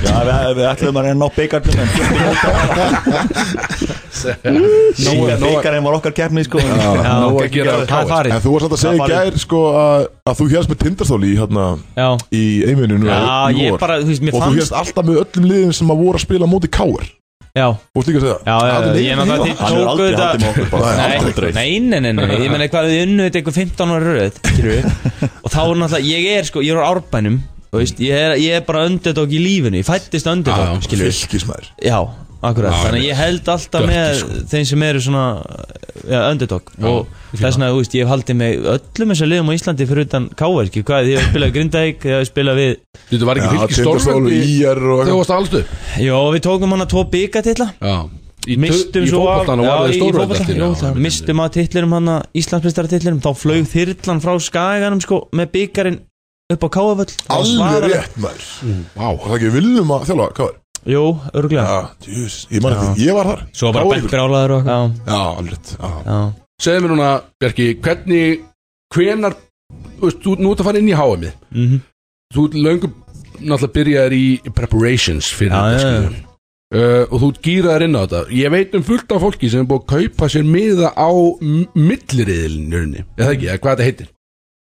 Speaker 3: Já, við, við ætlum að reyna á byggarnum en Nóa
Speaker 1: Nóa-
Speaker 3: byggarinn var okkar keppni sko
Speaker 1: nóg að gera á KR.
Speaker 8: En þú varst samt að
Speaker 3: Það
Speaker 8: segja í
Speaker 3: farið.
Speaker 8: gær sko að að þú hérst með tindastóli í hérna
Speaker 2: Já.
Speaker 8: í einvinni núna
Speaker 2: Já,
Speaker 8: í
Speaker 2: ég
Speaker 8: vor.
Speaker 2: bara, þú veist, mér
Speaker 8: Og þú
Speaker 2: fannst-
Speaker 8: hérst alltaf með öllum liðum sem að voru að spila á móti káar
Speaker 2: Já
Speaker 8: Þú veist líka að segja
Speaker 2: Já, já,
Speaker 8: Hann er
Speaker 2: já, ég
Speaker 8: neikvæður
Speaker 2: meina það
Speaker 8: í
Speaker 2: þeir
Speaker 8: það. Hann er
Speaker 2: tóku
Speaker 8: aldrei haldið með okkur bara. Nei,
Speaker 2: þetta
Speaker 8: aldrei.
Speaker 2: Nei, nei, nei, nei, nei, ég meina hvað þið unnuðið eitthvað 15 ára röð
Speaker 8: *laughs*
Speaker 2: skilurðu. Og þá er náttúrulega, ég er sko, ég er á árbænum þú veist, ég, er, ég er bara underdog í lífinu, ég fættist underdog
Speaker 8: Já,
Speaker 2: skilurðu.
Speaker 8: Fylkismaður
Speaker 2: Já, akkurat,
Speaker 8: Já,
Speaker 2: þannig að ég held alltaf
Speaker 8: Dökki,
Speaker 2: með
Speaker 8: sko.
Speaker 2: þeim sem eru svona ja, underdog og þess vegna, þú veist, ég hef haldið með öllum þessar liðum á Íslandi fyrir utan Káar, ekki hvað, ég hef spilað við Grindavík, ég hef spilað við
Speaker 1: Þetta var ekki
Speaker 8: Já,
Speaker 1: fylgist
Speaker 8: Tindastóll og
Speaker 1: stórvöld
Speaker 8: IR og
Speaker 1: Þegar varst allstu
Speaker 2: Jó, við tókum hann að tvo byggatilla
Speaker 1: Já í,
Speaker 2: mistum
Speaker 1: í
Speaker 2: svo af
Speaker 1: fótboltan og var
Speaker 2: já,
Speaker 1: það
Speaker 2: í
Speaker 1: stóröld
Speaker 2: fótboltann,
Speaker 1: eftir
Speaker 2: já, það- mistum að titlinum hann Íslandsbistar titlinum þá flög þyrlan frá skaganum sko með byggarinn upp á káaföll
Speaker 8: Alveg rétt maður Vá, það ekki viljum að þjálfa, hvað var?
Speaker 2: Jú, örgulega
Speaker 8: Já, djús, ég man ekki, ég var þar
Speaker 2: Svo var bara
Speaker 8: Káir.
Speaker 2: bekkur álaður og eitthvað
Speaker 8: Já, alveg
Speaker 2: Já.
Speaker 1: Segðu mér núna, Bjarki, hvernig hvenar, þú veist, þú nú ert að fara inn í HM-ið
Speaker 2: Mhm.
Speaker 1: Þú ert löngu náttúrulega byrjaðir í preparations fyrir þetta skilur við. uh, og þú ert gýraðir inn á þetta Ég veit um fullt af fólki sem er búið að kaupa sér miða á milliriðilnurni eða ekki, eða hvað þetta heitir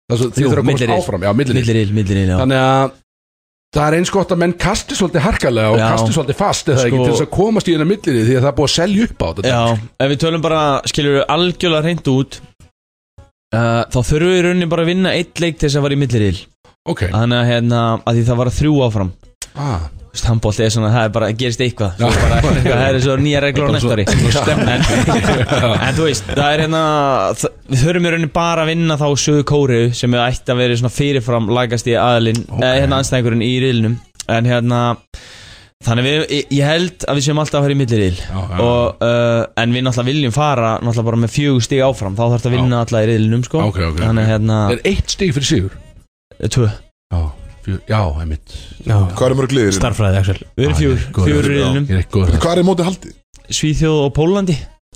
Speaker 1: Það er svo, þið
Speaker 2: Jú,
Speaker 1: þurfa að komast
Speaker 2: milliriðil.
Speaker 1: áfram, já, milliriðil
Speaker 2: Milliril, milliril, já
Speaker 1: Þannig að það er eins gott að menn kasti svolítið harkalega og
Speaker 2: Já.
Speaker 1: kasti svolítið fast eða ekki
Speaker 2: Sko-
Speaker 1: til þess að komast í hérna millirið því að það er búið að selja upp á þetta
Speaker 2: Já, ef við tölum bara, skiljur við algjörlega reynd út uh, Þá þurfum við í rauninni bara að vinna eitt leik til þess að vera í milliril
Speaker 1: Ok
Speaker 2: Þannig að hérna, að því það var þrjú áfram
Speaker 1: Ah.
Speaker 2: Þú veist, handbólt er svona, það er bara, gerist eitthvað Svo bara, eitthvað, það er svo nýja reglur á
Speaker 1: Bara
Speaker 2: næsta
Speaker 1: svo-
Speaker 2: ári
Speaker 1: Já.
Speaker 2: En, en þú veist, það er hérna það, Við þurfum í rauninni bara að vinna þá Suðu Kóriðu sem við ætti að vera svona fyrirfram Lægast í aðlinn, okay. hérna anstæðingurinn í riðlinum En hérna Þannig að við, ég- ég held að við séum alltaf að fara í milliril
Speaker 1: já.
Speaker 2: og, uh, En við náttúrulega viljum fara Náttúrulega bara með fjögur stig áfram Þá þarf það að vinna alla í riðlinum sko.
Speaker 1: Ok, ok,
Speaker 2: Þannig að hérna
Speaker 1: Er eitt stig fyrir sigur?
Speaker 2: Tvö
Speaker 1: Já, fjör, já, einmitt
Speaker 8: Hvað eru mörg liðir?
Speaker 2: Starfræði, Axel Við erum
Speaker 1: Já, ég
Speaker 2: fjögur,
Speaker 1: er góður.
Speaker 2: fjögur í riðlinum
Speaker 1: Ég er ekki góður
Speaker 8: Hvað er mótið haldið?
Speaker 2: Svíþjóð og Pólandi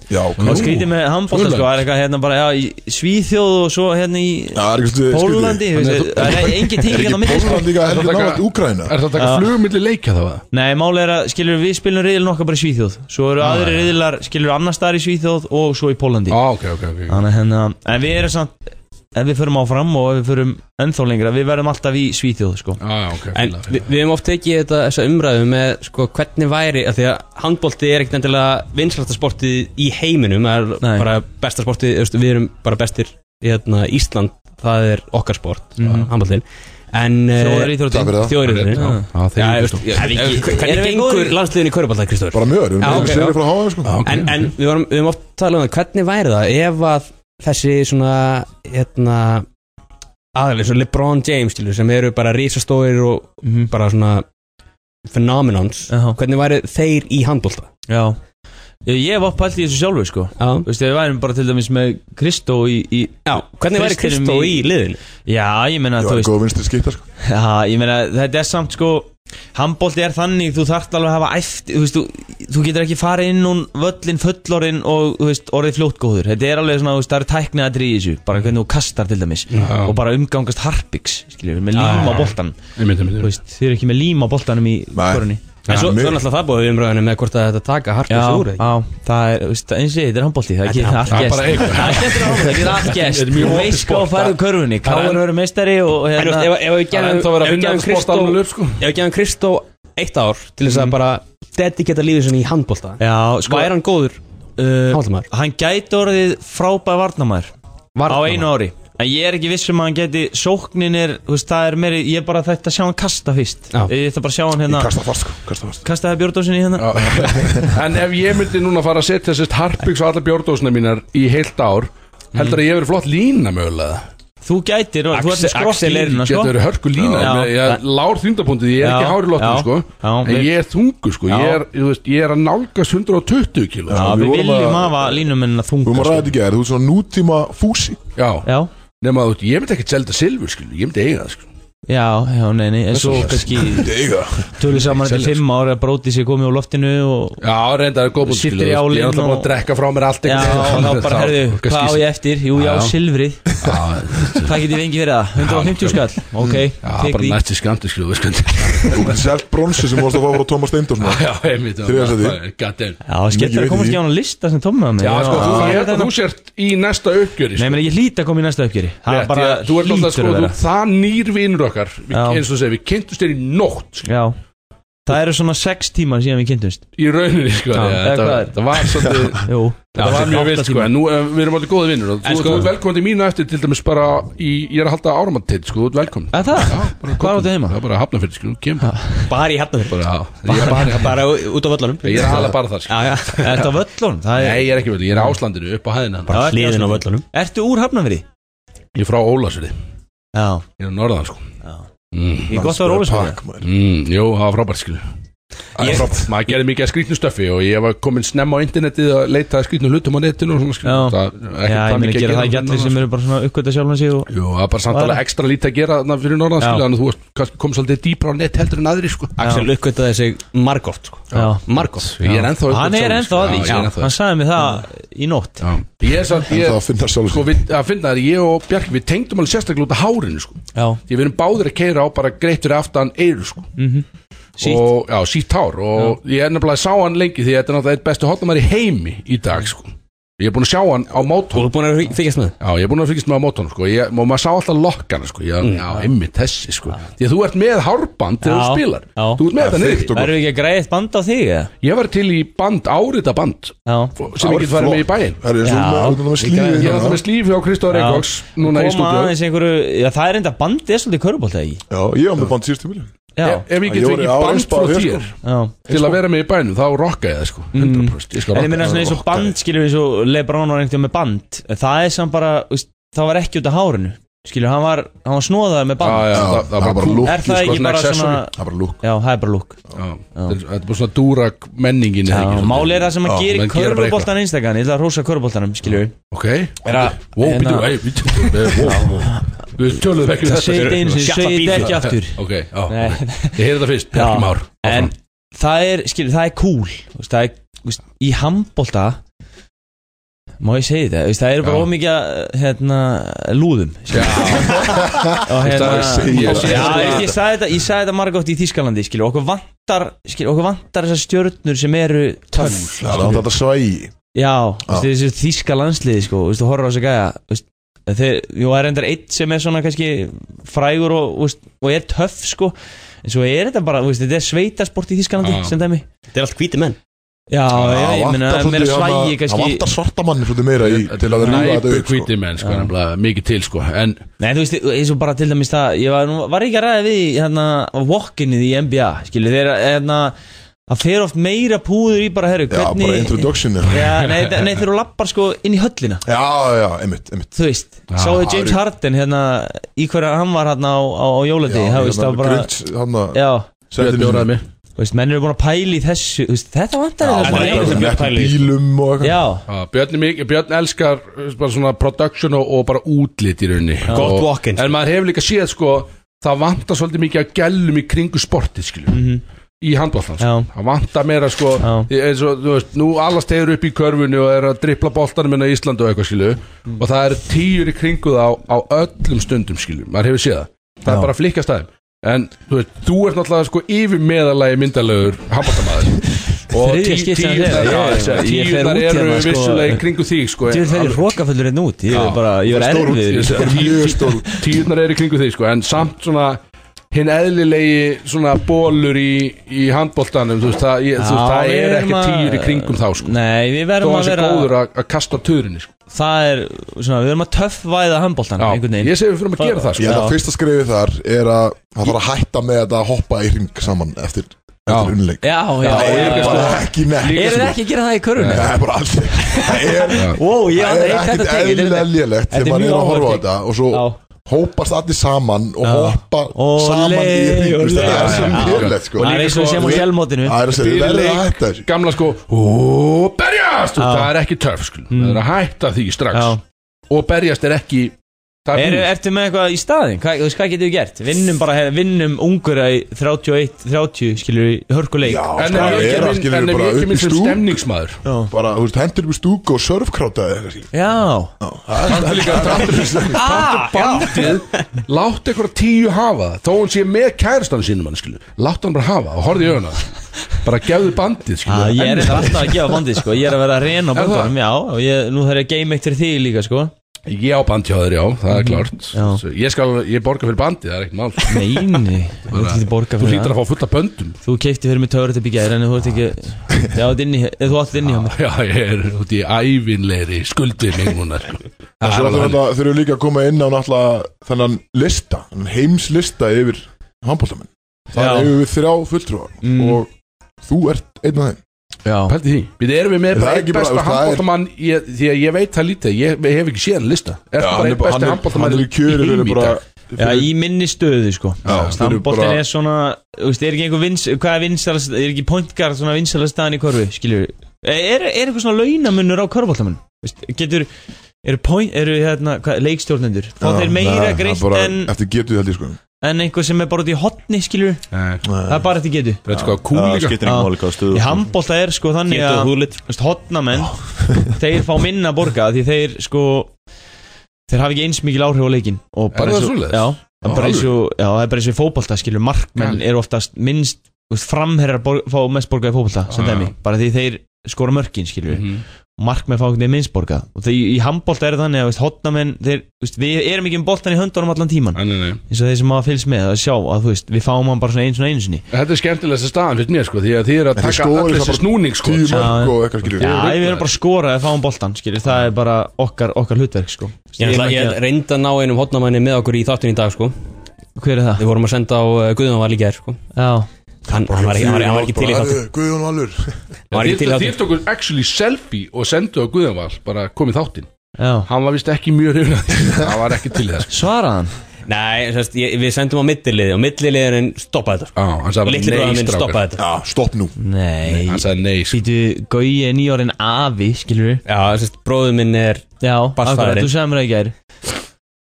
Speaker 8: Já, ok
Speaker 2: Og skrítið með handbólta sko,
Speaker 8: Pólland.
Speaker 2: það er eitthvað hérna bara, já, í Svíþjóð og svo hérna í
Speaker 8: það er eitthvað skrítið.
Speaker 2: Pólandi, þú veist,
Speaker 8: Þannig að
Speaker 2: það
Speaker 8: þú-
Speaker 2: er engin
Speaker 8: Er
Speaker 2: tenging hérna á
Speaker 8: ekki
Speaker 2: milli
Speaker 8: Pólland líka heldur nálægt Úkraína?
Speaker 1: Er það að taka
Speaker 2: Já. Mm.
Speaker 1: flugum milli leikja þá? eða?
Speaker 2: Nei, máli er að, skilur við spilum riðilin okkar bara í Svíþjóð Svo eru
Speaker 1: Ah,
Speaker 2: aðri
Speaker 1: já.
Speaker 2: riðilar, skilur annars staðar í Svíþjóð og svo í Pólandi
Speaker 1: Á, Ah, ok, ok, ok
Speaker 2: Þannig að hérna, en við erum samt, ef við förum áfram og ef við förum ennþá lengra, við verðum alltaf í Svíþjóð sko
Speaker 1: Já, Ah, já, ok
Speaker 5: En vi, við hefum oft tekið þetta, þessa umræðu með sko, hvernig væri, af því að handbólti er ekkert endilega vinslasta sportið í heiminum, það er
Speaker 2: Nei.
Speaker 5: bara besta sportið, þú veist, við erum bara bestir í hérna, Ísland, það er okkar sport, mm
Speaker 2: Mhm.
Speaker 5: handbóltin en eh,
Speaker 2: Þjóðaríþróttin. Takk fyrir það.
Speaker 5: Þjóðaríþróttin.
Speaker 2: Já.
Speaker 1: Ah,
Speaker 2: Já, þeir
Speaker 5: Já,
Speaker 2: eru
Speaker 5: veist,
Speaker 2: stór.
Speaker 5: ég-
Speaker 2: Er við ekki-
Speaker 5: eh,
Speaker 2: erum
Speaker 5: Hvernig
Speaker 2: við
Speaker 5: gengur
Speaker 2: góðir?
Speaker 5: landsliðin í körbólta, Kristóður?
Speaker 8: Bara mjög, við erum
Speaker 5: Já,
Speaker 8: með
Speaker 5: ok, já.
Speaker 8: sérir frá HM, sko. Já, ok,
Speaker 5: En,
Speaker 8: ok.
Speaker 5: en við vorum, við vorum oft talað um það, hvernig væri það ef að þessi svona hérna, aðeins, svo LeBron James skilur, sem eru bara risastóir og bara svona phenomenons, hvernig væri þeir í handbólta?
Speaker 2: Já Ég hef oppallt í þessu sjálfur sko
Speaker 5: Þú
Speaker 2: veist, við værum bara til dæmis með Kristó í, í
Speaker 5: Já, hvernig væri Kristó í liðinu?
Speaker 2: Já, ég meina,
Speaker 8: Já,
Speaker 2: þú
Speaker 8: en
Speaker 2: veist
Speaker 8: góð vinstri skipta, sko
Speaker 2: Já, ég meina, þetta er samt sko Handbólti er þannig, þú þarft alveg að hafa æft Þú veist, þú, þú getur ekki farið inn hún völlin fullorinn og þú veist, orðið fljótgóður Þetta er alveg svona, þú veist, það eru tæknið að dríði þessu Bara hvernig þú kastar til dæmis
Speaker 1: Já.
Speaker 2: Og bara umgangast harpiks, skiljum við, með
Speaker 5: Já,
Speaker 2: lím á
Speaker 5: já.
Speaker 2: boltan
Speaker 1: Einmitt, einmitt,
Speaker 2: Þú veist, þið eru ekki með lím á boltanum í korunni
Speaker 5: En svo, svo náttúrulega það búið við umræðinu með hvort að þetta taka harpið
Speaker 2: Já,
Speaker 5: sig úr eða ekki?
Speaker 2: já, það er, þú veist, eins og ég, þetta er handbólti Það getur allt
Speaker 5: Það er
Speaker 2: gæst
Speaker 5: bara eitthvað.
Speaker 2: Það getur handbólti, það getur allt
Speaker 5: Þetta
Speaker 2: gæst
Speaker 5: er mjög
Speaker 2: Þú
Speaker 5: opið
Speaker 2: veist
Speaker 5: sport,
Speaker 2: hvað færðu körfunni,
Speaker 5: það er-
Speaker 2: káður verður meistari og
Speaker 5: En þú
Speaker 2: hérna
Speaker 5: veist, ef, ef við
Speaker 1: Það er
Speaker 5: gefum
Speaker 1: ennþá að vera að
Speaker 5: ef við
Speaker 1: vinna
Speaker 5: sko. gefum
Speaker 1: þetta sport
Speaker 5: Kristó
Speaker 1: alveg upp,
Speaker 5: ef við gefum Kristó eitt ár til þess að bara dediketa lífið sinni í handbólta
Speaker 2: Já, uh,
Speaker 5: sko Væri hann góður handbóltamæður?
Speaker 2: Hann gæti orðið frábæð varnamæður Á einu ári En ég er ekki viss um að hann geti Sóknin er, þú veist, það er meiri Ég er bara þetta að sjá hann kasta fyrst
Speaker 1: Já.
Speaker 2: Ég ætla bara að sjá hann hérna
Speaker 8: Ég kasta fast, sko, kasta fast
Speaker 2: Kastaði bjórdósinni hérna
Speaker 1: Ah.
Speaker 2: *laughs*
Speaker 1: En ef ég myndi núna fara að setja sérst harpiks á alla bjórdósna mínar í heilt ár heldur að ég verið flott lína mögulega
Speaker 2: Þú gætir, og- þú ert með skrokk í
Speaker 1: hérna,
Speaker 2: línuna, sko.
Speaker 1: Getur verið hörku lína
Speaker 2: Já.
Speaker 1: ég, ég, Lár þýndapúntið, ég er
Speaker 2: Já.
Speaker 1: ekki hár í
Speaker 2: Já.
Speaker 1: lottinu sko
Speaker 2: Já,
Speaker 1: En
Speaker 2: við-
Speaker 1: ég er þungu sko Ég er, þú veist, ég er að nálgast 120 kilo
Speaker 2: Já, við viljum hafa línumennina þunga sko.
Speaker 8: Við erum að ræða þetta í gæri, þú ert svona nútíma fúsi
Speaker 1: Já,
Speaker 2: Já.
Speaker 1: nema þú veist, ég myndi ekki selda silfur skilu Ég myndi eiga það sko. skilu
Speaker 2: Já, já, nei, nei En svo
Speaker 1: Þessu-
Speaker 2: kannski
Speaker 8: Eiga.
Speaker 2: Tölum saman þetta í
Speaker 1: Selja,
Speaker 2: fimm ári að bróti sér komið úr loftinu og
Speaker 1: Já, reynda er góðbúnd
Speaker 2: Sittir
Speaker 1: skilu
Speaker 2: í
Speaker 1: Ég er
Speaker 2: álinn
Speaker 1: alltaf búin
Speaker 2: og-
Speaker 1: að drekka frá mér allt
Speaker 2: Já, og *laughs* þá bara, herðu,
Speaker 1: kannski-
Speaker 2: hvað á ég eftir? Jú, já,
Speaker 1: Já.
Speaker 2: silfrið
Speaker 1: *laughs*
Speaker 2: Hvað get ég fengið fyrir það? 150 skall? Ok,
Speaker 1: Já,
Speaker 2: tek
Speaker 1: bara
Speaker 2: því
Speaker 1: nætti skamti skilu Þú
Speaker 8: Þú getur selt bronsi sem vorst að fá frá Tómas Steindorsson
Speaker 1: Já, einmitt
Speaker 8: Þriðarsæti
Speaker 1: Goddamn
Speaker 2: Já, það skemmt að komast ekki á hann lista sem Tommi var með
Speaker 1: Já, sko, þú,
Speaker 2: það
Speaker 1: ég
Speaker 2: er
Speaker 1: held að þú
Speaker 2: þetta
Speaker 1: sért í næsta uppgjöri
Speaker 5: sko.
Speaker 2: Nei, menn ég hlýt að koma í næsta uppgjöri Það
Speaker 1: Rétt,
Speaker 2: er bara
Speaker 1: ég- Þú ert alltaf
Speaker 2: hlýtur
Speaker 1: sko,
Speaker 2: að
Speaker 1: þú,
Speaker 2: vera
Speaker 1: það nýr vinnur okkar við,
Speaker 2: Já.
Speaker 1: eins og segir, við kynntumst þér í nótt sko,
Speaker 2: Já Það eru svona 6 tímar síðan við kynntumst
Speaker 1: í rauninni, sko
Speaker 2: Já,
Speaker 1: já,
Speaker 2: eða
Speaker 1: þetta,
Speaker 2: hvað er?
Speaker 1: þetta var svolítið
Speaker 2: Jú,
Speaker 1: þetta var mjög vilt, sko, en nú eh, við erum alveg góði vinnur og
Speaker 2: En
Speaker 1: þú
Speaker 2: sko-
Speaker 1: sko, ert velkomin til mínu eftir til dæmis bara í, ég er að halda áramantið, sko, þú ert velkomin
Speaker 2: Að það? Hvað áttu heima?
Speaker 1: Það er bara að hafna fyrir, sko, þú kemur bara.
Speaker 5: Bara í hafnafjörð
Speaker 1: Bara, já, ég er bara,
Speaker 5: bara út á völlunum
Speaker 1: ég er aðalega bara þar, sko
Speaker 5: Já, já
Speaker 2: Þetta á völlunum það
Speaker 1: Nei, ég er ekki vel, ég er á Áslandinu, upp á hæðina
Speaker 5: Bara hliðin á völlunum
Speaker 2: Ertu úr hafnafri?
Speaker 1: Ég er frá Ólasvili
Speaker 2: Já
Speaker 1: Ég er á norðan, sko
Speaker 2: Já
Speaker 1: Mm.
Speaker 2: Ég er gott að vera Ólasvili
Speaker 1: Mm, Jú, það var frábært, skilu Ég- maður gerði mikið að skrýtnu stöffi og ég var komin snemma á internetið að leita að skrýtnu hlutum á netinu og svona skrýtnu
Speaker 2: Já, ég meina, gera það ekki allir sem eru bara svona uppgöta sjálfan sig og...
Speaker 1: Jú, það er bara samt alveg ekstra lítið að gera þarna fyrir norðan
Speaker 2: Já.
Speaker 1: skilja þannig að þú varst kannski kom svolítið dýpra á net heldur en aðri sko
Speaker 5: Axel uppgöttaði sig margótt sko. Margótt
Speaker 1: Ég er ennþá
Speaker 2: Hann er ennþá að því, sko. hann sagði mér það í nótt
Speaker 1: Ég er samt, ég
Speaker 2: Ennþá
Speaker 1: að finna sjálf Sko, við, að finna það, ég og Bjarki, við tengdum alveg sérstaklega út af hárinu, sko
Speaker 2: Já
Speaker 1: Því við erum báðir að keira á bara greitt fyrir aftan eiru, sko
Speaker 2: Mhm.
Speaker 1: Sítt og, Já, sítt hár Og ég er nefnilega að sá hann lengi því þetta er náttúrulega eitt bestu hotnamæri í heimi í dag, sko Ég er búinn að sjá hann á
Speaker 2: Sko.
Speaker 1: mótón Þú er
Speaker 5: búinn að fylgjast með?
Speaker 1: Já, ég er búinn að fylgjast með á mótón, sko ég, Og maður sá alltaf lokkana, sko ég,
Speaker 2: Mm.
Speaker 1: Já, einmitt þessi, sko Því að þú ert með hárband þegar þú spilar Þú ert með þetta niður í.
Speaker 2: Verður ekki að græða eitt band á þig, eða?
Speaker 1: Ég var til í band, árita band sem ég get farið með í bæinn
Speaker 8: Það er
Speaker 2: Já.
Speaker 8: svona, þú erum hérna. að slíða
Speaker 1: Ég er alltaf með slífi á Kristóður Reykjavíks núna í
Speaker 2: Koma
Speaker 1: stúdíu
Speaker 2: aðeins einhverju, já það er enda band er svolítið körubólt eða ekki
Speaker 8: Já, ég var með band síðustu vilja
Speaker 2: Já.
Speaker 1: Ef- ef ég get
Speaker 8: Ég var í
Speaker 1: fengið
Speaker 8: ár
Speaker 1: band
Speaker 8: einsbað
Speaker 1: frá
Speaker 8: þér,
Speaker 1: þér
Speaker 2: Já.
Speaker 1: til að vera með í bænum þá rocka ég það sko 100% ég skal
Speaker 2: Mm. En ég
Speaker 1: rocka
Speaker 2: meina
Speaker 1: það.
Speaker 2: svona eins og band skilur við svo Lebron var einhvern veginn með band Það er samt bara, þú veist, það var ekki út af hárinu Skilur, hann var, hann var snóðað með band
Speaker 1: Já, já, það- það var bara lúk,
Speaker 2: Er það
Speaker 1: sko,
Speaker 2: ekki
Speaker 1: svona
Speaker 2: bara
Speaker 1: accessory.
Speaker 2: svona
Speaker 1: Það var bara lúk.
Speaker 2: Já, það er bara lúk
Speaker 1: Þetta er- þetta er bara svona dúrak menningin er það ekki,
Speaker 2: Já,
Speaker 1: svolítið?
Speaker 2: máli er það sem
Speaker 1: Já,
Speaker 2: að gera
Speaker 1: menn
Speaker 2: í
Speaker 1: gera bara eitthvað.
Speaker 2: körfuboltan einstakann Ég ætla að rósa körfuboltanum, skilur við
Speaker 1: Ok Wow, býtu, ei, býtu wow, wow. Við tölum ekki um
Speaker 2: Það segir hérna- þetta einu sinni,
Speaker 1: Shut
Speaker 2: segir
Speaker 1: up,
Speaker 2: þetta ekki
Speaker 1: Ísak.
Speaker 2: aftur
Speaker 1: Ok, já
Speaker 2: Nei.
Speaker 1: Ég heyrði það fyrst, Bjarki Már
Speaker 2: En það er, skilur, það er cool þú veist, Það er, þú veist, í handbolta Má ég segja þetta, þú veist, það eru bara
Speaker 1: Já.
Speaker 2: ómikið að, hérna, lúðum skilur við. *laughs* og hérna
Speaker 1: Það er að segja
Speaker 2: og-
Speaker 1: það.
Speaker 2: Já, ég, ég sagði þetta, ég sagði þetta margótt í Þískalandi skilur, okkur vantar, skilur, okkur vantar þessar stjörnur sem eru töff
Speaker 8: Það er
Speaker 2: skilur.
Speaker 8: þetta svægi
Speaker 2: Já, þú veist, þessi þíska landsliði sko, þú veist, þú horfir á þessu gæja þú veist, þeir, jú, það er endar eitt sem er svona kannski frægur og, þú veist, og er töff sko, en svo er þetta bara þú veist, þetta er sveitasport í Þískalandi
Speaker 8: Já.
Speaker 2: sem dæmi
Speaker 5: Ah. Þetta er allt hvíti menn
Speaker 2: Já,
Speaker 8: Ah,
Speaker 2: ég, ég meina,
Speaker 8: vantar
Speaker 2: meira
Speaker 8: svolítið
Speaker 2: svægi
Speaker 8: hana- Það
Speaker 2: kannski
Speaker 8: vantar svarta manni svolítið meira í til að rúa þetta
Speaker 1: Næbu
Speaker 8: upp sko.
Speaker 1: kvíti menn, sko, nefnilega Mikið til, sko En
Speaker 2: Nei, þú veist, eins og bara til dæmis það Ég var, nú, var ekki að ræða við í, hérna, walkinnið í NBA Skilu, þeir að, hérna Það fer oft meira púður í bara, herru,
Speaker 8: Já,
Speaker 2: hvernig
Speaker 8: bara introductionið sko.
Speaker 2: Já, nei, þe- nei þeir eru lappar sko inn í höllina
Speaker 8: Já, já, einmitt, einmitt
Speaker 2: Þú veist,
Speaker 8: Já,
Speaker 2: sáðu
Speaker 8: það
Speaker 2: James
Speaker 8: eru-
Speaker 2: Harden hérna Í hverja hann var hérna á, á, á jólandi
Speaker 8: Já,
Speaker 2: Það veist, það
Speaker 8: hérna,
Speaker 2: var bara
Speaker 8: Grinch, hérna,
Speaker 2: Já
Speaker 8: Björn bjóraði mig.
Speaker 2: Þú veist, menn eru búin að pæla í þessu þú veist, Þetta vantar
Speaker 8: Já,
Speaker 2: þeirra.
Speaker 8: maður er ekki bílum og eitthvað
Speaker 2: Já
Speaker 1: Já, Björn, er mikið, Björn elskar uh, bara svona production og, og bara útlit í rauninni
Speaker 5: Gott
Speaker 1: Og-
Speaker 5: walk-in,
Speaker 1: En maður hefur líka séð sko Það vantar svolítið mikið að gælum í kringu sportið skiljum
Speaker 5: Mhm.
Speaker 1: Í handbóltan sko. Það vantar meira sko því eins og, þú veist, Nú allast hefur upp í körfunni og er að drippla boltanum inn á Íslandu og eitthvað skilju
Speaker 5: Mm.
Speaker 1: Og það eru tíur í kringu það á, á öllum stundum skiljum Maður hefur séð það Það
Speaker 12: Já.
Speaker 1: er bara að flikka staðum En þú veist, þú ert náttúrulega sko yfir meðalagi myndalögur handbóltamaður
Speaker 2: *laughs* Þriðja skipti sem þetta er. Ég- ég- ég fer
Speaker 1: Tíunar
Speaker 2: út
Speaker 1: eru
Speaker 2: hérna, sko.
Speaker 1: vissulega í kringu þig sko
Speaker 2: Djöfull, þeir sko. eru hrókafullir einn út Ég er bara, ég er erfið
Speaker 1: Tíunar eru í kringu þig sko En samt svona hinn eðlilegi svona bólur í, í handbóltanum þú veist það, ég, þú veist, það
Speaker 2: Já, við
Speaker 1: er
Speaker 2: erum
Speaker 1: ekki
Speaker 2: að-
Speaker 1: tíur í kringum þá sko
Speaker 2: Nei, við verðum
Speaker 1: Þó
Speaker 2: að
Speaker 1: sé
Speaker 2: vera-
Speaker 1: góður að, að kasta töðurinni sko.
Speaker 2: Það er, svona, við erum að töffvæða handbóltan einhvern veginn
Speaker 1: ég segi við fyrir að gera það
Speaker 8: Ég
Speaker 1: sko
Speaker 8: held að fyrsta skrifið þar er að það þarf að hætta með þetta að hoppa í ring saman eftir, eftir unnleik
Speaker 2: Já, já,
Speaker 8: Það
Speaker 2: já,
Speaker 8: er
Speaker 2: já,
Speaker 8: bara
Speaker 2: já.
Speaker 8: ekki neitt
Speaker 2: Eru þið ekki að gera það í körfunni?
Speaker 8: Það er bara allt Það er,
Speaker 2: Ó, ég
Speaker 8: það
Speaker 2: aldrei heyrt þetta
Speaker 8: er
Speaker 2: tekið,
Speaker 8: ekkit
Speaker 2: þetta er-
Speaker 8: eðlilega lélegt
Speaker 2: þetta er
Speaker 8: þegar maður
Speaker 2: mjög
Speaker 8: er að horfa á
Speaker 2: áhugavert
Speaker 8: þetta og svo hópast allir saman og hoppa saman í ring þú veist, Það er svo lélegt sko
Speaker 1: líka, sko, þú-
Speaker 8: Það er svo
Speaker 1: Fyrir
Speaker 8: lélegt að
Speaker 1: leik,
Speaker 8: hætta þessu
Speaker 1: Gamla sko, ó, berjast þú, Það er ekki törf sko,
Speaker 2: Mm.
Speaker 1: það er að hætta því strax Og berjast er ekki það
Speaker 2: Er,
Speaker 1: búið.
Speaker 2: ertu með eitthvað í staðin? Hva, þú veist, hvað getur við gert? Vinnum bara, hérna, vinnum ungur í 31-30, skilur við, í hörkuleik Já,
Speaker 1: En ef ég
Speaker 8: er sko, að
Speaker 1: kemur
Speaker 8: skilur
Speaker 1: en ef
Speaker 8: bara
Speaker 1: ég
Speaker 8: upp í
Speaker 1: kemur sem
Speaker 8: stúku.
Speaker 1: stemningsmaður
Speaker 8: Bara, þú veist, hendur upp í stúku og surfkrátaði eitthvað sín
Speaker 2: Já Ah!
Speaker 1: Taktu líka Taktu bandið Láttu eitthvað tíu hafa það Þó hún sé með kærastan sínum hann skilu Láttu hann bara hafa það og horfðu í auðuna Bara gefðu bandið skilu
Speaker 2: Já, Ah, ég er eitthvað alltaf að gefa bandið, sko Ég er að vera að reyna á
Speaker 1: Er það?
Speaker 2: bandunum, já Og ég, nú þarf ég að geima eitt fyrir því líka, sko
Speaker 1: Ég á bandhjóður, já, það
Speaker 2: Mhm,
Speaker 1: er klárt Svo Ég skal, ég borga fyrir bandið, það er ekkert mál sko.
Speaker 2: Neini, þú
Speaker 1: Bara-
Speaker 2: ert ekki borga
Speaker 1: Þú
Speaker 2: fyrir
Speaker 1: hlýtur að fá fulla böndum
Speaker 2: Þú keipti fyrir mig törut upp í gæri En þú ert ekki,
Speaker 8: Ah.
Speaker 2: já, þú ert inni- eh, þú átt inn í hjá mér
Speaker 1: *laughs* Já, ég er út í ævinleiri skuldið mig núna sko.
Speaker 8: En svo þurfum við þurfum líka að koma inn á náttúrulega þennan lista, þennan heimslista yfir handbóltamenn. Það
Speaker 1: Já.
Speaker 8: hefur við þrjá fulltrúa
Speaker 2: Mm.
Speaker 8: og þú ert einn af þeim.
Speaker 2: Já.
Speaker 1: Pældi því Við erum við með
Speaker 8: Það er
Speaker 1: bara
Speaker 8: ekki
Speaker 1: einn
Speaker 8: bara-
Speaker 1: besta
Speaker 8: það er-
Speaker 1: handbóltamann Því að ég veit það lítið, ég hef ekki séð hann lista Er það
Speaker 8: Já, hann
Speaker 1: bara einn
Speaker 8: er bara-
Speaker 1: besta
Speaker 8: hann er- hann
Speaker 1: handbóltamann
Speaker 8: er í kjöri, hann er bara-
Speaker 2: Já, í minni stöðu sko
Speaker 13: Já,
Speaker 2: Stamboltin
Speaker 13: bara-
Speaker 2: er svona þú veist, Er ekki einhver vins Hvað er vinsalast Er ekki pointgar Svona vinsalast staðan í korfi Skiljur Er, er eitthvað svona launamunur á korfbóltamun Getur Eru point Eru hérna hvað, Leikstjórnendur Fá
Speaker 8: Já,
Speaker 2: þeir meira
Speaker 8: nei,
Speaker 2: greitt
Speaker 8: það bara
Speaker 2: en
Speaker 8: Eftir getu held ég sko
Speaker 2: En einhver sem er bara út í hotni Skiljur Það er bara eftir getu
Speaker 8: Þú veit sko, kúl Já, líka. skiptir ekki máli hvað stöðu
Speaker 2: Í
Speaker 8: þú-
Speaker 2: handbólta er sko þannig
Speaker 8: Getu og
Speaker 2: að þú veist, Hotnamenn Þeir fá minna borga Því þeir sko Þeir hafa ekki eins mikil áhrif á leikin og bara
Speaker 13: Er það
Speaker 2: eins og-
Speaker 13: svoleiðis?
Speaker 2: Já, það er bara eins
Speaker 13: alveg?
Speaker 2: og Já, það er bara eins og í fótbolta skilur Markmenn eru oftast minnst þú veist, Framherjar borg, fá mest borgað í fótbolta sem
Speaker 13: Já, já.
Speaker 2: dæmi Bara því þeir skora mörkin skilur
Speaker 13: Mhm.
Speaker 2: mm
Speaker 1: Mhm.
Speaker 2: Markmenn fá einhvern veginn minnst borgað Og þeir, í handbólta er það þannig að þú veist, hotnamenn þeir, þú veist, Við erum ekki um boltan í höndunum allan tíman
Speaker 1: Nei, nei, nei
Speaker 2: Mhm. eins og þeir sem hafa fylgst með að sjá að þú veist, við fáum hann bara svona eins og einu sinni
Speaker 1: Þetta er skemmtilegsta staðan fyrir mér sko Því að þið eru að
Speaker 2: Þetta
Speaker 1: taka
Speaker 2: skoðar
Speaker 1: allir
Speaker 2: það
Speaker 1: þessi
Speaker 2: bara
Speaker 1: snúning sko
Speaker 2: tíu mörk og
Speaker 8: eitthvað
Speaker 2: Já, við erum bara að skora að fáum boltan, skilur, það er bara okkar, okkar hlutverk, sko
Speaker 5: Ég, ætla, ég reyndi að ná einum hotnamanni með okkur í þáttun í dag sko
Speaker 2: Hver er það?
Speaker 5: Við vorum að senda á uh, Guðjón var líka þér sko
Speaker 2: Já
Speaker 5: Hann, hann, var, ekki- hann, var, hann var ekki til í þáttun
Speaker 8: Guðjón Valur
Speaker 5: Hann var ekki til í
Speaker 1: Þið
Speaker 5: þáttun
Speaker 1: tókur actually selfie og sendu á Guðanvall bara komið þáttinn
Speaker 2: Já.
Speaker 1: Hann var vist ekki mjög hrifna
Speaker 2: *laughs*
Speaker 1: Það var ekki til í það sko.
Speaker 2: Svaraði hann?
Speaker 5: Nei, sérst, ég, við sendum á milliliði og milliliðin stoppaði þetta sko.
Speaker 1: Já, hann sagði bara,
Speaker 5: Litli
Speaker 1: "Nei,
Speaker 5: bróðar minn
Speaker 1: strákar."
Speaker 5: stoppaði þetta
Speaker 8: Já, stopp nú
Speaker 2: Nei
Speaker 1: Hann sagði nei
Speaker 2: sko. Býtu, Gaui er nýjórinn afi, skilur við
Speaker 5: Já, sérst, bróður minn er
Speaker 2: Já, akkurat,
Speaker 5: barnsfaðirinn.
Speaker 2: þú sagði mér það í gær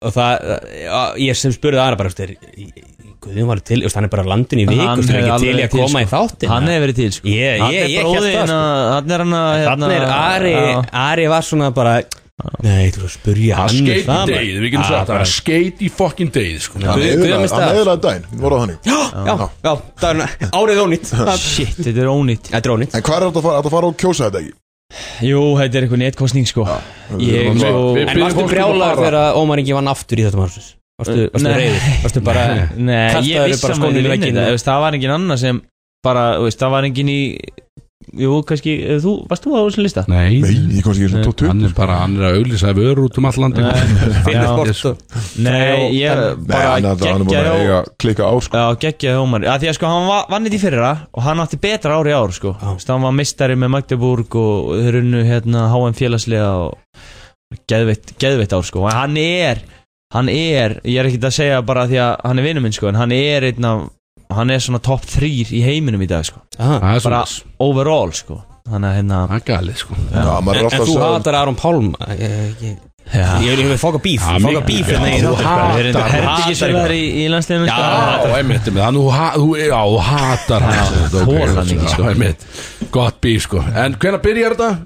Speaker 5: Og það, já, ég sem spurði aðra bara, þú veist, Guðjón var til, þú veist, hann er bara á landinu í vik, þú veist, hann er
Speaker 2: hefði
Speaker 5: ekki til í
Speaker 2: alveg
Speaker 5: að koma
Speaker 2: sko.
Speaker 5: í þáttin
Speaker 2: Hann hefur verið til, sko
Speaker 5: Ég,
Speaker 2: Hann
Speaker 5: ég,
Speaker 2: er
Speaker 5: ég held
Speaker 2: bróðirinn
Speaker 5: það sko
Speaker 2: að- Hann er hann að hérna-
Speaker 5: Þannig er Ari,
Speaker 2: Já.
Speaker 5: Ari var svona bara Nei, þú veist, að spurja
Speaker 1: Hann
Speaker 5: hann um
Speaker 1: skeit í
Speaker 5: það, maður."
Speaker 1: degið, við
Speaker 2: Ah,
Speaker 1: getum
Speaker 5: Já,
Speaker 1: sagt
Speaker 5: bara-
Speaker 1: Hann skeit í fucking degið sko
Speaker 8: Hann eðlaði daginn, við vorum á hann
Speaker 5: Já, Ah, já, já, það er árið ónýtt
Speaker 2: Shit, þetta er ónýtt
Speaker 5: Þetta er ónýtt
Speaker 8: En hvað er þetta að fara, átti að fara og kjósa þetta ekki?
Speaker 2: Jú, þetta er eitthvað netkostning, sko Ég,
Speaker 5: En
Speaker 2: sko
Speaker 5: varstu brjálar þegar Ómar Ingi vann aftur í þetta marsus? Varstu, varstu
Speaker 2: Nei.
Speaker 5: reyður? Varstu bara
Speaker 2: Nei, ég
Speaker 5: kastaður
Speaker 2: vissi
Speaker 5: bara
Speaker 2: að maður
Speaker 5: skónum í
Speaker 2: vinni
Speaker 5: vegginn?
Speaker 2: þetta þú veist, Það var engin annar sem bara, þú veist, það var engin í Jú, kannski, eh, þú, varst þú á þessum lista?
Speaker 1: Nei,
Speaker 8: Nei, ég komst ekki svona tóttu
Speaker 1: Hann er bara, hann er að auglýsa vörur út um alland
Speaker 2: Nei, ég bara
Speaker 8: Nei, hann er búin
Speaker 2: geggjaði
Speaker 8: að
Speaker 2: Ó-
Speaker 8: eiga klika á sko
Speaker 2: Já, geggjaði Ómar Já, því að sko, hann va- vann þetta í fyrra og hann átti betra ári ár, sko Þú veist, Hann var mistari með Magdeburg og þeir runnu hérna HM félagslega og geðveitt, geðveitt ár, sko Og hann er, hann er, ég er ekkert að segja bara því að hann er vinur minn, sko En hann er einn af, hann er svona top 3 í heiminum í dag, sko
Speaker 1: það er
Speaker 2: Bara
Speaker 1: svoleiðis.
Speaker 2: overall, sko Þannig að hérna
Speaker 1: Hann galið, sko
Speaker 8: Já, maður er
Speaker 5: En, en
Speaker 8: alltaf
Speaker 5: þú
Speaker 8: að
Speaker 5: hatar Aron Pálm Ég ég-
Speaker 2: Já.
Speaker 5: ég vil ekki fóka bíf
Speaker 1: Já,
Speaker 5: Fóka
Speaker 1: mikið.
Speaker 5: bíf
Speaker 1: Já,
Speaker 5: hérna í
Speaker 1: þú
Speaker 5: þáttum.
Speaker 1: hatar-
Speaker 5: Við erum þetta-
Speaker 1: hatar-
Speaker 5: Hatar
Speaker 2: Helgisverðar í,
Speaker 5: eitthvað.
Speaker 2: í landsliðinu
Speaker 1: Já,
Speaker 2: sko.
Speaker 1: einmitt, einmitt, hann, þú ha- þú, já, þú hatar hann Þetta, ok,
Speaker 2: þolir hann ekki,
Speaker 1: já,
Speaker 2: sko.
Speaker 1: einmitt. Gott bíf, sko En hvenær byrjar þetta?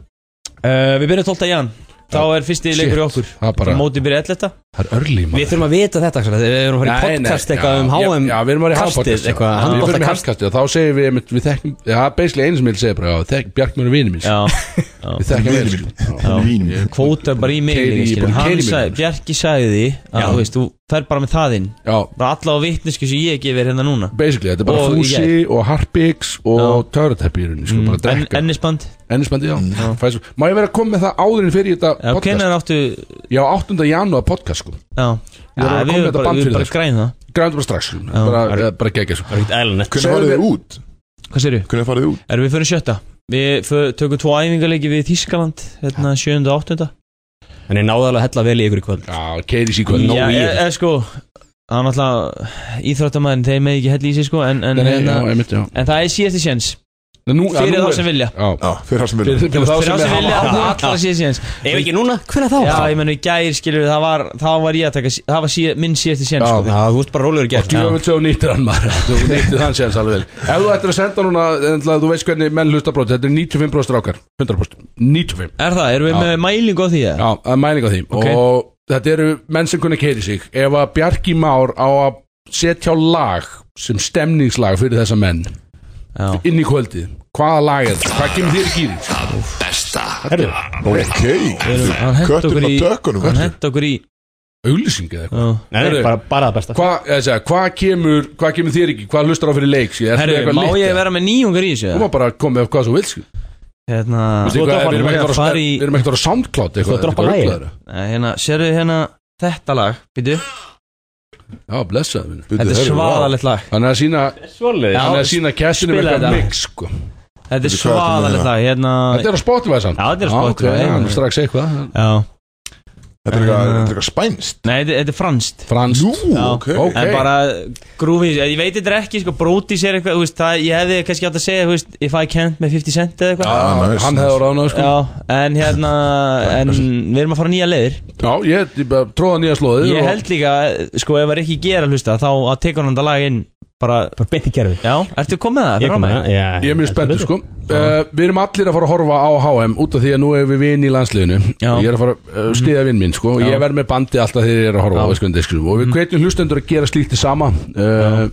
Speaker 2: uh, Við byrjum 12. jan Þá er fyrsti leikur í okkur
Speaker 1: Það er bara,
Speaker 2: Móti byrja 11.
Speaker 1: það er örlí,
Speaker 5: Við þurfum að vita þetta Axel, Við erum að fara í
Speaker 1: Nei, nei,
Speaker 5: podcast
Speaker 1: já,
Speaker 5: eitthvað um
Speaker 1: já,
Speaker 5: HM
Speaker 1: Já, við erum að sko. vera í
Speaker 5: kastið,
Speaker 1: handbóltakastið Já, Við erum
Speaker 5: eitthvað,
Speaker 1: í
Speaker 5: handbóltakast.
Speaker 1: handkastið og þá segjum við einmitt, Við þekkum, já, basically einu sem ég vil segja bara já, þekk- Bjarkmur er vinið minn
Speaker 2: Já,
Speaker 1: Við þekkjum vel sko.
Speaker 2: Já.
Speaker 8: Vínum
Speaker 2: Kvótar bara í mig
Speaker 1: Keyri í-
Speaker 2: skilur.
Speaker 1: bara
Speaker 2: Hann
Speaker 1: keyri í mig.
Speaker 2: sagði, Bjarki sagði því
Speaker 1: Já.
Speaker 2: að þú veist, þú fer bara með það inn
Speaker 1: Já,
Speaker 2: Bara alla á vitnisku sem ég gefur hérna núna
Speaker 1: basically, þetta er bara
Speaker 2: Og í
Speaker 1: Fúsi og Harpix og Töruteppi í rauninni, sko, bara
Speaker 2: en,
Speaker 1: drekka
Speaker 2: Ennisband
Speaker 1: Ennisbandi, já, fæsum Má ég vera að koma með það áðurinn fyrir þetta
Speaker 2: Já,
Speaker 1: podcast?
Speaker 2: Hvenær áttu
Speaker 1: Já, 8. janúar podcast, sko
Speaker 2: Já,
Speaker 1: Ég er að
Speaker 2: Já,
Speaker 1: koma með
Speaker 2: við
Speaker 1: þetta
Speaker 2: bara,
Speaker 1: band
Speaker 2: við
Speaker 1: fyrir
Speaker 2: bara
Speaker 1: þér, sko.
Speaker 2: græn það
Speaker 1: Grændum bara strax, sko. bara, eh, bara gegja, sko
Speaker 8: Hvernig farið þið út?
Speaker 2: Hvað segir þú?
Speaker 8: Hvernig farið þið út?
Speaker 2: Erum við fyrir sjötta? Við för- tökum tvo æfingarleiki við Þískaland hérna 7. og 8.
Speaker 5: Hann er náðalega hella vel í ykkur í kvöld
Speaker 1: Já, keiris í kvöld
Speaker 2: Já,
Speaker 1: nóg í
Speaker 2: e,
Speaker 1: þetta.
Speaker 2: e, sko Það er náttúrulega íþróttamæðin, þeir með ekki hella í sig sko En, en,
Speaker 1: Nei, nei,
Speaker 2: hérna,
Speaker 1: já, einmitt, já.
Speaker 2: en það er síðasti séns
Speaker 1: Nei, nú- já,
Speaker 2: Fyrir
Speaker 1: nú
Speaker 2: þá
Speaker 1: er-
Speaker 2: sem vilja
Speaker 1: Já,
Speaker 8: Já, fyrir það sem
Speaker 1: Fyrir-
Speaker 8: vilja
Speaker 1: fyrir þá sem
Speaker 2: sem
Speaker 1: við
Speaker 2: vilja
Speaker 1: hafa-
Speaker 2: hafa allra síðast síðans
Speaker 5: Ef ekki núna, hvenær þá?
Speaker 2: Já, ég menn í gær, skilur við, það var, það var ég að taka, það var síð, minn síðasti séns sko.
Speaker 5: Já, þú veist bara rólegur í
Speaker 1: Og djöfum svo nýttir hann maður Þú nýttir hann séðans alveg vel Ef þú ættir að senda núna ennlega, Þú veist hvernig menn hlusta bróti Þetta er 95% rákar 100% 95
Speaker 2: Er það, erum við
Speaker 1: Já.
Speaker 2: með mælingu á því eða?
Speaker 1: Já, það er mæling á því
Speaker 2: Ok.
Speaker 1: Og þetta eru menn sem kunna keiri sig Ef að Bjarki Már á að setja á lag Sem stemningslag fyrir þessa menn
Speaker 2: Já.
Speaker 1: Inn í kvöldið Hvaða lag er það? Hvað kemur þér í kýri?
Speaker 14: Besta
Speaker 1: Herðu
Speaker 8: Ok,
Speaker 2: Hann hent
Speaker 8: kötturinn
Speaker 2: okkur
Speaker 8: á
Speaker 2: í,
Speaker 8: tökkunum
Speaker 2: hann
Speaker 8: hvernig?
Speaker 2: hent okkur í
Speaker 1: Auglýsing eða eitthvað
Speaker 2: Já.
Speaker 1: Heyrðu,
Speaker 5: bara það besta
Speaker 1: Hvað ég segi, hvað kemur, hvað kemur þér ekki? Hvað hlustar á fyrir leik? Ég,
Speaker 2: Herru, má ég vera með nýjungar í þessu?
Speaker 1: Þú
Speaker 2: eða?
Speaker 1: má bara koma með hvað svo vilt sko.
Speaker 2: Hérna,
Speaker 1: Veistu hvað, Við erum ekkert að fara í Við erum ekkert að fara á SoundCloud eitthvað,
Speaker 5: droppa
Speaker 1: eitthvað
Speaker 5: lagið?
Speaker 1: ruglaður.
Speaker 2: Nei, hérna, sérðu hérna þetta lag, býtu?
Speaker 1: Já, blessaðu minn
Speaker 2: Þetta er svaðalegt lag
Speaker 1: Hann er að sína
Speaker 5: Svoleiðis
Speaker 1: Hann er að
Speaker 2: Já,
Speaker 1: sína kessinu með
Speaker 2: spila
Speaker 1: eitthvað
Speaker 2: þetta.
Speaker 1: mix sko.
Speaker 2: Þetta er
Speaker 8: Bíddu, hvað ertu með
Speaker 2: svaðalegt
Speaker 8: hérna?
Speaker 2: lag, hérna
Speaker 1: Þetta er á Spotify samt
Speaker 2: Já, þetta er á Spotify,
Speaker 1: ok,
Speaker 2: já,
Speaker 1: já,
Speaker 2: já.
Speaker 1: strax eitthvað
Speaker 2: Já
Speaker 8: Þetta er eitthvað-
Speaker 15: En,
Speaker 8: þetta er eitthvað spænst
Speaker 15: Nei, þetta þetta er franskt
Speaker 1: Franskt
Speaker 8: Nú, ok. ok.
Speaker 15: En bara grúfið, ég veit þetta er ekki sko, Brótis er eitthvað, þú veist, það, ég hefði kannski átt að segja þú veist, If I can't með 50 cent eða eitthvað
Speaker 1: Já, Ah, nice, hann hefði nice. ránað, sko.
Speaker 15: Já, en hérna, en við erum að fara nýja leiðir
Speaker 1: Já, ég, ég bara tróða nýja slóðið
Speaker 15: Ég
Speaker 1: og-
Speaker 15: held líka, sko, ef maður ekki gera hlusta Þá að teka hann þetta lag inn Bara, bara
Speaker 2: beint í gerfi
Speaker 15: Já, ertu komið það?
Speaker 1: Ég
Speaker 15: fyrir
Speaker 1: kom
Speaker 15: afmæli?
Speaker 1: með það, Ég er mjög spenntur sko uh, Við erum allir að fara að horfa á HM út af því að nú erum við vinn í landsliðinu
Speaker 15: Já. Mhm.
Speaker 1: Ég er að fara að uh, stiða vinn minn sko
Speaker 15: Já. Mhm.
Speaker 1: Ég verð með bandi alltaf þegar ég er að horfa á Veskunni Deskrum Og við hvetjum hlustendur að gera slíkt í sama uh,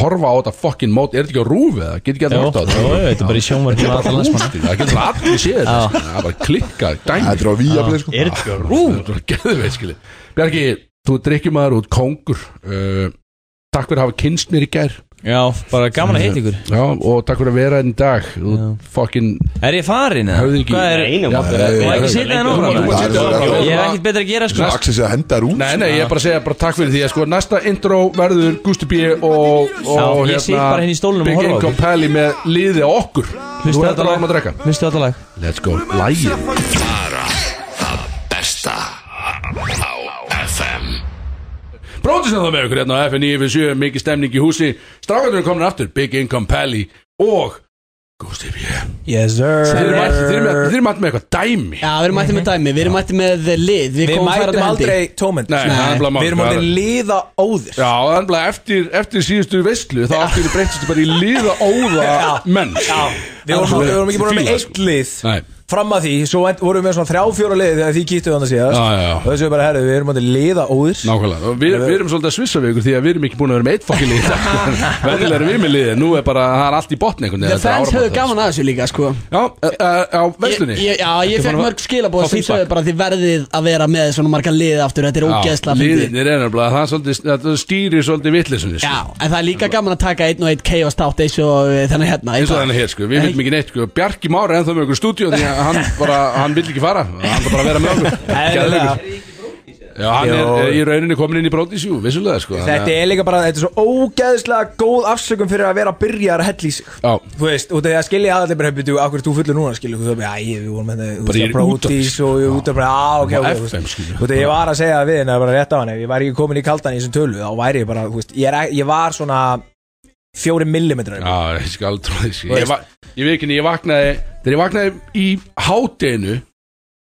Speaker 1: Horfa á þetta fucking mót Er þetta ekki á rúfi eða? Getur ekki að
Speaker 15: Jó, jó,
Speaker 1: horfa á þetta?
Speaker 15: jó, þetta er bara í sjónvarpinu
Speaker 1: Þetta er
Speaker 15: allra
Speaker 1: bara
Speaker 15: landsmanna.
Speaker 1: rúfið, Það getur allir séð
Speaker 15: Já.
Speaker 1: þetta sko. Það er bara klikkað dæmi.
Speaker 8: Þetta er á Viaplay, sko.
Speaker 1: Já. Er Ah, þetta ekki á rúfi? Þetta er geðveikt, skilji. Bjarki, þú drikkjum aður út kóngur uh, Takk fyrir að hafa kynst mér í gær
Speaker 15: Já, bara gaman að heita ykkur
Speaker 1: Já, og takk fyrir að vera einn dag Þú fokkin
Speaker 15: Er ég farin eða?
Speaker 1: Höfðu ekki
Speaker 15: Hvað er-
Speaker 1: Einum
Speaker 15: Já,
Speaker 1: mátti
Speaker 15: það
Speaker 1: vera-
Speaker 15: er- Má ekki
Speaker 1: Nei,
Speaker 15: sitja
Speaker 1: nei,
Speaker 15: hérna
Speaker 1: þú-
Speaker 15: áfram?
Speaker 1: þú- þú- þú- sitja áfram.
Speaker 15: Ég hef ekkert betra að gera sko
Speaker 8: Axel sé að henda þær út
Speaker 1: Nei, nei, ég er bara að segja bara takk fyrir því að sko Næsta intro verður Gusti B og, og
Speaker 15: Já, ég sit bara hérna í stólnum og
Speaker 1: Big
Speaker 15: horfa á
Speaker 1: Income
Speaker 15: okkur.
Speaker 1: Pally með liði okkur Þú er
Speaker 15: þetta
Speaker 1: þetta
Speaker 15: lag.
Speaker 1: lágum að drekka
Speaker 15: Mistu þetta lag
Speaker 1: Let's go, lægir
Speaker 11: Bara það besta á FM
Speaker 1: Bróðis að það með ykkur hérna á FN 97 Mikið stemning í húsi Strákandur er komin aftur Big Income Pally og Gusti B
Speaker 5: Yes sir
Speaker 1: Þeir eru mætt- þeir eru mætt- þeir eru mætt með eitthvað dæmi
Speaker 4: Já, við erum mættið með dæmi, við erum mættið með lið Við,
Speaker 5: Við
Speaker 4: komum
Speaker 5: mætum
Speaker 4: færandi hendi.
Speaker 5: aldrei tómend
Speaker 1: Nei, það er bara mál.
Speaker 5: Við erum orðin liða óðir
Speaker 1: Já, þannig að eftir, eftir síðustu veistlu þá allt í einu breyttist þetta bara í liða óða menn Já,
Speaker 5: Við vorum, við vorum ekki búin með eitt lið
Speaker 1: Nei.
Speaker 5: Fram að því, svo end- vorum við með svona þrjá fjóra lið Þegar því kýttu þannig síðast
Speaker 1: Já, já, já.
Speaker 5: Og þessu er bara, herru, við erum orðin liða óðir
Speaker 1: Nákvæmlega, og við, við erum svolítið að svissa við ykkur því að við erum ekki búin að vera með eitt fokkin lið
Speaker 4: *laughs*
Speaker 1: Vennilega erum við með liðið, nú er bara, það er allt í botni einhvern
Speaker 4: The
Speaker 1: veginn
Speaker 4: fans höfðu
Speaker 1: þetta er
Speaker 4: gaman að þessu líka, sko
Speaker 1: árabátur. Já, uh, uh, á verslunni
Speaker 4: Ég- ég- Já, ég fekk mörg skilabóð sem sögðu bara því verðið að vera með svona marga lið aftur Þetta er ógeðsla fyndið
Speaker 1: Liðinir er nefnilega, það er svolítið, þetta stýrir svolítið sko. vittlisunni
Speaker 4: Já, en það er líka gaman að taka einn og einn chaos tátt eins og eh, þennan hérna
Speaker 1: eins og þannig hér sko, við viljum ekki neitt sko Bjarki Már er ennþá með okkur stúdíu því að hann bara, hann vil ekki fara, hann vil bara vera með okkur Geðveikur.
Speaker 5: hérna,
Speaker 1: Já, hann er
Speaker 5: Jó.
Speaker 1: eh, í rauninni komin inn í brótis, jú, vissulega sko
Speaker 5: Þetta er líka bara, þetta er svo ógeðslega góð afsökum Fyrir að vera að byrja að hella í sig
Speaker 1: Já.
Speaker 5: Þú veist, út af því að skilja aðallir bara Býtu, akkur er þú fullur núna, skilja Þú veist, æ, við vorum hérna þú
Speaker 1: Bara sko."
Speaker 5: veist,
Speaker 1: ég er
Speaker 5: að Brodís
Speaker 1: útvarps-
Speaker 5: Og ég er út af bara, á, ok,
Speaker 1: Á
Speaker 5: ok
Speaker 1: FM,
Speaker 5: þú veist.
Speaker 1: skilur.
Speaker 5: Þú veist, ég var að segja við henni Bara rétt á henni, ef ég væri ekki komin í kaldan í þessum tölu Þá væri ég bara, þú veist, ég, er, ég var svona Fjóri millimetrar
Speaker 1: Já, ég skal aldrei trúa því sko.
Speaker 5: Þú
Speaker 1: Ég,
Speaker 5: veist.
Speaker 1: va- ég veit ekki, ég vaknaði Þegar ég vaknaði í hátinu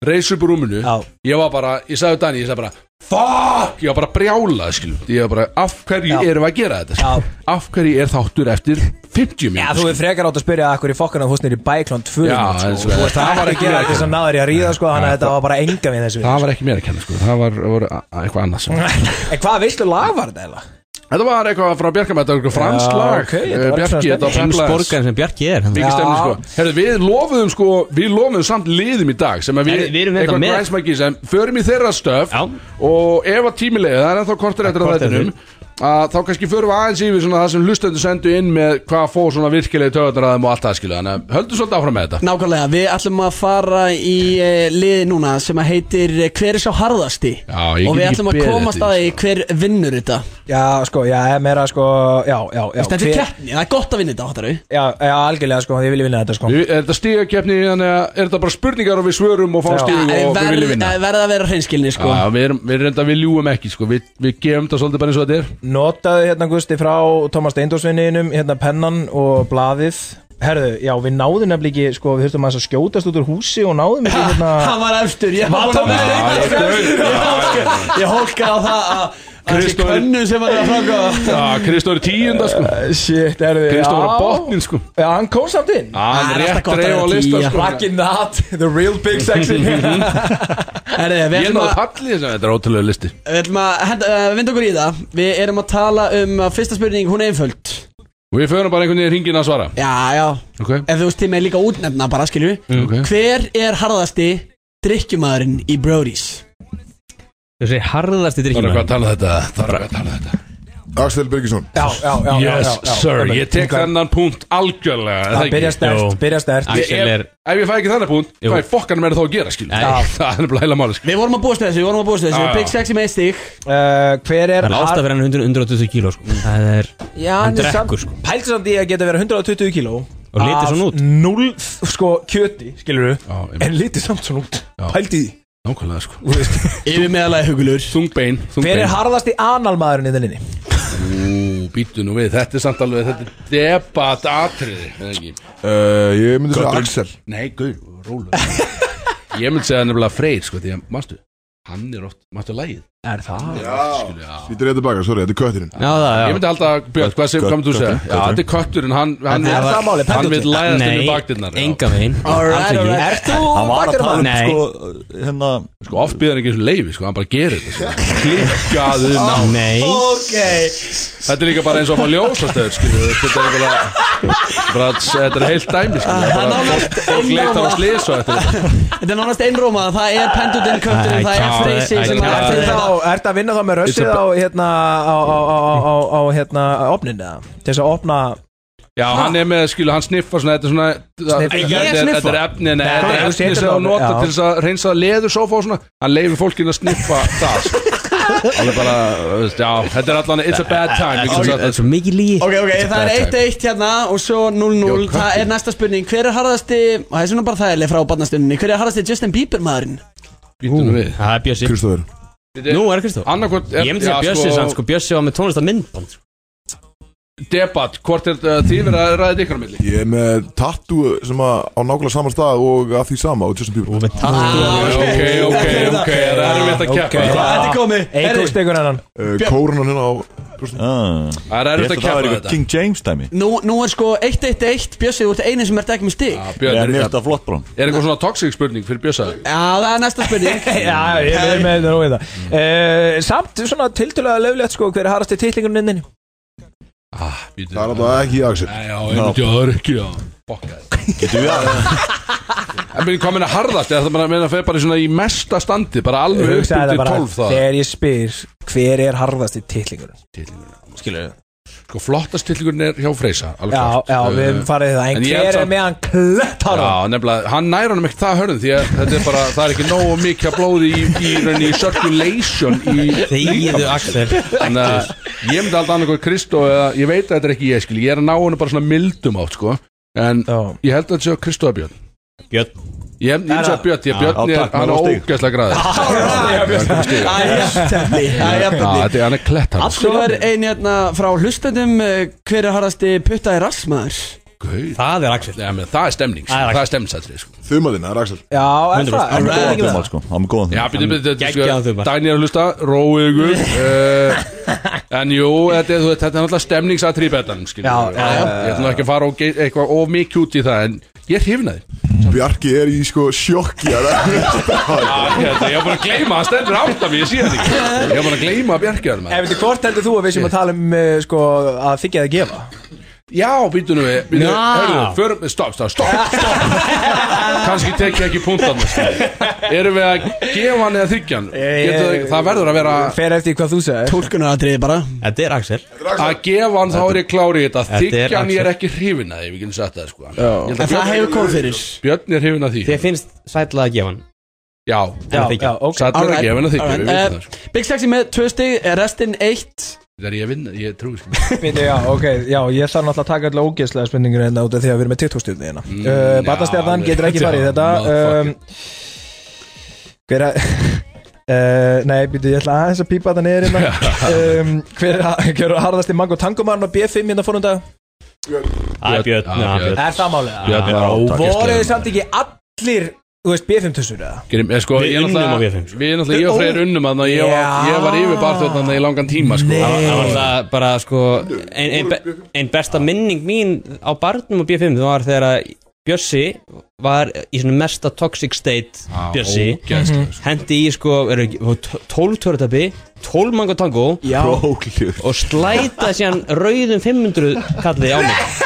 Speaker 1: Reis upp úr rúminu
Speaker 5: Já.
Speaker 1: Ég var bara, ég sagði Dani, ég sagði bara Fuck, ég var bara brjálað, skilum Ég var bara, af hverju
Speaker 5: Já.
Speaker 1: erum við að gera þetta
Speaker 5: Já.
Speaker 1: skilurðu? Af hverju er þáttur eftir 50
Speaker 5: Já,
Speaker 1: mínútur
Speaker 5: þú er frekar átt að spyrja að hverju fokkan að þú snýri bæklón 2
Speaker 1: Já,
Speaker 5: sko.
Speaker 1: eins og
Speaker 5: Þú
Speaker 1: það-
Speaker 5: veist, það var ekki gera þetta sem náður í að ríða sko, þannig að þetta var bara enga við þessu
Speaker 1: Það var ekki mér að kenna, sko Það var, var a- eitthvað annað sem
Speaker 5: En hvað veistu lag var þetta eða?
Speaker 1: Þetta var eitthvað frá Bjarkam, þetta var eitthvað franskt
Speaker 5: Já,
Speaker 1: lag
Speaker 5: ok, þetta var
Speaker 1: Eh, Bjarki,
Speaker 5: eitthvað
Speaker 1: þetta var Pemblas
Speaker 2: Heimsborgarinn sem Bjarki er
Speaker 1: Mikið
Speaker 5: Já.
Speaker 1: stemni sko Herðu, við lofuðum sko Við lofuðum samt liðum í dag Sem að við
Speaker 2: Herðu, við erum þetta
Speaker 1: eitthvað
Speaker 2: með.
Speaker 1: græsmæki sem Förum í þeirra stöf Já. Og ef að tímilega Það er ennþá kortir eftir að
Speaker 2: korter
Speaker 1: þættinum að Þá kannski förum við aðeins yfir Svona það sem hlustöndu sendu inn Með hvað fór svona virkilegi töðunar að þeim Og allt það skilu Þannig að höldum svolítið áfram með þetta
Speaker 4: Nákvæmlega, við ætlum að fara í uh, liði núna sem að heitir eh, Hver er sá harðasti?
Speaker 1: Já, ég
Speaker 4: og
Speaker 1: get
Speaker 4: við
Speaker 1: ekki
Speaker 4: ætlum að
Speaker 1: beðið
Speaker 4: komast
Speaker 1: eftir
Speaker 4: að
Speaker 2: sko.
Speaker 4: því hver vinnur þetta
Speaker 5: Já, sko, já, ég meira sko, já, já, já
Speaker 4: Þetta er
Speaker 5: hver-
Speaker 4: keppni, það er gott að vinna þetta, hattar
Speaker 5: Já, já, algjörlega sko, ég vilja vinna þetta sko
Speaker 1: Við- Er þetta stígakefni Þannig að er þetta bara spurningar Og við svörum og fáum stíg
Speaker 4: En
Speaker 1: Og við
Speaker 4: verð,
Speaker 1: viljum vinna
Speaker 4: eh, verð að vera hreinskilni, sko
Speaker 1: Já, við erum, við erum reynda, við ljúum ekki sko. Við, við gefum það svolítið bara eins og þetta er
Speaker 5: Notaðu hérna Gusti frá Thomas Steindórsvinninum, hérna pennan og blaðið Herðu, já, við náðum nefnilega ekki, sko, við þurftum aðeins að skjótast út úr húsi og náðum ekki hérna
Speaker 4: *laughs* Hann var efstur, ég var
Speaker 5: Matómi
Speaker 4: búinn að-
Speaker 5: Steindórs
Speaker 4: Ég hólka á það að að þessi
Speaker 1: Kristófer-
Speaker 4: könnu sem var að franga
Speaker 1: Já, Kristóri tíunda sko
Speaker 5: Shit, herðu,
Speaker 1: Kristóri á botnin sko
Speaker 5: Já, hann kom samt inn
Speaker 1: Já, Ah, hann
Speaker 4: Það er
Speaker 1: er
Speaker 4: alltaf
Speaker 1: rétt
Speaker 4: gott að
Speaker 1: reyð á
Speaker 4: vera
Speaker 1: lista
Speaker 4: tía.
Speaker 1: sko
Speaker 5: Fucking that, the real big *laughs* sexy
Speaker 4: Herðu, við
Speaker 1: Ég
Speaker 4: ætlum
Speaker 1: náðu
Speaker 4: að
Speaker 1: palli þess að þetta er ótrúlega listi
Speaker 4: Við ætlum að henda- eh, vinda okkur í það Við erum að tala um að fyrsta spurning, hún er einföld
Speaker 1: Og við förum bara einhvern veginn hringin að svara
Speaker 4: Já, já,
Speaker 1: Ok,
Speaker 4: ef þú veist tíma er líka útnefna bara, skilju
Speaker 1: ok
Speaker 4: Hver er harðasti drikkjumadurinn í Brody's?
Speaker 2: Þú segir harðast í
Speaker 1: Það er
Speaker 2: drikkjum
Speaker 1: eitthvað að tala þetta Það er eitthvað að tala þetta
Speaker 8: Axel Birgisson
Speaker 5: Já, já, já, já, já,
Speaker 1: Yes
Speaker 5: já,
Speaker 1: sir,
Speaker 5: einmitt.
Speaker 1: ég tek þennan punkt algjörlega er
Speaker 5: Það
Speaker 1: ekki?
Speaker 5: byrja stert, byrja stert
Speaker 1: Ég-
Speaker 2: Axel
Speaker 1: Ef
Speaker 2: er
Speaker 1: ef ég fæ ekki þennan punkt
Speaker 2: Jú.
Speaker 1: Hvað er fokkanum er þá að gera skil
Speaker 2: Nei.
Speaker 1: *laughs* Það er sko. bara heila máli skil
Speaker 4: Við vorum að búast við þessu, við vorum að búast við
Speaker 1: Já,
Speaker 4: þessu
Speaker 1: já.
Speaker 4: Big Sexy með eitt stík
Speaker 5: uh, Hver er
Speaker 2: Hann er alltaf verið hann 100 120 kíló sko. Það er
Speaker 5: Já,
Speaker 2: Hann
Speaker 5: hann er
Speaker 2: drekkur,
Speaker 5: samt
Speaker 2: sko.
Speaker 5: Pælti samt í að geta verið 120 kíló
Speaker 2: Og litið svona út.
Speaker 5: Af 0 sko kjöti, skilur du
Speaker 1: Já, einmitt.
Speaker 5: En litið samt svona út Pælti í því
Speaker 1: Nákvæmlega sko
Speaker 4: Yfir meðalagi hugulur
Speaker 1: Þungbein
Speaker 5: Hver er harðasti analmaðurinn í þenninni?
Speaker 1: Ú, býtu nú við, þetta er samt alveg Þetta er debat atriði eða ekki?
Speaker 8: Uh, ég myndi segja
Speaker 1: Gödrun.
Speaker 8: Axel
Speaker 1: Nei, gaur, róla *laughs* Ég myndi segja nefnilega Freyr sko Því að, mástu, hann er oft, mástu lægið
Speaker 5: Er það?
Speaker 8: Ég dreif tilbaka, sorry, þetta er kötturinn
Speaker 1: Já, það, Ég myndi halda, að- Björn, hvað sem hvað myndir þú segja? Já, þetta er kötturinn, hann, hann,
Speaker 5: Er það málið?
Speaker 1: hann vil
Speaker 5: Pendúllinn?
Speaker 1: læðast inn í
Speaker 5: Nei,
Speaker 1: bakdinnar
Speaker 2: enga veginn
Speaker 5: Alls ekki. alright. Ert þú
Speaker 1: Hann var að tala um,
Speaker 5: bakdyramaður?
Speaker 1: sko,
Speaker 3: hérna
Speaker 1: Sko, oft býðan ekki eins og leifi, sko, hann bara gerir þetta sko. Klikkaðu ná
Speaker 2: Nei
Speaker 5: Ok
Speaker 1: Þetta er líka bara eins og maður ljósastöður, skilju sko. Þetta er bara, bara Þetta er heilt dæmi, skilju Bara fólk- fólk leitt á að slýsa eftir þetta
Speaker 4: Þetta er nánast einróma Það er pendutinn kötturinn Það er freysi sem
Speaker 5: Ert
Speaker 4: að
Speaker 5: þú þá- ertu að vinna þá með rössið á hérna á, á, á, á, á hérna opnin eða til þess að opna
Speaker 1: Já, hann er með, skilju, hann sniffar svona Þetta er svona
Speaker 5: Sniffa.
Speaker 1: Þetta
Speaker 5: Ég
Speaker 1: er-
Speaker 5: sniffa.
Speaker 1: Þetta er efni, nei,
Speaker 5: Nei,
Speaker 1: þetta er
Speaker 5: þú
Speaker 1: efni
Speaker 5: setur
Speaker 1: sem
Speaker 5: það
Speaker 1: hann nota
Speaker 5: alveg, já.
Speaker 1: til þess að reynsa leður sofa og svona Hann leifir fólkinu að sniffa það sko. Alveg bara, þú veist, já, þetta er allan It's a bad time, við getum sagt
Speaker 2: Þetta er
Speaker 1: þetta.
Speaker 2: svo mikið líi
Speaker 4: Ok, ok, það er 1-1 hérna og svo 0-0 Það er næsta spurning Hver er harðasti og Það er svona bara þægileg frá barnastunninni Hver er harðasti Justin Bieber maðurinn?
Speaker 1: Býtu nú við
Speaker 2: Það er Bjössi
Speaker 8: Kristofur
Speaker 2: Nú er Kristofur
Speaker 1: Annarkot
Speaker 2: Ég myndi segja Bjössi sann sko Bjössi var með tónlist að myndband sko.
Speaker 1: Debat, hvort er þetta því verið að ræða ykkur á milli?
Speaker 8: Ég er með tattoo sem að á nákvæmlega saman stað og að því sama og Justin Bieber Og með
Speaker 1: Ok, ok, ok, það er erfitt að keppa
Speaker 4: Þetta er komið
Speaker 5: Eitt
Speaker 4: Herri,
Speaker 5: og stegur hennan
Speaker 8: uh, Kórunan hérna á
Speaker 1: Það er erfitt að keppa þetta.
Speaker 3: King James dæmi
Speaker 4: Nú, nú er sko 1-1-1 Bjössi, þú ert einin sem ert ekki með stig Já,
Speaker 1: Björn,
Speaker 3: Ég
Speaker 1: er,
Speaker 3: er
Speaker 1: er,
Speaker 3: þetta flott brón
Speaker 1: er eitthvað svona toxic spurning fyrir Björnsaði?
Speaker 4: það er næsta spurning
Speaker 5: Já, ég er með þetta róið það Eh, Samt svona tiltölulega löflegt sko hver er harrasti titlingunum inninni
Speaker 8: Það er alltaf ekki Axel
Speaker 1: Nei, Ah, já, ég myndi að það er ekki að
Speaker 3: Getur við að
Speaker 1: En minn, hvað meina harðast? Er það bara að meina að fer bara í svona í mesta standi bara
Speaker 5: Ég
Speaker 1: alveg upp
Speaker 5: hugsaði
Speaker 1: til
Speaker 5: þetta bara
Speaker 1: 12 það
Speaker 5: þegar ég spyr hver er harðasti titlingunum
Speaker 1: Skilur Sko flottast tillingurinn er hjá Freysa alveg
Speaker 5: Já,
Speaker 1: klárt.
Speaker 5: já, við hefum
Speaker 1: Eh,
Speaker 5: farið í það
Speaker 1: en
Speaker 5: En
Speaker 1: ég held
Speaker 5: hver
Speaker 1: samt-
Speaker 5: er meðan klett harðan *laughs*
Speaker 1: Já, nefnilega, hann nær hann ekki það hörðum því að þetta er bara, það er ekki nógu mikið að blóði í, í rauninni í circulation í
Speaker 2: Þegiðu Axel
Speaker 1: Þannig að ég myndi alltaf annað hvað Kristó eða ég veit að þetta er ekki ég skil, ég er að ná hennu bara svona mildum átt sko, en ég held að þetta séu Kristó að Björn
Speaker 2: Björn
Speaker 1: Ég ég myndi að Björn, ég Björn
Speaker 3: Já,
Speaker 1: er,
Speaker 3: takk,
Speaker 1: hann
Speaker 3: maður á
Speaker 1: er
Speaker 3: stig.
Speaker 1: ógæslega
Speaker 3: *laughs*
Speaker 1: græður
Speaker 4: Það er jafntefni Það er jafntefni
Speaker 1: Þetta er hann er klett hann
Speaker 4: Svo er ein hérna frá hlustendum eh, Hver er harðasti putta í rassmaður?
Speaker 2: Það er Axel
Speaker 1: Nei, menn, það er stemning,
Speaker 2: Það er
Speaker 1: sko. það er stemningsættri sko.
Speaker 8: Þumadinn, það er Axel
Speaker 5: Já, er
Speaker 3: Hann
Speaker 5: það, er
Speaker 3: er
Speaker 5: það
Speaker 3: góðan
Speaker 5: ekki það?
Speaker 3: þumal sko Hann er góðan
Speaker 1: Já,
Speaker 3: þumal
Speaker 1: býtum, býtum,
Speaker 2: Geggjaðan
Speaker 1: sko,
Speaker 2: þumar.
Speaker 1: Dagný er að hlusta, róið ykkur uh, En jú, þetta er, þú veist, þetta er náttúrulega stemningsatri í betanum, skiljum
Speaker 5: Já, já, já,
Speaker 1: Ég ætlum ekki að fara og ge- eitthvað of mikið út í það En ég er hifnaði
Speaker 8: Bjarki er í sko sjokki að það er
Speaker 1: Ég er bara að gleyma, það stendur átt af ég sé þetta ekki Ég er bara að gleyma að bjargja þér
Speaker 5: Ef þetta Eh, hvort heldur þú að við sem að tala um eh, sko, að þykja eða gefa?
Speaker 1: Já, býtum við, býtum við, hörðu, förum, stopp, stopp, stopp, stopp Kanski tekið ekki punktan Erum við að gefa hann eða þykja hann? Getur það- Það verður að vera
Speaker 5: Eh, Fer eftir hvað þú segir
Speaker 4: Tólkunaratriði bara
Speaker 2: Þetta er Axel
Speaker 1: að gefa hann þá er ég klári í þetta
Speaker 2: Þetta er
Speaker 1: þykjan ég er
Speaker 2: Axel.
Speaker 1: ekki hrifin að því við getum sagt það sko Ég held
Speaker 4: En
Speaker 1: að
Speaker 4: það hefur
Speaker 1: Björn-
Speaker 4: kom fyrir
Speaker 1: Björn er hrifin að því
Speaker 2: Þið finnst sætla að gefa hann
Speaker 1: já
Speaker 5: Já,
Speaker 2: þykja.
Speaker 5: já, ok
Speaker 1: satt er ekki ef hann að þykja við vitum það
Speaker 4: alright.
Speaker 1: sko
Speaker 4: Eh, Big Sexy með 2 stig, eh, restinn 1
Speaker 1: það er ég að vinna ég trúi sko
Speaker 5: Bíddu, Já, ok, já, ég þarf náttúrulega að taka allavega ógeðslega spurningur hérna út af því að við erum með TikTok-stjórnir hérna
Speaker 1: Mm,
Speaker 5: uh,
Speaker 1: já,
Speaker 5: Batastjarnan
Speaker 1: alveg.
Speaker 5: getur ekki farið í þetta um, Hver er *laughs* Uh, nei, býtu, ég ætla aðeins að pípa þetta niður
Speaker 1: *laughs*
Speaker 5: hérna um, Hver er hver er harðasti mango tangomarn á B5 hérna fórum dag?
Speaker 2: Það er Björn já, Björn.
Speaker 5: Er það málið?
Speaker 1: Björn er
Speaker 5: Voru þið
Speaker 1: ógeðslega
Speaker 5: samt ekki allir, þú veist, B5-tussur eða?
Speaker 1: Gerum- eh, sko,
Speaker 2: Við
Speaker 1: ég
Speaker 2: unnum á
Speaker 1: náttúrulega
Speaker 2: VFM, sko.
Speaker 1: við náttúrulega ég og Freyr unnum að ég var ég var yfir barþjóðan í langan tíma sko
Speaker 2: Það var- það var alltaf bara sko ein, ein, be- ein besta minning mín á barnum og B5 það var þegar að Bjössi var í svona mesta toxic state
Speaker 1: Á,
Speaker 2: Bjössi
Speaker 1: ógeðslega, sko.
Speaker 2: hendi í sko eru ekki- voru 12 törutabi 12 mango tango
Speaker 4: Já
Speaker 3: Prókljur
Speaker 2: og slæta síðan rauðum 500 kalli á mig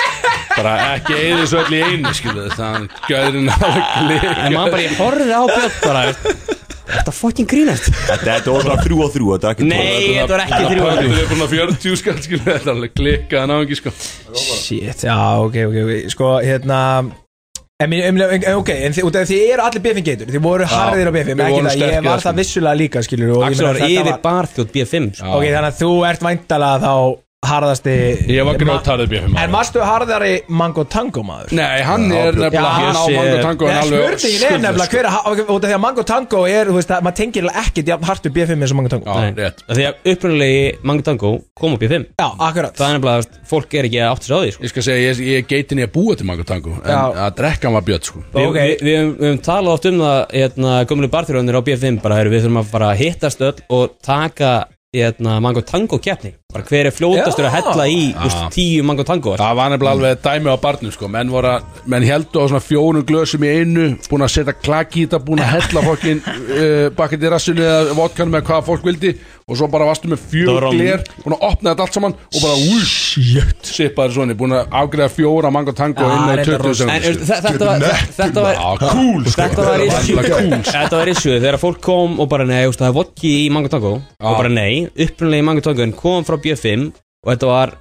Speaker 1: bara ekki eða svo öll í einu skilu það gæðurinn alveg glika
Speaker 2: en maður bara ég horfði á Björn bara Þetta fucking grínast
Speaker 3: Þetta þetta var bara þrjú á þrjú Þetta er ekki
Speaker 2: Nei, þetta var ekki þrjú
Speaker 1: Þetta er búin að 40 skall skilu Þetta er alveg klikkaðan á ekki sko
Speaker 5: Shit, já, ok, ok, ok Sko, hérna En, mín- um, um, ok, en þið, út af því þið eru allir BFM geitur Þið voru harðir á BFM,
Speaker 1: við
Speaker 5: ekki
Speaker 1: vorum
Speaker 5: það Ég
Speaker 1: sterkir
Speaker 5: var
Speaker 1: þar,
Speaker 5: það
Speaker 1: sko.
Speaker 5: vissulega líka, skilur og
Speaker 2: Axel
Speaker 5: ég meina
Speaker 2: var
Speaker 5: þetta
Speaker 2: yfir barþjótt B5 sko.
Speaker 5: Ok, þannig að þú ert væntalega þá harðasti
Speaker 1: Ég var grjótharður BFM maður.
Speaker 5: En varstu harðari Mango Tango maður?
Speaker 1: Nei, hann er nefnilega- hann á Mango
Speaker 2: sko,
Speaker 1: Tango en
Speaker 5: en
Speaker 1: alveg sko.
Speaker 5: alveg Spurningin er
Speaker 1: skuldlaus.
Speaker 5: nefnilega hver er ha- ok, Út af því að Mango Tango er, þú veist að maður tengir ekki jafn hart við B5 eins og Mango Tango
Speaker 2: Nei. Af Því að upprunalegi Mango Tango kom upp í 5
Speaker 5: Já, akkurat
Speaker 2: Það er nefnilega að fólk er ekki að átt sér á því sko.
Speaker 1: Ég skal segja, ég, ég geitin ég að búa til Mango Tango En
Speaker 2: Já.
Speaker 1: að drekka hann var bjött sko
Speaker 2: Við, við, við, höfum- við höfum talað oft um það hérna, gömlu barþjóðunir á BFM bara, heru, við þurfum að fara að hittast öll og taka hérna, mango tango keppni bara hver er fljótastur að hella í úst, tíu mango tango
Speaker 1: Það var nefnilega alveg dæmi á barnum sko Menn, voru að, menn heldu á svona fjórum glösum í einu Búin að setja klaki í þetta Búin að hella *laughs* fokkin uh, Bakkandi í rassinu eða vodkanum eða hvað fólk vildi Og svo bara varstu með
Speaker 9: Það
Speaker 1: fjögur
Speaker 9: var á-
Speaker 1: gler Búin að opna þetta allt saman Og bara úsjöt Sippaði svona Búin að afgreða fjóra mango tango
Speaker 2: Já,
Speaker 1: Innan í 20
Speaker 2: reyndar rosa- En,
Speaker 1: sekúndur,
Speaker 2: veistu, þe-
Speaker 1: sko.
Speaker 2: þetta var- þe- þetta var
Speaker 1: Já, cool sko.
Speaker 2: Þetta var issue
Speaker 1: Þetta var cool, sko.
Speaker 2: Þetta var issue þegar fólk kom og bara nei, þú veist, það er vodki í Mango Tango og bara nei, upprunalegi Mango Tango en kom frá B5 og þetta var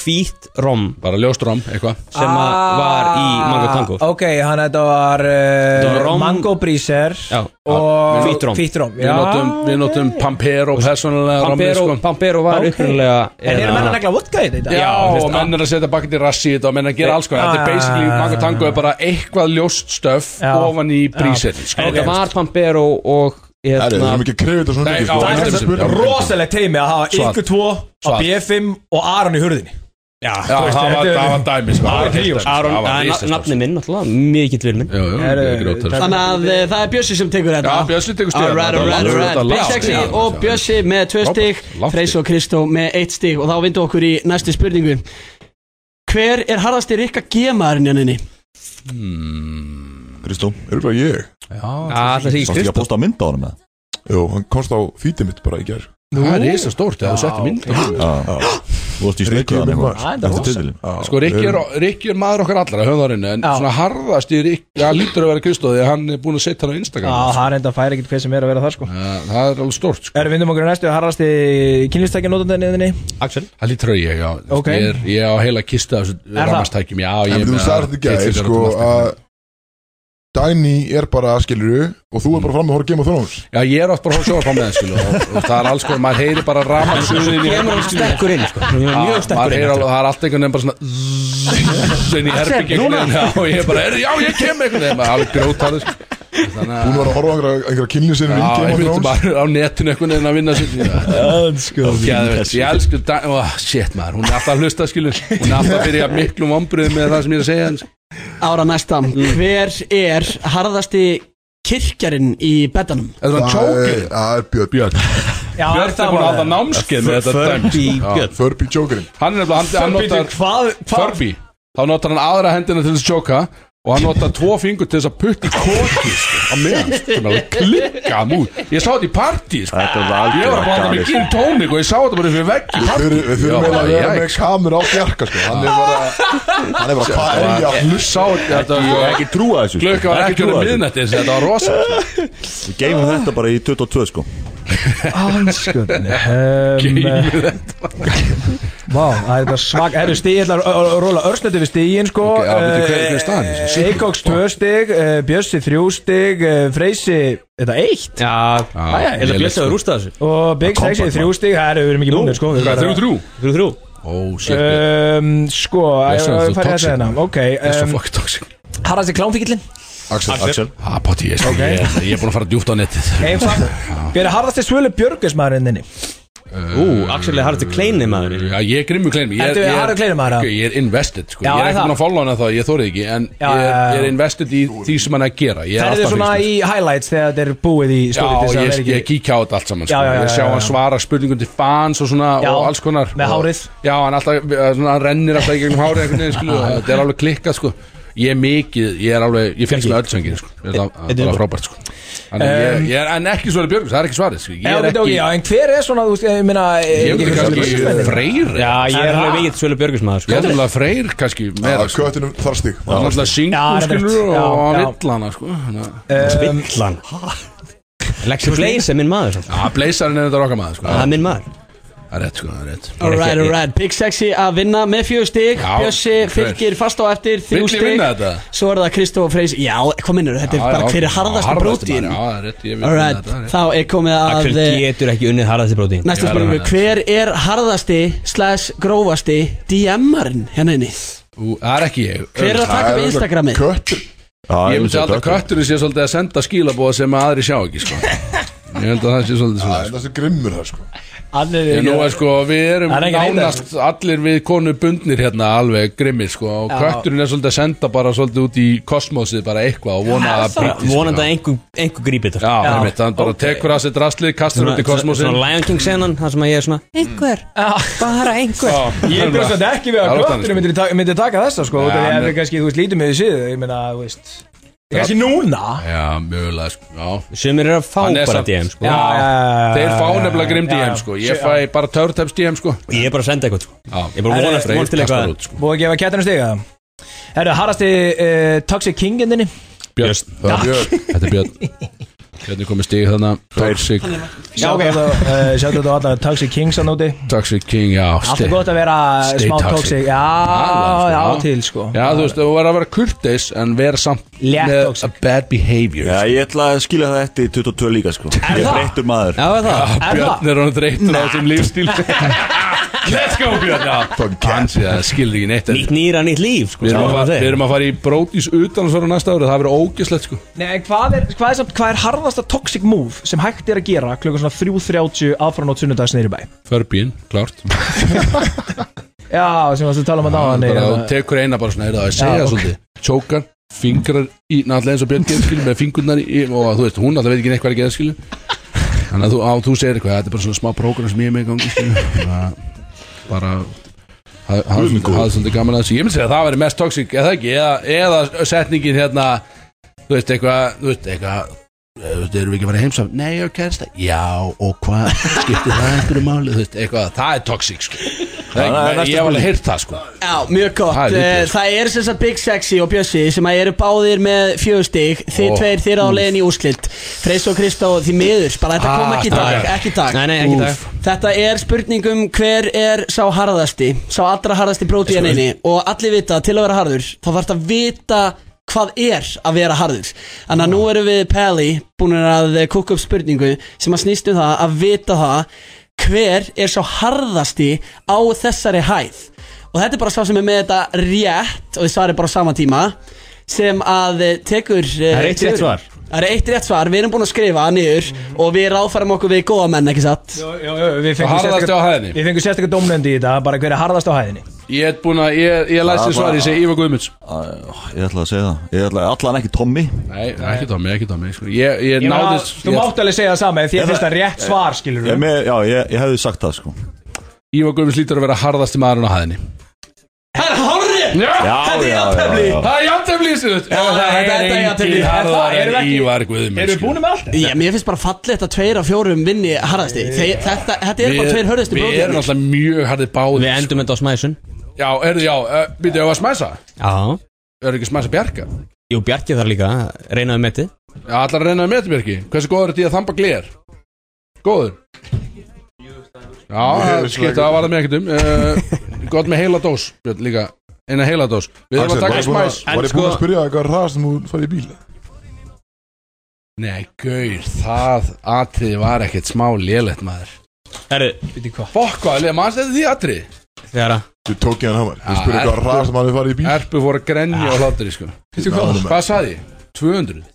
Speaker 2: hvít rom
Speaker 1: bara ljóst rom, eitthvað
Speaker 2: sem að var í Mango Tango
Speaker 5: Ah, Ok, hann þetta var uh,
Speaker 2: var rom-
Speaker 5: Mango Breezer
Speaker 2: Já,
Speaker 5: og
Speaker 1: Hvít rom.
Speaker 5: Hvítrom
Speaker 1: Við notum, við notum Pampero persónulega sko.
Speaker 2: Pampero-
Speaker 1: Pampero
Speaker 2: var hérna, upphuglega
Speaker 5: En eru menn að negla vodka í þetta?
Speaker 1: Já,
Speaker 5: þú
Speaker 1: og menn er að setja bakkandi rassi í þetta og menn er að gera alls konar Þetta er
Speaker 5: Já,
Speaker 1: basically,
Speaker 5: já, já,
Speaker 1: Mango Tango er bara eitthvað ljóst stöf ofan í sko. prísirni
Speaker 2: En þetta var Pampero og hérna,
Speaker 8: Herri, við erum ekki að krefja þetta svona mikið, sko. Þetta er
Speaker 5: veist,
Speaker 8: spurning.
Speaker 5: Rosalegt teimi að hafa
Speaker 8: Svart.
Speaker 5: ykkur tvo á
Speaker 8: Svart.
Speaker 5: B5 og Aron í hurðinni Já,
Speaker 1: Já, það var- það var dæmi, sko. Það var
Speaker 5: tríó
Speaker 1: dæmi, sko. Aron- Það var
Speaker 2: Það er
Speaker 1: risastórt.
Speaker 2: na- nafni minn, náttúrulega, mikill vil minn
Speaker 4: Þannig að eh, það er Bjössi sem tekur þetta
Speaker 1: sko. Já, Bjössi tekur stigana.
Speaker 4: Alright,
Speaker 1: Þetta var
Speaker 4: alright, alright
Speaker 1: þetta
Speaker 4: Big
Speaker 1: lágt
Speaker 4: Sexy
Speaker 1: stig.
Speaker 4: og Bjössi með tvö stig Freys og Kristó með eitt stig Og þá vindu okkur í næstu spurningu Hver er harðasti Rikka hérna G-maðurinn henninni?
Speaker 8: Kristó, örgulega ég
Speaker 2: það sé ekki
Speaker 8: Sástu ekki
Speaker 2: Kristó.
Speaker 8: að posta mynd á honum með Jú, hann komst á fítið mitt bara í gær
Speaker 1: Það er reysa stórt, það er sett mynd á honum.
Speaker 8: Já, þú varst í
Speaker 1: Rikki
Speaker 8: snöggið
Speaker 1: er minn
Speaker 8: hann
Speaker 1: maður.
Speaker 8: Þetta er titilin
Speaker 1: Sko, Rikki er, Rikki er maður okkar allra höfðarinn, en svona harðast í Rikki hann lítur að vera Kristó því að hann er búin að setja hann á
Speaker 5: Já,
Speaker 1: Instagram
Speaker 5: það er enda að færa ekkert hver sem er að vera þar sko
Speaker 1: Það er alveg stórt sko
Speaker 5: Erum við vindum okkur í næstu harðasti kynlistækja notandinniðinni?
Speaker 2: Axel
Speaker 1: Það lítur að ég, já
Speaker 5: Ok.
Speaker 1: Ég er- Ég á heila kista af
Speaker 5: Er
Speaker 1: þessu
Speaker 5: það?
Speaker 1: ramastækjum Já, ég
Speaker 8: En
Speaker 1: er
Speaker 8: þú
Speaker 1: með
Speaker 8: sagði þetta
Speaker 1: að-
Speaker 8: gæði
Speaker 1: Geitfylgjur
Speaker 8: sko
Speaker 1: út um allt.
Speaker 8: að Dæni er bara skiluru og þú er bara fram að horfa Game of Thrones
Speaker 1: Já, ég er oft bara að horfa sjóðarfram með það, skilu og, og það er alls konar, maður heyri bara ramansuðin
Speaker 2: Kemur hann sterkur inn, sko. Hann er mjög sterkur inn, sko.
Speaker 1: inn Það er allt einhvern veginn bara svona Svein í herbyggja
Speaker 8: núna?
Speaker 1: Og ég er bara, "Heyrðu, já, ég kem einhvern veginn maður er alveg grótarður sko. Þannig að
Speaker 8: Hún var að horfa á einhverja- einhverja kynlið sinni
Speaker 1: Já,
Speaker 8: mynd
Speaker 1: ég
Speaker 8: Game of
Speaker 1: myndi
Speaker 8: Thrones
Speaker 1: bara á netinu einhvern veginn að vinna sér
Speaker 8: Elsku
Speaker 1: Geðveikt, Ég elsku dag oh, Shit maður, hún er alltaf að hlusta skilur Hún er alltaf að byrja miklum ombröðum með það sem ég er að segja en-
Speaker 4: Ára næsta
Speaker 1: Mm.
Speaker 4: Hver er harðasti kirkjarinn í betanum?
Speaker 1: Þetta var
Speaker 8: er- Það er Björn Björn
Speaker 5: Já,
Speaker 1: Björn er búin að hafa námskeið með þetta dæmi, sko. Já.
Speaker 8: Furby Jokerinn
Speaker 1: Hann er nefnilega, hann, hann
Speaker 8: Furby,
Speaker 1: notar
Speaker 5: hvað,
Speaker 1: Furby Þá notar hann aðra hendina til þess að sjóka Og hann notar tvo fingur til þess að putti koki sko, Á meðan, sem er alveg klikka mút Ég sá þetta í partí sko. Ég var bara hann með
Speaker 8: galið,
Speaker 3: sko.
Speaker 1: gin tónik og ég sá þetta bara fyrir vegg í
Speaker 8: Við
Speaker 1: partí
Speaker 8: þurfum- við þurfum eiginlega að vera með kamer á fjarka sko. Hann er bara Hann er bara hvað er ég að
Speaker 1: hlusta á þetta
Speaker 3: Ekki trúa þessu sko.
Speaker 1: Glöka var ekki orðið miðnætti Þetta var sko. rosa
Speaker 3: Við geymum þetta bara í 22 sko
Speaker 5: Anskunni Ehm, Vá, það er bara svag Erðu stíð, ég ætla að r- r- róla örslötu við stíðin sko
Speaker 1: Ok, já, veitu, hver- hver er staðan í þessu? Shit.
Speaker 5: Eikóks 2 stig, eh, Bjössi 3 stig eh, Freysi, þetta 1
Speaker 2: Já,
Speaker 5: Jæja.
Speaker 2: eða blessaður að rústa þessu
Speaker 5: Og Big
Speaker 2: Compact,
Speaker 5: Sexy 3 stig, það eru við erum ekki
Speaker 2: Nú,
Speaker 5: búinir sko við erum bara-
Speaker 2: 3-3
Speaker 1: Ó,
Speaker 5: Um, sko,
Speaker 1: Blessaður,
Speaker 5: eh,
Speaker 1: þú
Speaker 5: fær ég að
Speaker 1: toxic,
Speaker 5: segja hérna
Speaker 1: maður.
Speaker 5: Ok
Speaker 1: er svo
Speaker 5: um,
Speaker 1: fucking toxic
Speaker 5: Harðasti klámfíkillin
Speaker 8: Axel,
Speaker 1: Axel Ah, poti, ég,
Speaker 5: Ok. Eh,
Speaker 1: ég, ég er búin að fara djúpt á netið *laughs*
Speaker 5: Einfalt. Hver er harðasti svölu björgusmaðurinninni?
Speaker 1: Ú, Axel er harður til kleinni maður Já, ég er grimmur kleinni Ég er-
Speaker 5: Ertu
Speaker 1: ég er-
Speaker 5: harður kleinni maður, já?
Speaker 1: Ok, Ég er invested, sko
Speaker 5: Já,
Speaker 1: Ég er
Speaker 5: er
Speaker 1: ekki
Speaker 5: það?
Speaker 1: búin að follow hana þá, ég þórið ekki En
Speaker 5: Já,
Speaker 1: ég er,
Speaker 5: já, já.
Speaker 1: ég er invested í því sem hann er að gera Ég er
Speaker 5: Það er
Speaker 1: alltaf
Speaker 5: svona í highlights þegar þetta er búið í
Speaker 1: Já,
Speaker 5: story til þess að
Speaker 1: ég,
Speaker 5: vera
Speaker 1: ég,
Speaker 5: ekki-
Speaker 1: kíkja á þetta allt saman sko.
Speaker 5: Já, já, já,
Speaker 1: Ég sjá
Speaker 5: já, já.
Speaker 1: hann svara spurningum til fans og svona
Speaker 5: Já,
Speaker 1: og alls konar
Speaker 5: með
Speaker 1: Og-
Speaker 5: hárið.
Speaker 1: Já, hann alltaf, eh, svona, hann rennir alltaf í gegnum hárið einhvern veginn, skilu og Þetta er alveg klikkað, sko Ég er mikið, ég er alveg, ég fylgst með öll söngin, sko Þetta er
Speaker 5: Þetta er
Speaker 1: bara
Speaker 5: bara-
Speaker 1: frábært, sko Þannig ég, ég er, en ekki svona Björgus, það er ekki svarið, sko Ég
Speaker 5: Já,
Speaker 1: er
Speaker 5: veit ekki,
Speaker 1: ekki,
Speaker 5: já, en hver er svona, þú veist, ég meina eh,
Speaker 1: Ég myndi kannski
Speaker 5: Ehm,
Speaker 1: freyr Já,
Speaker 2: ég er alveg mikill Svölu Björgusmaður
Speaker 1: Ég er alveg freyr kannski meira sko.
Speaker 8: Köttinum þarstig
Speaker 1: Það er alltaf
Speaker 5: Já,
Speaker 1: singul
Speaker 5: það er
Speaker 1: skilur
Speaker 5: rétt. Já,
Speaker 1: og hann
Speaker 5: já.
Speaker 1: vill hana sko
Speaker 2: Spillan Lexi Blaze er minn maður samt.
Speaker 1: Já, Blazarinn er þetta okkar maður sko
Speaker 2: Það er minn maður
Speaker 1: Það er rétt sko, það er rétt
Speaker 4: Alright, alright, Big Sexy að vinna með fjögur stig
Speaker 1: Já,
Speaker 4: Bjössi
Speaker 1: hver?
Speaker 4: fylgir fast á eftir þrjú
Speaker 1: Vill ég
Speaker 4: stig
Speaker 1: vinna þetta?
Speaker 4: Svo er það Kristof Freys, já, hvað minnur þetta er bara hver er harðast brótin
Speaker 1: Já, það er rétt, ég vil
Speaker 4: Alright, þá er komið
Speaker 2: Axel
Speaker 4: að eh,
Speaker 2: getur ekki unnið harðast bróti
Speaker 4: Næsta spurningu, hver er harðasti slash grófasti DM-arinn hérna inni?
Speaker 1: Ú, Það er ekki ég
Speaker 4: Hver er að taka við Instagramið?
Speaker 1: Köttur Ég myndi alltaf kötturinn sé svolítið að senda skilabóða sem að aðri sjá ekki sko Ég held að það sé svolítið svona Það er svo grimmur það sko
Speaker 5: Annir
Speaker 1: Ég nú er sko, við erum
Speaker 5: Það er ekki reyndar.
Speaker 1: nánast allir við konu bundnir hérna alveg grimmir sko og
Speaker 5: Já.
Speaker 1: kötturinn er svolítið að senda bara svolítið út í kosmosið bara eitthvað og vona
Speaker 2: Já,
Speaker 1: að
Speaker 2: það-
Speaker 1: brýtist,
Speaker 2: vonandi
Speaker 1: sko.
Speaker 2: að einhver, einhver grípi þetta sko.
Speaker 1: Já, einmitt, hann bara tekur að sér drastlið, kastar út í kosmosið.
Speaker 2: Svona Lion King senan, það sem að ég er svona
Speaker 5: Einhver, bara einhver Ég bjóðst þetta ekki við
Speaker 2: Það
Speaker 5: að
Speaker 2: er
Speaker 5: kötturinn myndi, ta myndi taka þessa sko, ja,
Speaker 1: Ja,
Speaker 5: þegar
Speaker 1: men-
Speaker 5: við kannski, þú veist, lítum með því síðu ég meina, þú veist, kannski núna
Speaker 1: Já, mjögulega sko, já
Speaker 2: Sumir eru að fá
Speaker 1: Hann er
Speaker 2: bara
Speaker 1: samt-
Speaker 2: DM sko
Speaker 1: Já, Þeir fá nefnilega grimm
Speaker 2: Já, já.
Speaker 1: DM sko Ég
Speaker 2: Sjö-
Speaker 1: fæ bara törteps DM sko
Speaker 2: Ég er bara að senda eitthvað sko Ég er bara að
Speaker 5: Herri,
Speaker 2: vonast- vonast til eitthvað
Speaker 5: Búið að gefa kettinu stiga Herru, harrasti uh, Toxic King endinni
Speaker 1: Björn, það er Björn Þetta er Björn Björn er komið stig þarna Toxic
Speaker 5: Já, ok Sjáttu þetta á alla Toxic Kings að nóti
Speaker 1: Toxic King, já
Speaker 5: Alltaf gott að vera eh,
Speaker 1: Stay
Speaker 5: smá
Speaker 1: toxic.
Speaker 5: toxic Já, já, til sko
Speaker 1: Já, þú veist, þú verður að vera kurteis En vera samt
Speaker 5: Létt
Speaker 1: með a bad behavior
Speaker 3: Já, ég ætla að skilja það eftir 22 líka sko Ég er
Speaker 1: það?
Speaker 3: breyttur maður
Speaker 2: Já, það
Speaker 1: Já, Björn er hann dreittur á þessum lífstíl Let's go Björn Já, Hann sé það skilur ekki neitt
Speaker 2: Nýtt nýra, nýtt líf sko
Speaker 1: Við erum, að
Speaker 2: það var
Speaker 1: fara,
Speaker 2: það.
Speaker 1: við erum að fara í brótis utansvara næsta árið, það verður ógislegt sko
Speaker 5: Nei, en hvað er, hvað er, samt- hvað er harðasta toxic move sem hægt er að gera klukkan svona 3.30 aðfram á sunnudags neyri bæ?
Speaker 1: Förbín, klárt
Speaker 5: Já, sem varstu að tala um að náðan
Speaker 1: bara, þú tekur eina bara svona, er það að segja
Speaker 5: Já, ok.
Speaker 1: svolítið tjókar, fingrar í náttúrulega eins og Björn Gerskil með fingurnar í, og þú veist, hún alltaf veit ekki neitt hvað er Gerskil þannig að þú, á, þú segir eitthvað þetta er bara svona smá prógram sem ég er með í gangi skilur. Bara- bara ha- ha-
Speaker 8: Guð minn góður.
Speaker 1: hafði svolítið gaman að þessu ég myndi segja að það væri mest toxic, eða ekki eða, eða setningin hérna þú veist eitthvað, þú veist eitthvað eh, þú veist, erum við ekki að fara heimsam nei, ég er kærasta, já, og hvað skiptir það einhverju máli, þú veist, eitthvað það er toxic, sko Það er
Speaker 3: Það er
Speaker 1: ekki-
Speaker 3: næsta
Speaker 1: ég hef alveg
Speaker 3: spurning.
Speaker 1: heyrt það, sko
Speaker 4: Já, mjög gott
Speaker 1: Það er
Speaker 4: Eh,
Speaker 1: vitlaust.
Speaker 4: Það eru sem sagt Big Sexy og Bjössi sem að eru báðir með fjögur stig Þið
Speaker 1: Ó,
Speaker 4: tveir þeirra á
Speaker 1: úff.
Speaker 4: leiðin í úrslit Freys og Kristó því miður bara þetta kom
Speaker 2: Ah,
Speaker 4: ekki í dag,
Speaker 2: strákar.
Speaker 4: ekki í dag
Speaker 2: Nei, nei, ekki í dag.
Speaker 4: Úff. Þetta er spurning um hver er sá harðasti sá allra harðasti bróti
Speaker 2: Sko,
Speaker 4: en einni E og allir vita til að vera harður þá þarf að vita hvað er að vera harður Þannig að nú erum við Peli búin að kúka upp spurningu sem að snýst um það að vita það hver er sá harðasti á þessari hæð og þetta er bara sá sem er með þetta rétt og þið svarið bara á sama tíma sem að eh, tekur
Speaker 2: Það
Speaker 4: eh,
Speaker 2: er eitt rétt
Speaker 4: sigurinn.
Speaker 2: svar.
Speaker 4: Það er eitt rétt svar, við erum búin að skrifa það niður og við ráðfærum okkur við góða menn, ekki satt?
Speaker 5: Jó, jó, jó, við fengum
Speaker 1: Og harðasti
Speaker 5: sérstaka-
Speaker 1: á hæðinni.
Speaker 5: Við fengum sérstaklega domnendi í þetta, bara hver er harðast á hæðinni
Speaker 1: Ég er búin að, ég, ég læst
Speaker 3: Það
Speaker 1: þér svar, ég segi Ívar Guðmunds
Speaker 3: Ég ætla að segja það Ég ætla allan ekki Tommy
Speaker 1: Nei, ekki Tommy, ekki Tommy sko. Ég, ég,
Speaker 5: Ég meina,
Speaker 1: náðist
Speaker 5: Þú mátt alveg segja það sama, ef
Speaker 3: Ég-
Speaker 5: þér finnst það rétt svar, skilur
Speaker 3: Ég, með, já, ég, ég hefði sagt það sko
Speaker 1: Ívar Guðmunds lítur að vera harðasti maðurinn á hæðinni
Speaker 4: Það er hárrið!
Speaker 1: Já,
Speaker 4: Þetta er
Speaker 3: já,
Speaker 4: jafntefli!
Speaker 3: já, já.
Speaker 1: Það er jafntefli þessu Já,
Speaker 4: þetta er jafntefli.
Speaker 1: engin
Speaker 4: En það
Speaker 1: harðar
Speaker 4: erum við
Speaker 1: en
Speaker 4: ekki-
Speaker 1: Ívar Guðmunds sko.
Speaker 5: Erum við búin með allt?
Speaker 4: Já, mér finnst bara fallegt að tveir af fjórum vinni harðasti Þeir, þetta, þetta er bara tveir hörðustu
Speaker 1: Við erum
Speaker 4: bróðir
Speaker 1: alltaf mjög harðið báð
Speaker 2: Við endum þetta á smæsun
Speaker 1: Já, er, já, uh, byrjuðu að smæsa
Speaker 2: Já
Speaker 1: Er ekki smæsa bjarga?
Speaker 2: Jú, Bjarki þar líka, reynaðu með þetta
Speaker 1: Já, allar að reyna að meti bjargi Hversu góður er þetta í að þamba gler? Góður? Já, skipt, það var það með ekkert um uh, Gott með heila dós, Björn, líka Einna heila dós Við erum
Speaker 8: Axel,
Speaker 1: að
Speaker 8: var
Speaker 1: taka
Speaker 8: ég búin að-
Speaker 1: smæs
Speaker 8: var ég búin að spyrja það hvað er það sem þú farið í bíl
Speaker 1: Nei, gaur, það atrið var ekkert smá lélegt maður
Speaker 2: Herru,
Speaker 5: Býtti hvað?
Speaker 1: Fokk hvað, leðum aðstæði því atrið
Speaker 2: þegar að
Speaker 8: Þú tók ég hann hamar Þú
Speaker 1: Já,
Speaker 8: spurði hvað
Speaker 1: ertu-
Speaker 8: ræð sem hann er farið í bíl
Speaker 1: Erpu fór að grenja og hlátri, sko
Speaker 8: Ná, honum er-
Speaker 1: Hvað saði ég? 200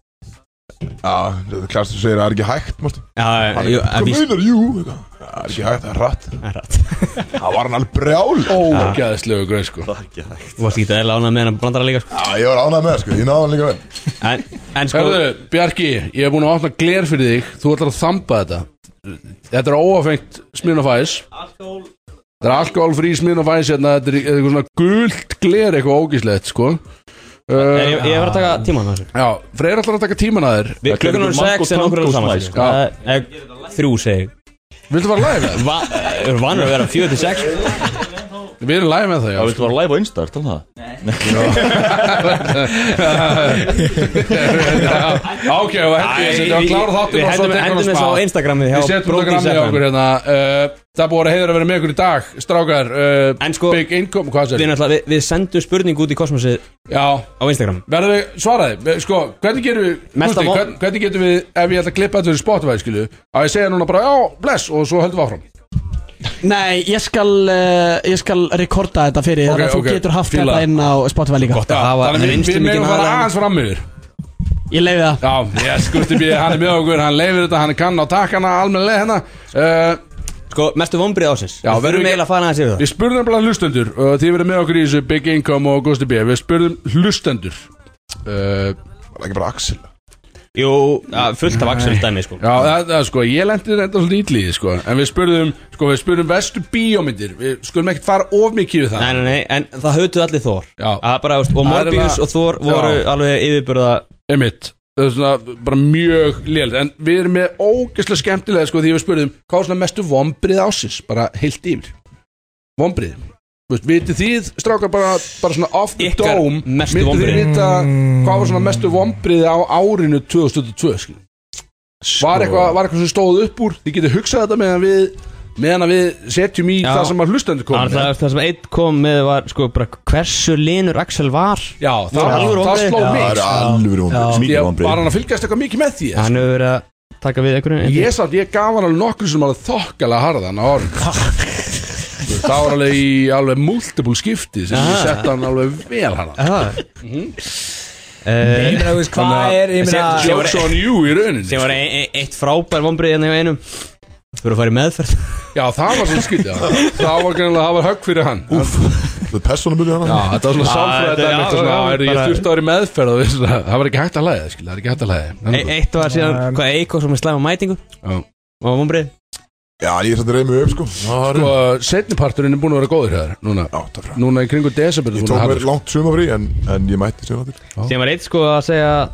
Speaker 8: Já, þetta er klart sem segir það er ekki hægt Martin.
Speaker 2: Já,
Speaker 8: Hann
Speaker 2: jú,
Speaker 8: er- Hvað
Speaker 2: að víst
Speaker 8: meinar, jú eitthvað. Það er ekki hægt, það er rætt
Speaker 2: Það er rætt
Speaker 8: Það var hann alveg brjál
Speaker 1: Ógæðislegu gröð, sko
Speaker 3: Ekki hægt
Speaker 2: Þú varst ekki að lána með hennar brandara líka sko.
Speaker 8: Já, ég var ánægð með það sko Ég náði hann líka vel
Speaker 2: En, en sko
Speaker 1: Herðu, Bjarki, ég hef búin að opna gler fyrir þig Þú ætlar að þamba þetta Þetta er óafengt smirnafæs Þetta er alkoholfrí smirnafæs hérna, Þetta er eitthvað svona gult gler Eitthvað ógíslegt, sko
Speaker 2: Nei,
Speaker 1: uh,
Speaker 2: Ég ég verð að taka tíman þessu
Speaker 1: Já, Freyr ætlar að taka tíman að þér
Speaker 2: Við klukkan
Speaker 3: eitthvað
Speaker 2: eru sex en okkur eru
Speaker 3: Marco
Speaker 2: saman
Speaker 3: Tango
Speaker 2: sko. Það er- Þrjú segi ég.
Speaker 1: Viltu fara að læra?
Speaker 2: Va- Við erum vanur að vera fjö til sex
Speaker 1: Við Við erum live með það, já
Speaker 3: Það viltu bara live á Insta, ertu alveg
Speaker 1: Já, *laughs* Ok, og hendi ég setja að klára þáttir
Speaker 2: Við hendum- hendum þessu á Instagramið hjá
Speaker 1: Við setjum
Speaker 2: Brodís
Speaker 1: Instagramið hjá
Speaker 2: FM.
Speaker 1: okkur hérna uh, Það er búið að vera heiður að vera með okkur í dag Strákar, uh,
Speaker 2: sko,
Speaker 1: big income, hvað sér?
Speaker 2: Við, náttúrulega- við, við sendum spurningu út í kosmosið
Speaker 1: Já
Speaker 2: Á Instagram
Speaker 1: Verður við svaraði, sko, hvernig gerum við
Speaker 2: Mesta
Speaker 1: Gústi,
Speaker 2: von-
Speaker 1: hvern- Hvernig getum við, ef ég ætla að klippa þetta fyrir Spotify, skilu að ég segja núna bara, já, bless, og svo höldum við áfram
Speaker 4: Nei, ég skal, uh, ég skal rekorda þetta fyrir
Speaker 1: Ok,
Speaker 4: okay, Þú
Speaker 1: ok,
Speaker 4: getur haft
Speaker 1: fíla.
Speaker 4: þetta inn á Spotify líka
Speaker 1: Já, Þannig við- við meðum fara aðeins fram yfir
Speaker 4: Ég leiði það
Speaker 1: Já, yes, Gusti B, hann er með okkur, hann leifir þetta, hann kann á takkana, almennilega hérna uh,
Speaker 2: Sko, mestu vombrið ásins
Speaker 1: Já,
Speaker 2: Við þurfum eiginlega að fara aðeins yfir það
Speaker 1: Við spurðum nefnilega hlustendur og þið verið með okkur í þessu Big Income og Gusti B Við spurðum hlustendur uh, Var ekki bara Axel?
Speaker 2: Jú, ja, fullt af Axel dæmi, sko.
Speaker 1: Já, það, það, sko, ég lendi þetta svolítið ítlið sko. En við spurðum, sko, við spurðum vestu bíómyndir Við skulum ekkert fara of mikið við það
Speaker 2: Nei, nei, nei, en það höfðu allir Þór
Speaker 1: Já
Speaker 2: Að bara, veist, Og
Speaker 1: Það er
Speaker 2: Morbius
Speaker 1: það-
Speaker 2: og Þór voru
Speaker 1: Já.
Speaker 2: alveg yfirbörða
Speaker 1: Einmitt Það er svona bara mjög lél En við erum með ógeðslega skemmtilega sko, Því við spurðum hvað er svona mestu vombrið ásins Bara heilt yfir Vombrið Vist, Vitið þið strákar bara, bara svona off the
Speaker 2: Ykkar
Speaker 1: dome
Speaker 2: mestu
Speaker 1: Myndið þið
Speaker 2: vonbrigði?
Speaker 1: vita hvað var svona mestu vombrið á árinu 2022 skil.
Speaker 2: Sko.
Speaker 1: Var eitthvað, var eitthvað sem stóð upp úr Þið getið hugsað þetta meðan við Meðan að við setjum í
Speaker 2: Já.
Speaker 1: það sem að hlustandi kom
Speaker 2: Það það sem einn kom með var sko, bara, Hversu linur Axel var
Speaker 1: Já, það, það, það sló mig sko.
Speaker 2: Mikið
Speaker 1: Ég
Speaker 2: vonbrigði.
Speaker 1: var hann að fylgjast eitthvað mikið með því eða?
Speaker 2: Hann hefur verið að taka við einhverjum
Speaker 1: Ég satt, ég gaf hann alveg nokkur sem alveg þokkala harðan á
Speaker 2: *laughs*
Speaker 1: orðin Það var alveg í alveg multiple skipti sem ég
Speaker 2: Ah.
Speaker 1: sett hann alveg vel harðan
Speaker 2: Ég
Speaker 5: meina, þú veist, hvað er, ég meina-
Speaker 1: Jokes on you í rauninni
Speaker 2: Eh, e- Sem var e- e- eitt frábær vombrið hérna hjá einum Þú eru að fara í meðferð
Speaker 1: Já, það var svona skytja Það var greinlega, það var högg fyrir hann Úff,
Speaker 8: það er persónumölu hann
Speaker 1: Já, þetta var svona sálfræði
Speaker 2: Ah, þetta- já,
Speaker 1: dæmi, svona,
Speaker 2: já,
Speaker 1: er, Ég
Speaker 2: bara-
Speaker 1: þurfti að vera í meðferð og vissi það Það var ekki hægt að læða, skil, það er ekki hægt að læða
Speaker 2: E- Eitt var síðan, hvað, Eikó sem er slæma mætingu
Speaker 1: Já.
Speaker 2: Og vombrið
Speaker 8: Já, ég er satt að reyna mig upp sko Það er-
Speaker 1: Sko, setniparturinn er búin að vera góður hér Núna, núna í kringu desember
Speaker 8: Ég tók mér langt sumafrí en, en ég mætti sumafrí
Speaker 2: Sem var eitt sko að segja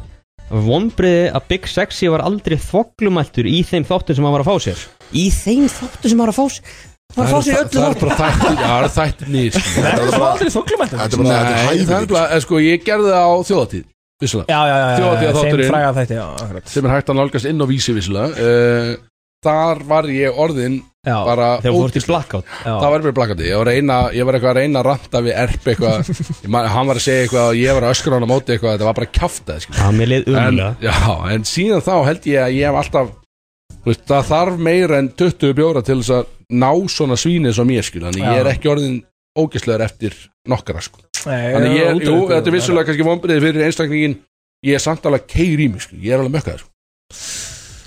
Speaker 2: Vombriði að Big Sexy var aldrei þvoglumæltur í þeim þáttum sem hann var að fá sér Í þeim þáttum sem hann var að fá sér Hann var að fá sér í öllu
Speaker 1: Það er bara þættir, já, það er þættir nýr
Speaker 5: Verður þú aldrei þoklumætt?
Speaker 8: Þetta er bara- þetta er hæfileiki.
Speaker 1: það er bara, eh, sko, ég gerði það á þjóðatíð Vissulega
Speaker 5: Já, já, já,
Speaker 1: Þjóðatíð
Speaker 5: þeim
Speaker 1: þátturinn
Speaker 5: fræga þætti, já, akkurat
Speaker 1: Sem er hægt að nálgast inn á vísi vissulega uh, Þar var ég orðin
Speaker 5: Já,
Speaker 1: bara
Speaker 2: Þegar þú fórst í blackout
Speaker 1: Það var bara blakandi, ég var, að reyna, ég var eitthvað að reyna að ranta við erp eitthvað Ég man- Hann var að segja eitthvað og ég var að öskra hann á móti eitthvað Þetta var bara kjafta
Speaker 2: Já, mér leið
Speaker 1: en,
Speaker 2: umlega
Speaker 1: já, en síðan þá held ég að ég hef alltaf þú veist, Það þarf meira en 20 bjóra til þess að ná svona svínið sem ég skil Þannig ég
Speaker 5: Já.
Speaker 1: er ekki orðin ógislegar eftir nokkara sko
Speaker 5: Nei,
Speaker 1: Þannig
Speaker 5: já,
Speaker 1: ég,
Speaker 5: útdauður,
Speaker 1: jú,
Speaker 5: útdauður,
Speaker 1: þetta er vissulega kannski vonbriðið fyrir einstaklingin Ég er samt alveg keir í mig, sko, ég er alveg mökkaður sko.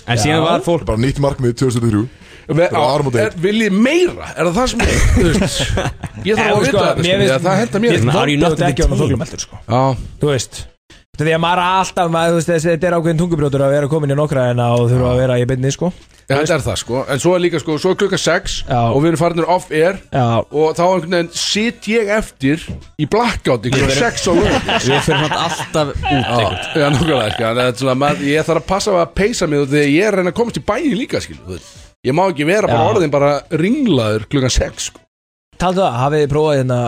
Speaker 2: En síðan var fólk
Speaker 8: Bara nýtt markmið 2003
Speaker 1: Ve-
Speaker 8: Bara
Speaker 1: á-
Speaker 8: áramóta
Speaker 1: er- Viljið meira, er það það sem ég, þú veist Ég þarf að
Speaker 5: Nei, sko,
Speaker 1: vita þetta, sko,
Speaker 5: mér
Speaker 1: ég-
Speaker 5: finnst-
Speaker 1: það henda
Speaker 5: mér
Speaker 1: mér
Speaker 5: finnst
Speaker 2: Are you not
Speaker 5: vonbrigði
Speaker 2: the
Speaker 5: ekki að vera
Speaker 2: team?
Speaker 5: þolinmæltur, sko.
Speaker 1: Já,
Speaker 5: Þú veist Þetta er maður er alltaf, maður, þú veist, þessi- þetta er ákveðin tungubrjótur að vera komin í nokkra en að þurfa að vera í beinni, sko
Speaker 1: Já, þetta er það sko, en svo er líka sko, svo er klukka 6
Speaker 5: Já.
Speaker 1: og við erum farinir off-air
Speaker 5: Já.
Speaker 1: og þá einhvern veginn sitt ég eftir í blackout í klukka 6 á lögum
Speaker 2: Við fyrir hann alltaf út einhvern.
Speaker 1: Já, nákvæmlega, sko, en það er svona, maður, ég þarf að passa að peysa mig og þegar ég er að reyna að komast í bæin líka, skil, þú veist Ég má ekki vera bara
Speaker 5: Já.
Speaker 1: orðin bara ringlaður klukka 6 sko
Speaker 5: Taldu það, hafið þið prófað hérna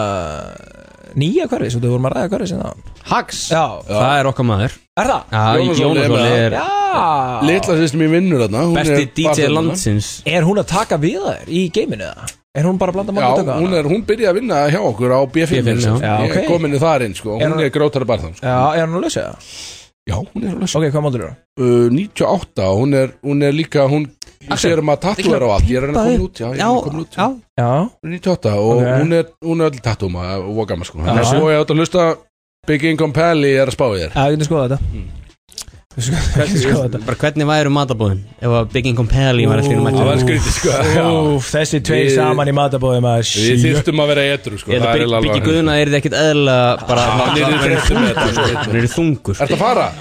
Speaker 5: nýja hverfi, svo þú vorum að ræða hverfi sinna
Speaker 2: Hags?
Speaker 5: Já,
Speaker 2: Það er okkar maður
Speaker 5: er það?
Speaker 2: Já,
Speaker 1: Jónas Óli er
Speaker 2: Jónas Óli
Speaker 1: með
Speaker 2: er
Speaker 5: Já
Speaker 1: Litla sýstum ég vinnur þarna hún
Speaker 2: besti
Speaker 1: er
Speaker 2: DJ
Speaker 1: barþjónn,
Speaker 2: landsins
Speaker 5: Er hún að taka við þær í geiminu eða? Er hún bara að blanda
Speaker 1: Já,
Speaker 5: mann og taka?
Speaker 1: hún, er, hún byrjaði að vinna hjá okkur á B5
Speaker 2: B5,
Speaker 1: sko.
Speaker 5: já.
Speaker 1: Ég
Speaker 5: Já,
Speaker 1: er
Speaker 5: ok.
Speaker 1: komin í þar inn, sko,
Speaker 5: Er
Speaker 1: hún
Speaker 5: hún-
Speaker 1: er grótara barðan sko.
Speaker 5: Já, er hún að lausa það?
Speaker 1: Já, hún er alveg
Speaker 5: Ok, hvað málur þú?
Speaker 1: uh, 98 og hún er, hún er líka hún
Speaker 5: Axel,
Speaker 1: sér um að tattúar á allt ég er henni komin út, já, ég er henni komin út
Speaker 2: já.
Speaker 5: Já,
Speaker 1: 98 og
Speaker 5: Ok.
Speaker 1: hún er, hún er öll tattúma og gaman sko þannig að
Speaker 5: Já.
Speaker 1: svo ég átt að hlusta Big Income Pally er að spá í þér
Speaker 5: já, ég getur skoðað þetta
Speaker 1: Hmm.
Speaker 5: Ég getur skoðað þetta
Speaker 2: Bara hvernig væru matabóðin ef að um Big Income Pally var allir mættur
Speaker 1: það var skrítið sko já.
Speaker 5: Úf, þessi tvei
Speaker 1: Við-
Speaker 5: saman í matabóðum að
Speaker 1: við þyrstum að vera etru sko
Speaker 2: Ég held
Speaker 1: það
Speaker 2: að
Speaker 1: er
Speaker 2: Big-
Speaker 1: alveg- Ah,
Speaker 2: Biggi Guðna er þið ekkit eðla bara
Speaker 1: hann yrði þreyttur með þetta, sko.
Speaker 2: Hann er þungur
Speaker 1: Ertu að fara?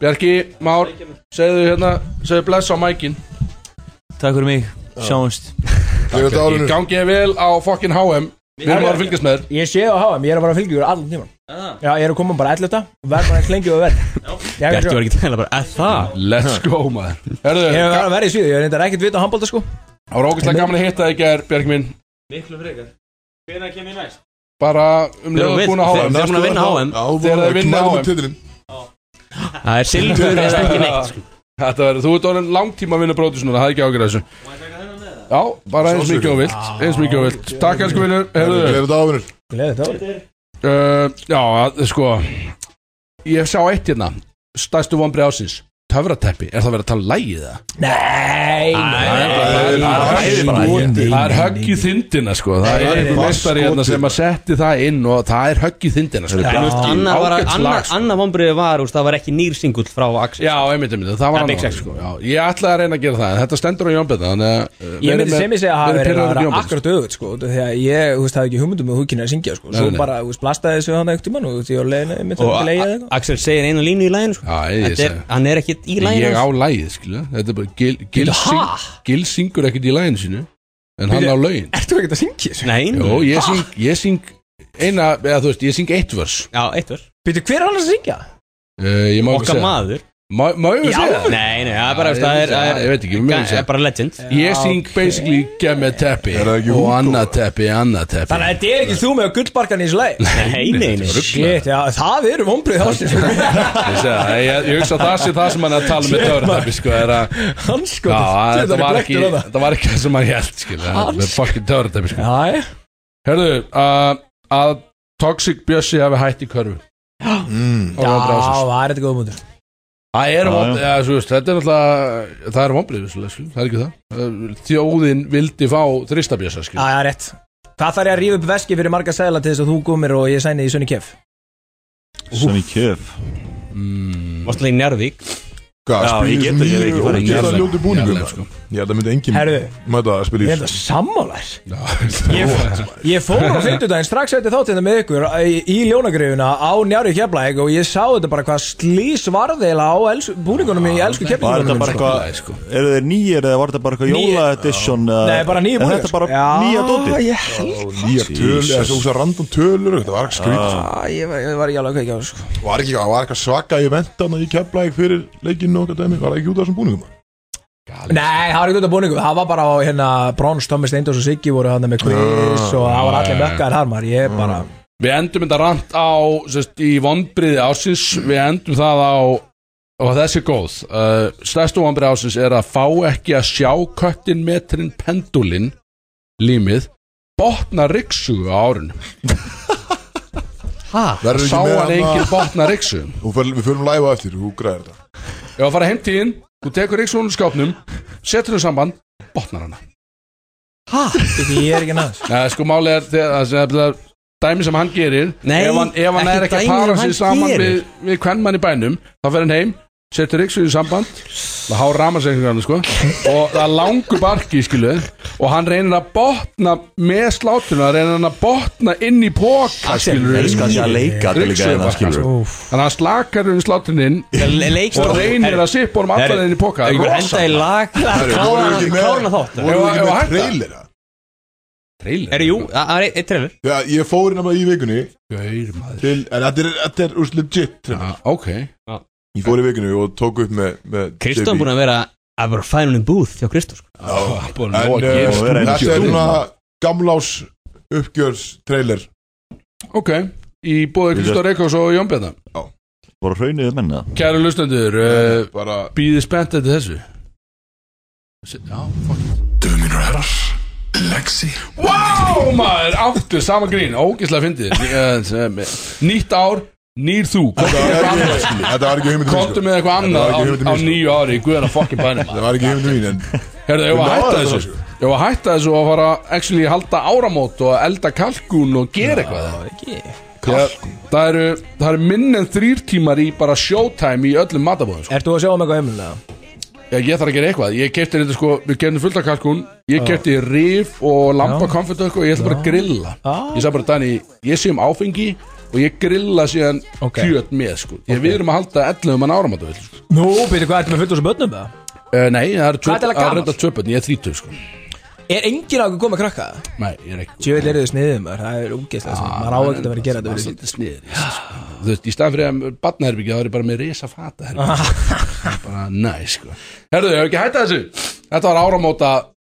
Speaker 1: Bjarki, Már, segðu hérna segðu bless á mækin
Speaker 15: Takk fyrir mig, sjáumst
Speaker 8: Ég veit
Speaker 1: Ég
Speaker 8: árunni
Speaker 1: gangi þér vel á fokkin HM við erum að fara að fylgjast með þér
Speaker 5: Ég sé á HM, ég er að bara að fylgja ykkur allan tíman Já, ég er að koma bara 11 Verð bara eins lengi og verð Ég er
Speaker 2: Bjarki
Speaker 5: ekki-
Speaker 2: var ekkit eðla bara "Er Það
Speaker 1: let's go maður Herðu,
Speaker 5: ég er
Speaker 1: ga-
Speaker 5: að verð í síðu, ég er reyndar ekkert vita á handbólta um sko
Speaker 1: það var ógæslega gaman að hitta þig í gær Bjarki minn
Speaker 15: Miklu frekar Hvenær kem ég næst?
Speaker 1: Bara um
Speaker 2: Þeir eru
Speaker 1: leið
Speaker 2: við-
Speaker 1: búin að
Speaker 2: þeir-
Speaker 1: háa
Speaker 2: þeir eru búin að vinna HM.
Speaker 1: Þeir eru að vinna
Speaker 8: knallum
Speaker 1: háa
Speaker 8: titilinn
Speaker 2: Það er silfur eða ekki neitt sko.
Speaker 1: Þetta verður, þú ert orðin langtíma að vinna brótis núna, það er ekki ágjörð þessu Já, bara eins
Speaker 8: Sjálfsögðu.
Speaker 1: mikið og vilt, eins mikið og vilt Takk elsku vinnur,
Speaker 8: Gleður þetta ávinnur
Speaker 5: Gleðið þetta
Speaker 1: Uh, já, að- sko Ég sá eitt hérna Stæstu vonbreið ásins Töfrateppi, er það verið að tala um lægið það?
Speaker 5: Nei
Speaker 1: Það er- það er- það er högg í þindina sko Það
Speaker 2: Nei,
Speaker 1: er
Speaker 2: nei,
Speaker 1: einhver
Speaker 2: nei.
Speaker 1: meistari hérna sem að setti það inn og það er högg í þindina sko. Þetta er
Speaker 2: Annað
Speaker 1: ágætt
Speaker 2: var að-
Speaker 1: lag,
Speaker 2: Annað
Speaker 1: sko.
Speaker 2: anna vonbriðið var, úst, það var ekki nýrsingull frá Axel
Speaker 1: Já, einmitt, einmitt, það var
Speaker 2: Það er Big
Speaker 1: annað,
Speaker 2: Sex.
Speaker 1: sko. Já, Ég ætlaði að reyna að gera það en þetta stendur á jónbyrna eh,
Speaker 5: Ég myndi sem ég segja að hafa verið að vera akkurat auðvitað sko Því að ég, þú veist, hafði ekki hugmyndum með hugkynni að syngja sko Svo
Speaker 1: Nei, nei.
Speaker 5: bara, þú veist, blastaði þessu hann eitthvað mann og þú veist, ég var leiðin einmitt að
Speaker 2: Og
Speaker 5: leiða
Speaker 2: A-
Speaker 5: eitthvað
Speaker 2: Axel segir eina línu í læginu sko.
Speaker 1: Já, ég
Speaker 2: Þetta er-
Speaker 1: segi.
Speaker 2: Hann er ekkert í læginu
Speaker 1: Ég á
Speaker 2: sko.
Speaker 1: lægið, skilja Þetta er bara, Gil, Gil,
Speaker 2: Bíddu,
Speaker 1: syng,
Speaker 2: ha?
Speaker 1: Gil syngur ekkert í læginu sínu En hann á lögin
Speaker 5: Ertu ekkert að syngja þessu?
Speaker 2: Nei,
Speaker 1: Jó, ég syng, ég syng eina, eða þú veist, ég syng eitt vers
Speaker 2: Já, eitt vers
Speaker 5: Býtu, hver er hann að syngja?
Speaker 1: uh, Ég má ekki
Speaker 2: Okkar
Speaker 1: segja
Speaker 2: maður
Speaker 1: Má, má ég
Speaker 2: Já,
Speaker 1: segja það?
Speaker 2: nei, nei, það er bara,
Speaker 1: Já,
Speaker 2: veist,
Speaker 1: ég
Speaker 2: það er-
Speaker 1: vissi
Speaker 2: það er-
Speaker 1: Ég veit ekki, ég
Speaker 2: ga-
Speaker 1: mér segja
Speaker 2: er bara legend
Speaker 1: Ég syng basically gemmi teppi Og annað teppi, annað teppi
Speaker 5: Þannig að þetta er ekki þú með gullbarkan í þessu lagi
Speaker 2: Nei, nei, nei
Speaker 5: Shit, já, það eru vombrið ásins
Speaker 1: Ég segja það, ég, ég hugsa að það sé það sem hann er að tala með töfrateppi Sko, er að
Speaker 5: Hann sko,
Speaker 1: Já, þetta
Speaker 5: þetta
Speaker 1: var
Speaker 5: er
Speaker 1: ekki
Speaker 5: blektur á það
Speaker 1: Þetta var ekki það sem hann held, skilja
Speaker 5: Hans.
Speaker 1: Með fokkin töfrateppi, sko
Speaker 5: Já, já
Speaker 1: Herðu, að- að Toxic Bjössi hafi hætt í körfu
Speaker 5: Já,
Speaker 1: Vonbrigði ársins.
Speaker 5: það er þetta góð mútur
Speaker 1: Það er
Speaker 5: Mm. Já,
Speaker 1: vonbrið,
Speaker 5: já.
Speaker 1: ja, veist, þetta er náttúrulega það er vonbrið, vissulega, skilur, það er ekki það Þjóðin vildi fá þristabjösa
Speaker 5: Já, já, rétt Hvað þarf ég að rífa upp veski fyrir marga segla til þess að þú komir og ég sæni í Sunny Kef?
Speaker 3: Svenni Kjöf
Speaker 2: Varstu í Njárvík
Speaker 8: Hvað, spilið þessu nýju og geta ljótu búningum
Speaker 1: Njarðvík, sko.
Speaker 8: Ég held að myndi engin
Speaker 5: Herðu.
Speaker 8: Mæta að
Speaker 5: Ég
Speaker 8: spila í
Speaker 5: held að sammálar
Speaker 1: *laughs* Ég
Speaker 5: Ég fór
Speaker 1: *laughs*
Speaker 5: á fimmtudaginn strax eftir þáttina með ykkur í, í ljónagrifuna á njári keflæk og ég sá þetta bara hvað slís varðeila á els, búningunum í elsku
Speaker 3: Var þetta bara
Speaker 5: keflækunum
Speaker 3: eitthvað, eru þeir nýjir eða var þetta bara eitthvað
Speaker 5: Nýir-
Speaker 3: jóla edition eða-
Speaker 5: Sko. Nei, bara nýju
Speaker 3: Er
Speaker 5: búningar
Speaker 3: Þetta bara
Speaker 5: Já,
Speaker 3: nýja dóti
Speaker 5: ég held
Speaker 8: Nýja tölur,
Speaker 3: Jesus.
Speaker 8: þessu úsa random tölur Það var ekki
Speaker 1: Ah.
Speaker 8: skrýt
Speaker 5: Æ, ég, var- ég var í alveg ekki á sko.
Speaker 8: Var ekki, var eitthvað svaka Ég venta hann að ég kepla ekki fyrir leikinn og eitthvað dæmi Var það ekki út af þessum búningum
Speaker 5: Nei, það var ekki út af búningum Það var bara á hérna Brons, Thomas Steindors og Siggi voru hann með quiz og það var allir mökkaðir þar maður Ég bara
Speaker 1: Við endum þetta rant á sest, í vonbriði ásins við endum það á og þessi er góð uh, stærstu vonbriði ásins er að fá ekki að sjá köttin metrin pendulin límið botna ryksugu á árun
Speaker 2: Ha?
Speaker 1: Ah,
Speaker 8: Verður
Speaker 1: sá
Speaker 8: ekki
Speaker 1: hann
Speaker 8: með hann
Speaker 1: engin botna ryksugu
Speaker 8: að Við förum live á eftir, þú græðir þetta
Speaker 1: Ég var að fara heim tíðin, þú tekur ryksugunum úr skápnum setur hún samband, botnar hana
Speaker 5: Siggi, Ég er ekki næðs
Speaker 1: Nei, sko málið er þegar það sem það dæmi sem hann gerir
Speaker 2: Nei,
Speaker 1: ef hann, ef hann
Speaker 2: ekki
Speaker 1: er ekki að
Speaker 2: dæmi
Speaker 1: para
Speaker 2: sem hann
Speaker 1: sig saman
Speaker 2: gerir.
Speaker 1: við, við kvennmann í bænum þá fer hann heim, setur yksuð í samband það há ramarsengingarna sko og það er langur barki skilu og hann reynir að botna með slátuna, reynir hann að botna inn í póka skilu
Speaker 3: Elskar því að leika þetta líka
Speaker 1: Ryksugur
Speaker 3: hérna,
Speaker 1: bara,
Speaker 3: skilur.
Speaker 1: sko. þannig að hann slakar um slátuninn inn
Speaker 2: Leikstofn
Speaker 1: og reynir að sippa honum allan inn í póka
Speaker 2: Ég var henda í lag
Speaker 8: voru ekki með-
Speaker 2: Kárna þátt
Speaker 8: Voru
Speaker 1: Ef- ef að
Speaker 8: ekki með
Speaker 1: hætta?
Speaker 8: trailera
Speaker 1: Trailer?
Speaker 2: Er jú, það það er eitt trefur
Speaker 8: Já, ég fór hérna bara í vikunni
Speaker 1: Gaur maður
Speaker 8: til, En þetta er, þetta er úr legit trailer.
Speaker 1: Ah, Ok
Speaker 8: Ég fór í vikunni og tók upp með, með
Speaker 2: Kristján
Speaker 8: JB.
Speaker 2: búin að vera að bara færa hún í búð hjá Kristján sko.
Speaker 1: Já, búin
Speaker 8: En
Speaker 1: að
Speaker 8: eh,
Speaker 1: gera
Speaker 3: vera einu
Speaker 8: þetta er
Speaker 3: stjórn.
Speaker 8: svona gamlás uppgjörs trailer
Speaker 1: Ok, í bóði Kristóð Reykjós og Jón Bjarnar
Speaker 3: Bara hraunuðu menna
Speaker 1: Kæru lustendur,
Speaker 2: Eh,
Speaker 1: uh,
Speaker 8: Bara
Speaker 1: býðið spennt eftir þessu S- Já, fuck
Speaker 11: Döminur herrar, Lexi
Speaker 1: Vá, maður, aftur, sama grín, ógislega
Speaker 8: *laughs*
Speaker 1: fyndið Eh, sem- Nýtt ár, nýr þú Komdu með
Speaker 8: Þetta var
Speaker 1: eitthvað annað,
Speaker 8: ekki-
Speaker 1: skilur.
Speaker 8: þetta var ekki hugmyndum
Speaker 1: Komdu með eitthvað
Speaker 8: Þetta
Speaker 1: annað
Speaker 8: var ekki
Speaker 1: á,
Speaker 8: hugmyndin
Speaker 1: á
Speaker 8: mín, sko.
Speaker 1: nýju ári, guðan að fokkin bænum
Speaker 8: Það var ekki hugmyndum mín en
Speaker 1: Herðu, ég var að
Speaker 8: Við náðum
Speaker 1: hætta
Speaker 8: þessu,
Speaker 1: þessu Ég var að hætta þessu og fara actually halda áramót og elda kalkún og gera eitthvað
Speaker 5: ekki.
Speaker 1: Ég- Það eru, það eru minn en þrýr tímar í bara showtime í öllum matabóðum sko.
Speaker 5: Ert þú að sjá um eitthvað heimilina?
Speaker 1: Já, ég þarf að gera eitthvað Ég kefti þetta sko, við keftum fullt af kalkún Ég kefti rif og lampa konfetökk og ég ætla bara að grilla Ég sagði bara, Dani, ég sé um áfengi og ég grilla síðan
Speaker 5: Ok.
Speaker 1: kjöt með sko. Ég við erum að halda 11 mann áramóta uh,
Speaker 5: Nú, byrju, hvað ertu með fullt úr sem börnum það?
Speaker 1: Eh, Nei, það eru
Speaker 5: Hvað er þetta
Speaker 1: það eru
Speaker 5: gamalt?
Speaker 1: reyndar tvöpun, ég er 30 sko.
Speaker 5: Er enginn á ekki komið að krakka það?
Speaker 1: Nei, ég er ekki
Speaker 5: Tjövill eru þið sniðið maður, það er ógeðslega sniðið Maður á
Speaker 1: en-
Speaker 5: ekkert að vera að gera þetta
Speaker 1: það er
Speaker 5: fyrir
Speaker 1: svolítið sniðið sko. Þú veist, í staðan fyrir að batnaherbyggja þá er ég bara með risa fata sko. bara næ, sko Herðu, ég hef ekki hætta þessu Þetta var áramóta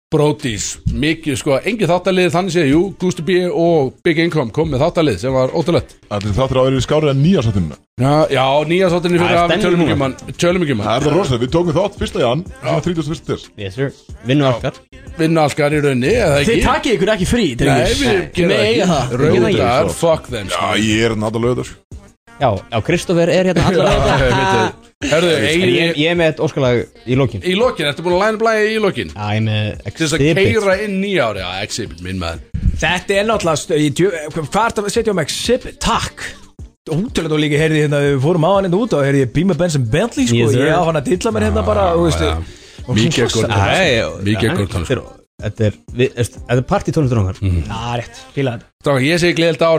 Speaker 1: Brodís, mikið sko, engin þáttalið þannig séð, jú, Gusti B og Big Income kom með þáttalið sem var ótrúlegt
Speaker 8: Allir þáttur áður í skárið en nýja sattunina
Speaker 1: Já, já nýja sáttinni fyrir að við tölum ekki um hann Tölum ekki um hann
Speaker 8: Það er það rosalega, við tókum þátt fyrsta jan sem var 31. des
Speaker 1: Yes sir, vinnu algar Vinnu algar í raunni, eða ekki
Speaker 4: Þið takið ykkur ekki frí,
Speaker 1: Nei, við gerum
Speaker 4: Með
Speaker 1: það
Speaker 4: eiga
Speaker 1: ekki.
Speaker 4: það
Speaker 1: Rauðar, fuck them sko.
Speaker 8: Já, ég er náttúrulega sko. löður
Speaker 2: Já, já, Kristoffer er hérna allar
Speaker 1: Já, ég veit það. Herðu,
Speaker 2: En
Speaker 1: Egill-
Speaker 2: ég, ég er með eitt óskalag í lokin
Speaker 1: Í lokin, ertu búin að læna blæja í lokin?
Speaker 2: Já, ég með
Speaker 1: Til þess að keira inn nýja ári, já, exhibit minn maður
Speaker 5: Þetta er náttúrulega st- í djö- Hvað er þetta að setja um exhibit? Takk Útölu þú líka heyrði hérna Við fórum á hann hérna út og heyrði ég Bíma Benson Bentley sko,
Speaker 2: Yes, sir.
Speaker 5: Ég á hann að dilla mér hérna bara þú veist,
Speaker 2: já.
Speaker 5: og svona
Speaker 2: Mikið
Speaker 5: hrossa-
Speaker 2: Gordon. Æ,
Speaker 1: Mikið
Speaker 2: já,
Speaker 1: Gordon.
Speaker 2: þetta er- Þetta er, við- veist, þetta er partítónlistur okkar
Speaker 1: Mhm.
Speaker 5: Já, rétt, fíla þetta
Speaker 1: Strákar, ég segi gleðilt ár uh,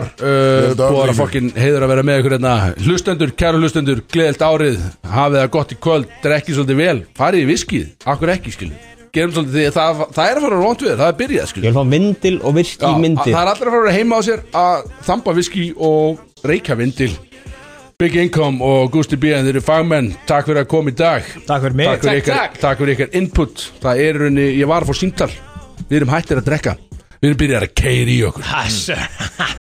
Speaker 1: Búið
Speaker 2: ár,
Speaker 1: að
Speaker 2: drengir.
Speaker 1: fokkin heiður að vera með ykkur hérna Hlustendur, kæru hlustendur, gleðilt árið Hafið það gott í kvöld, drekkið svolítið vel Farið í viskið, akkur ekki skilu Gerum svolítið því að það, það er að fara rónt við þér, Það er byrjað skilu
Speaker 2: Ég vil fá myndil og virki
Speaker 1: Já,
Speaker 2: myndil
Speaker 1: Það er allir að fara heima á sér að þamba viski og reykja vindil Big Income og Gusti B. Þeir eru fagmenn, takk fyrir að koma í dag
Speaker 5: Takk fyrir mig.
Speaker 1: Takk fyrir
Speaker 5: Takk,
Speaker 1: ykkar,
Speaker 5: takk.
Speaker 1: Takk fyrir ykkar input Það er í rauninni, ég var að fá síntal Við erum hættir að drekka Við erum byrjað að keiri í okkur
Speaker 5: Ha, sir.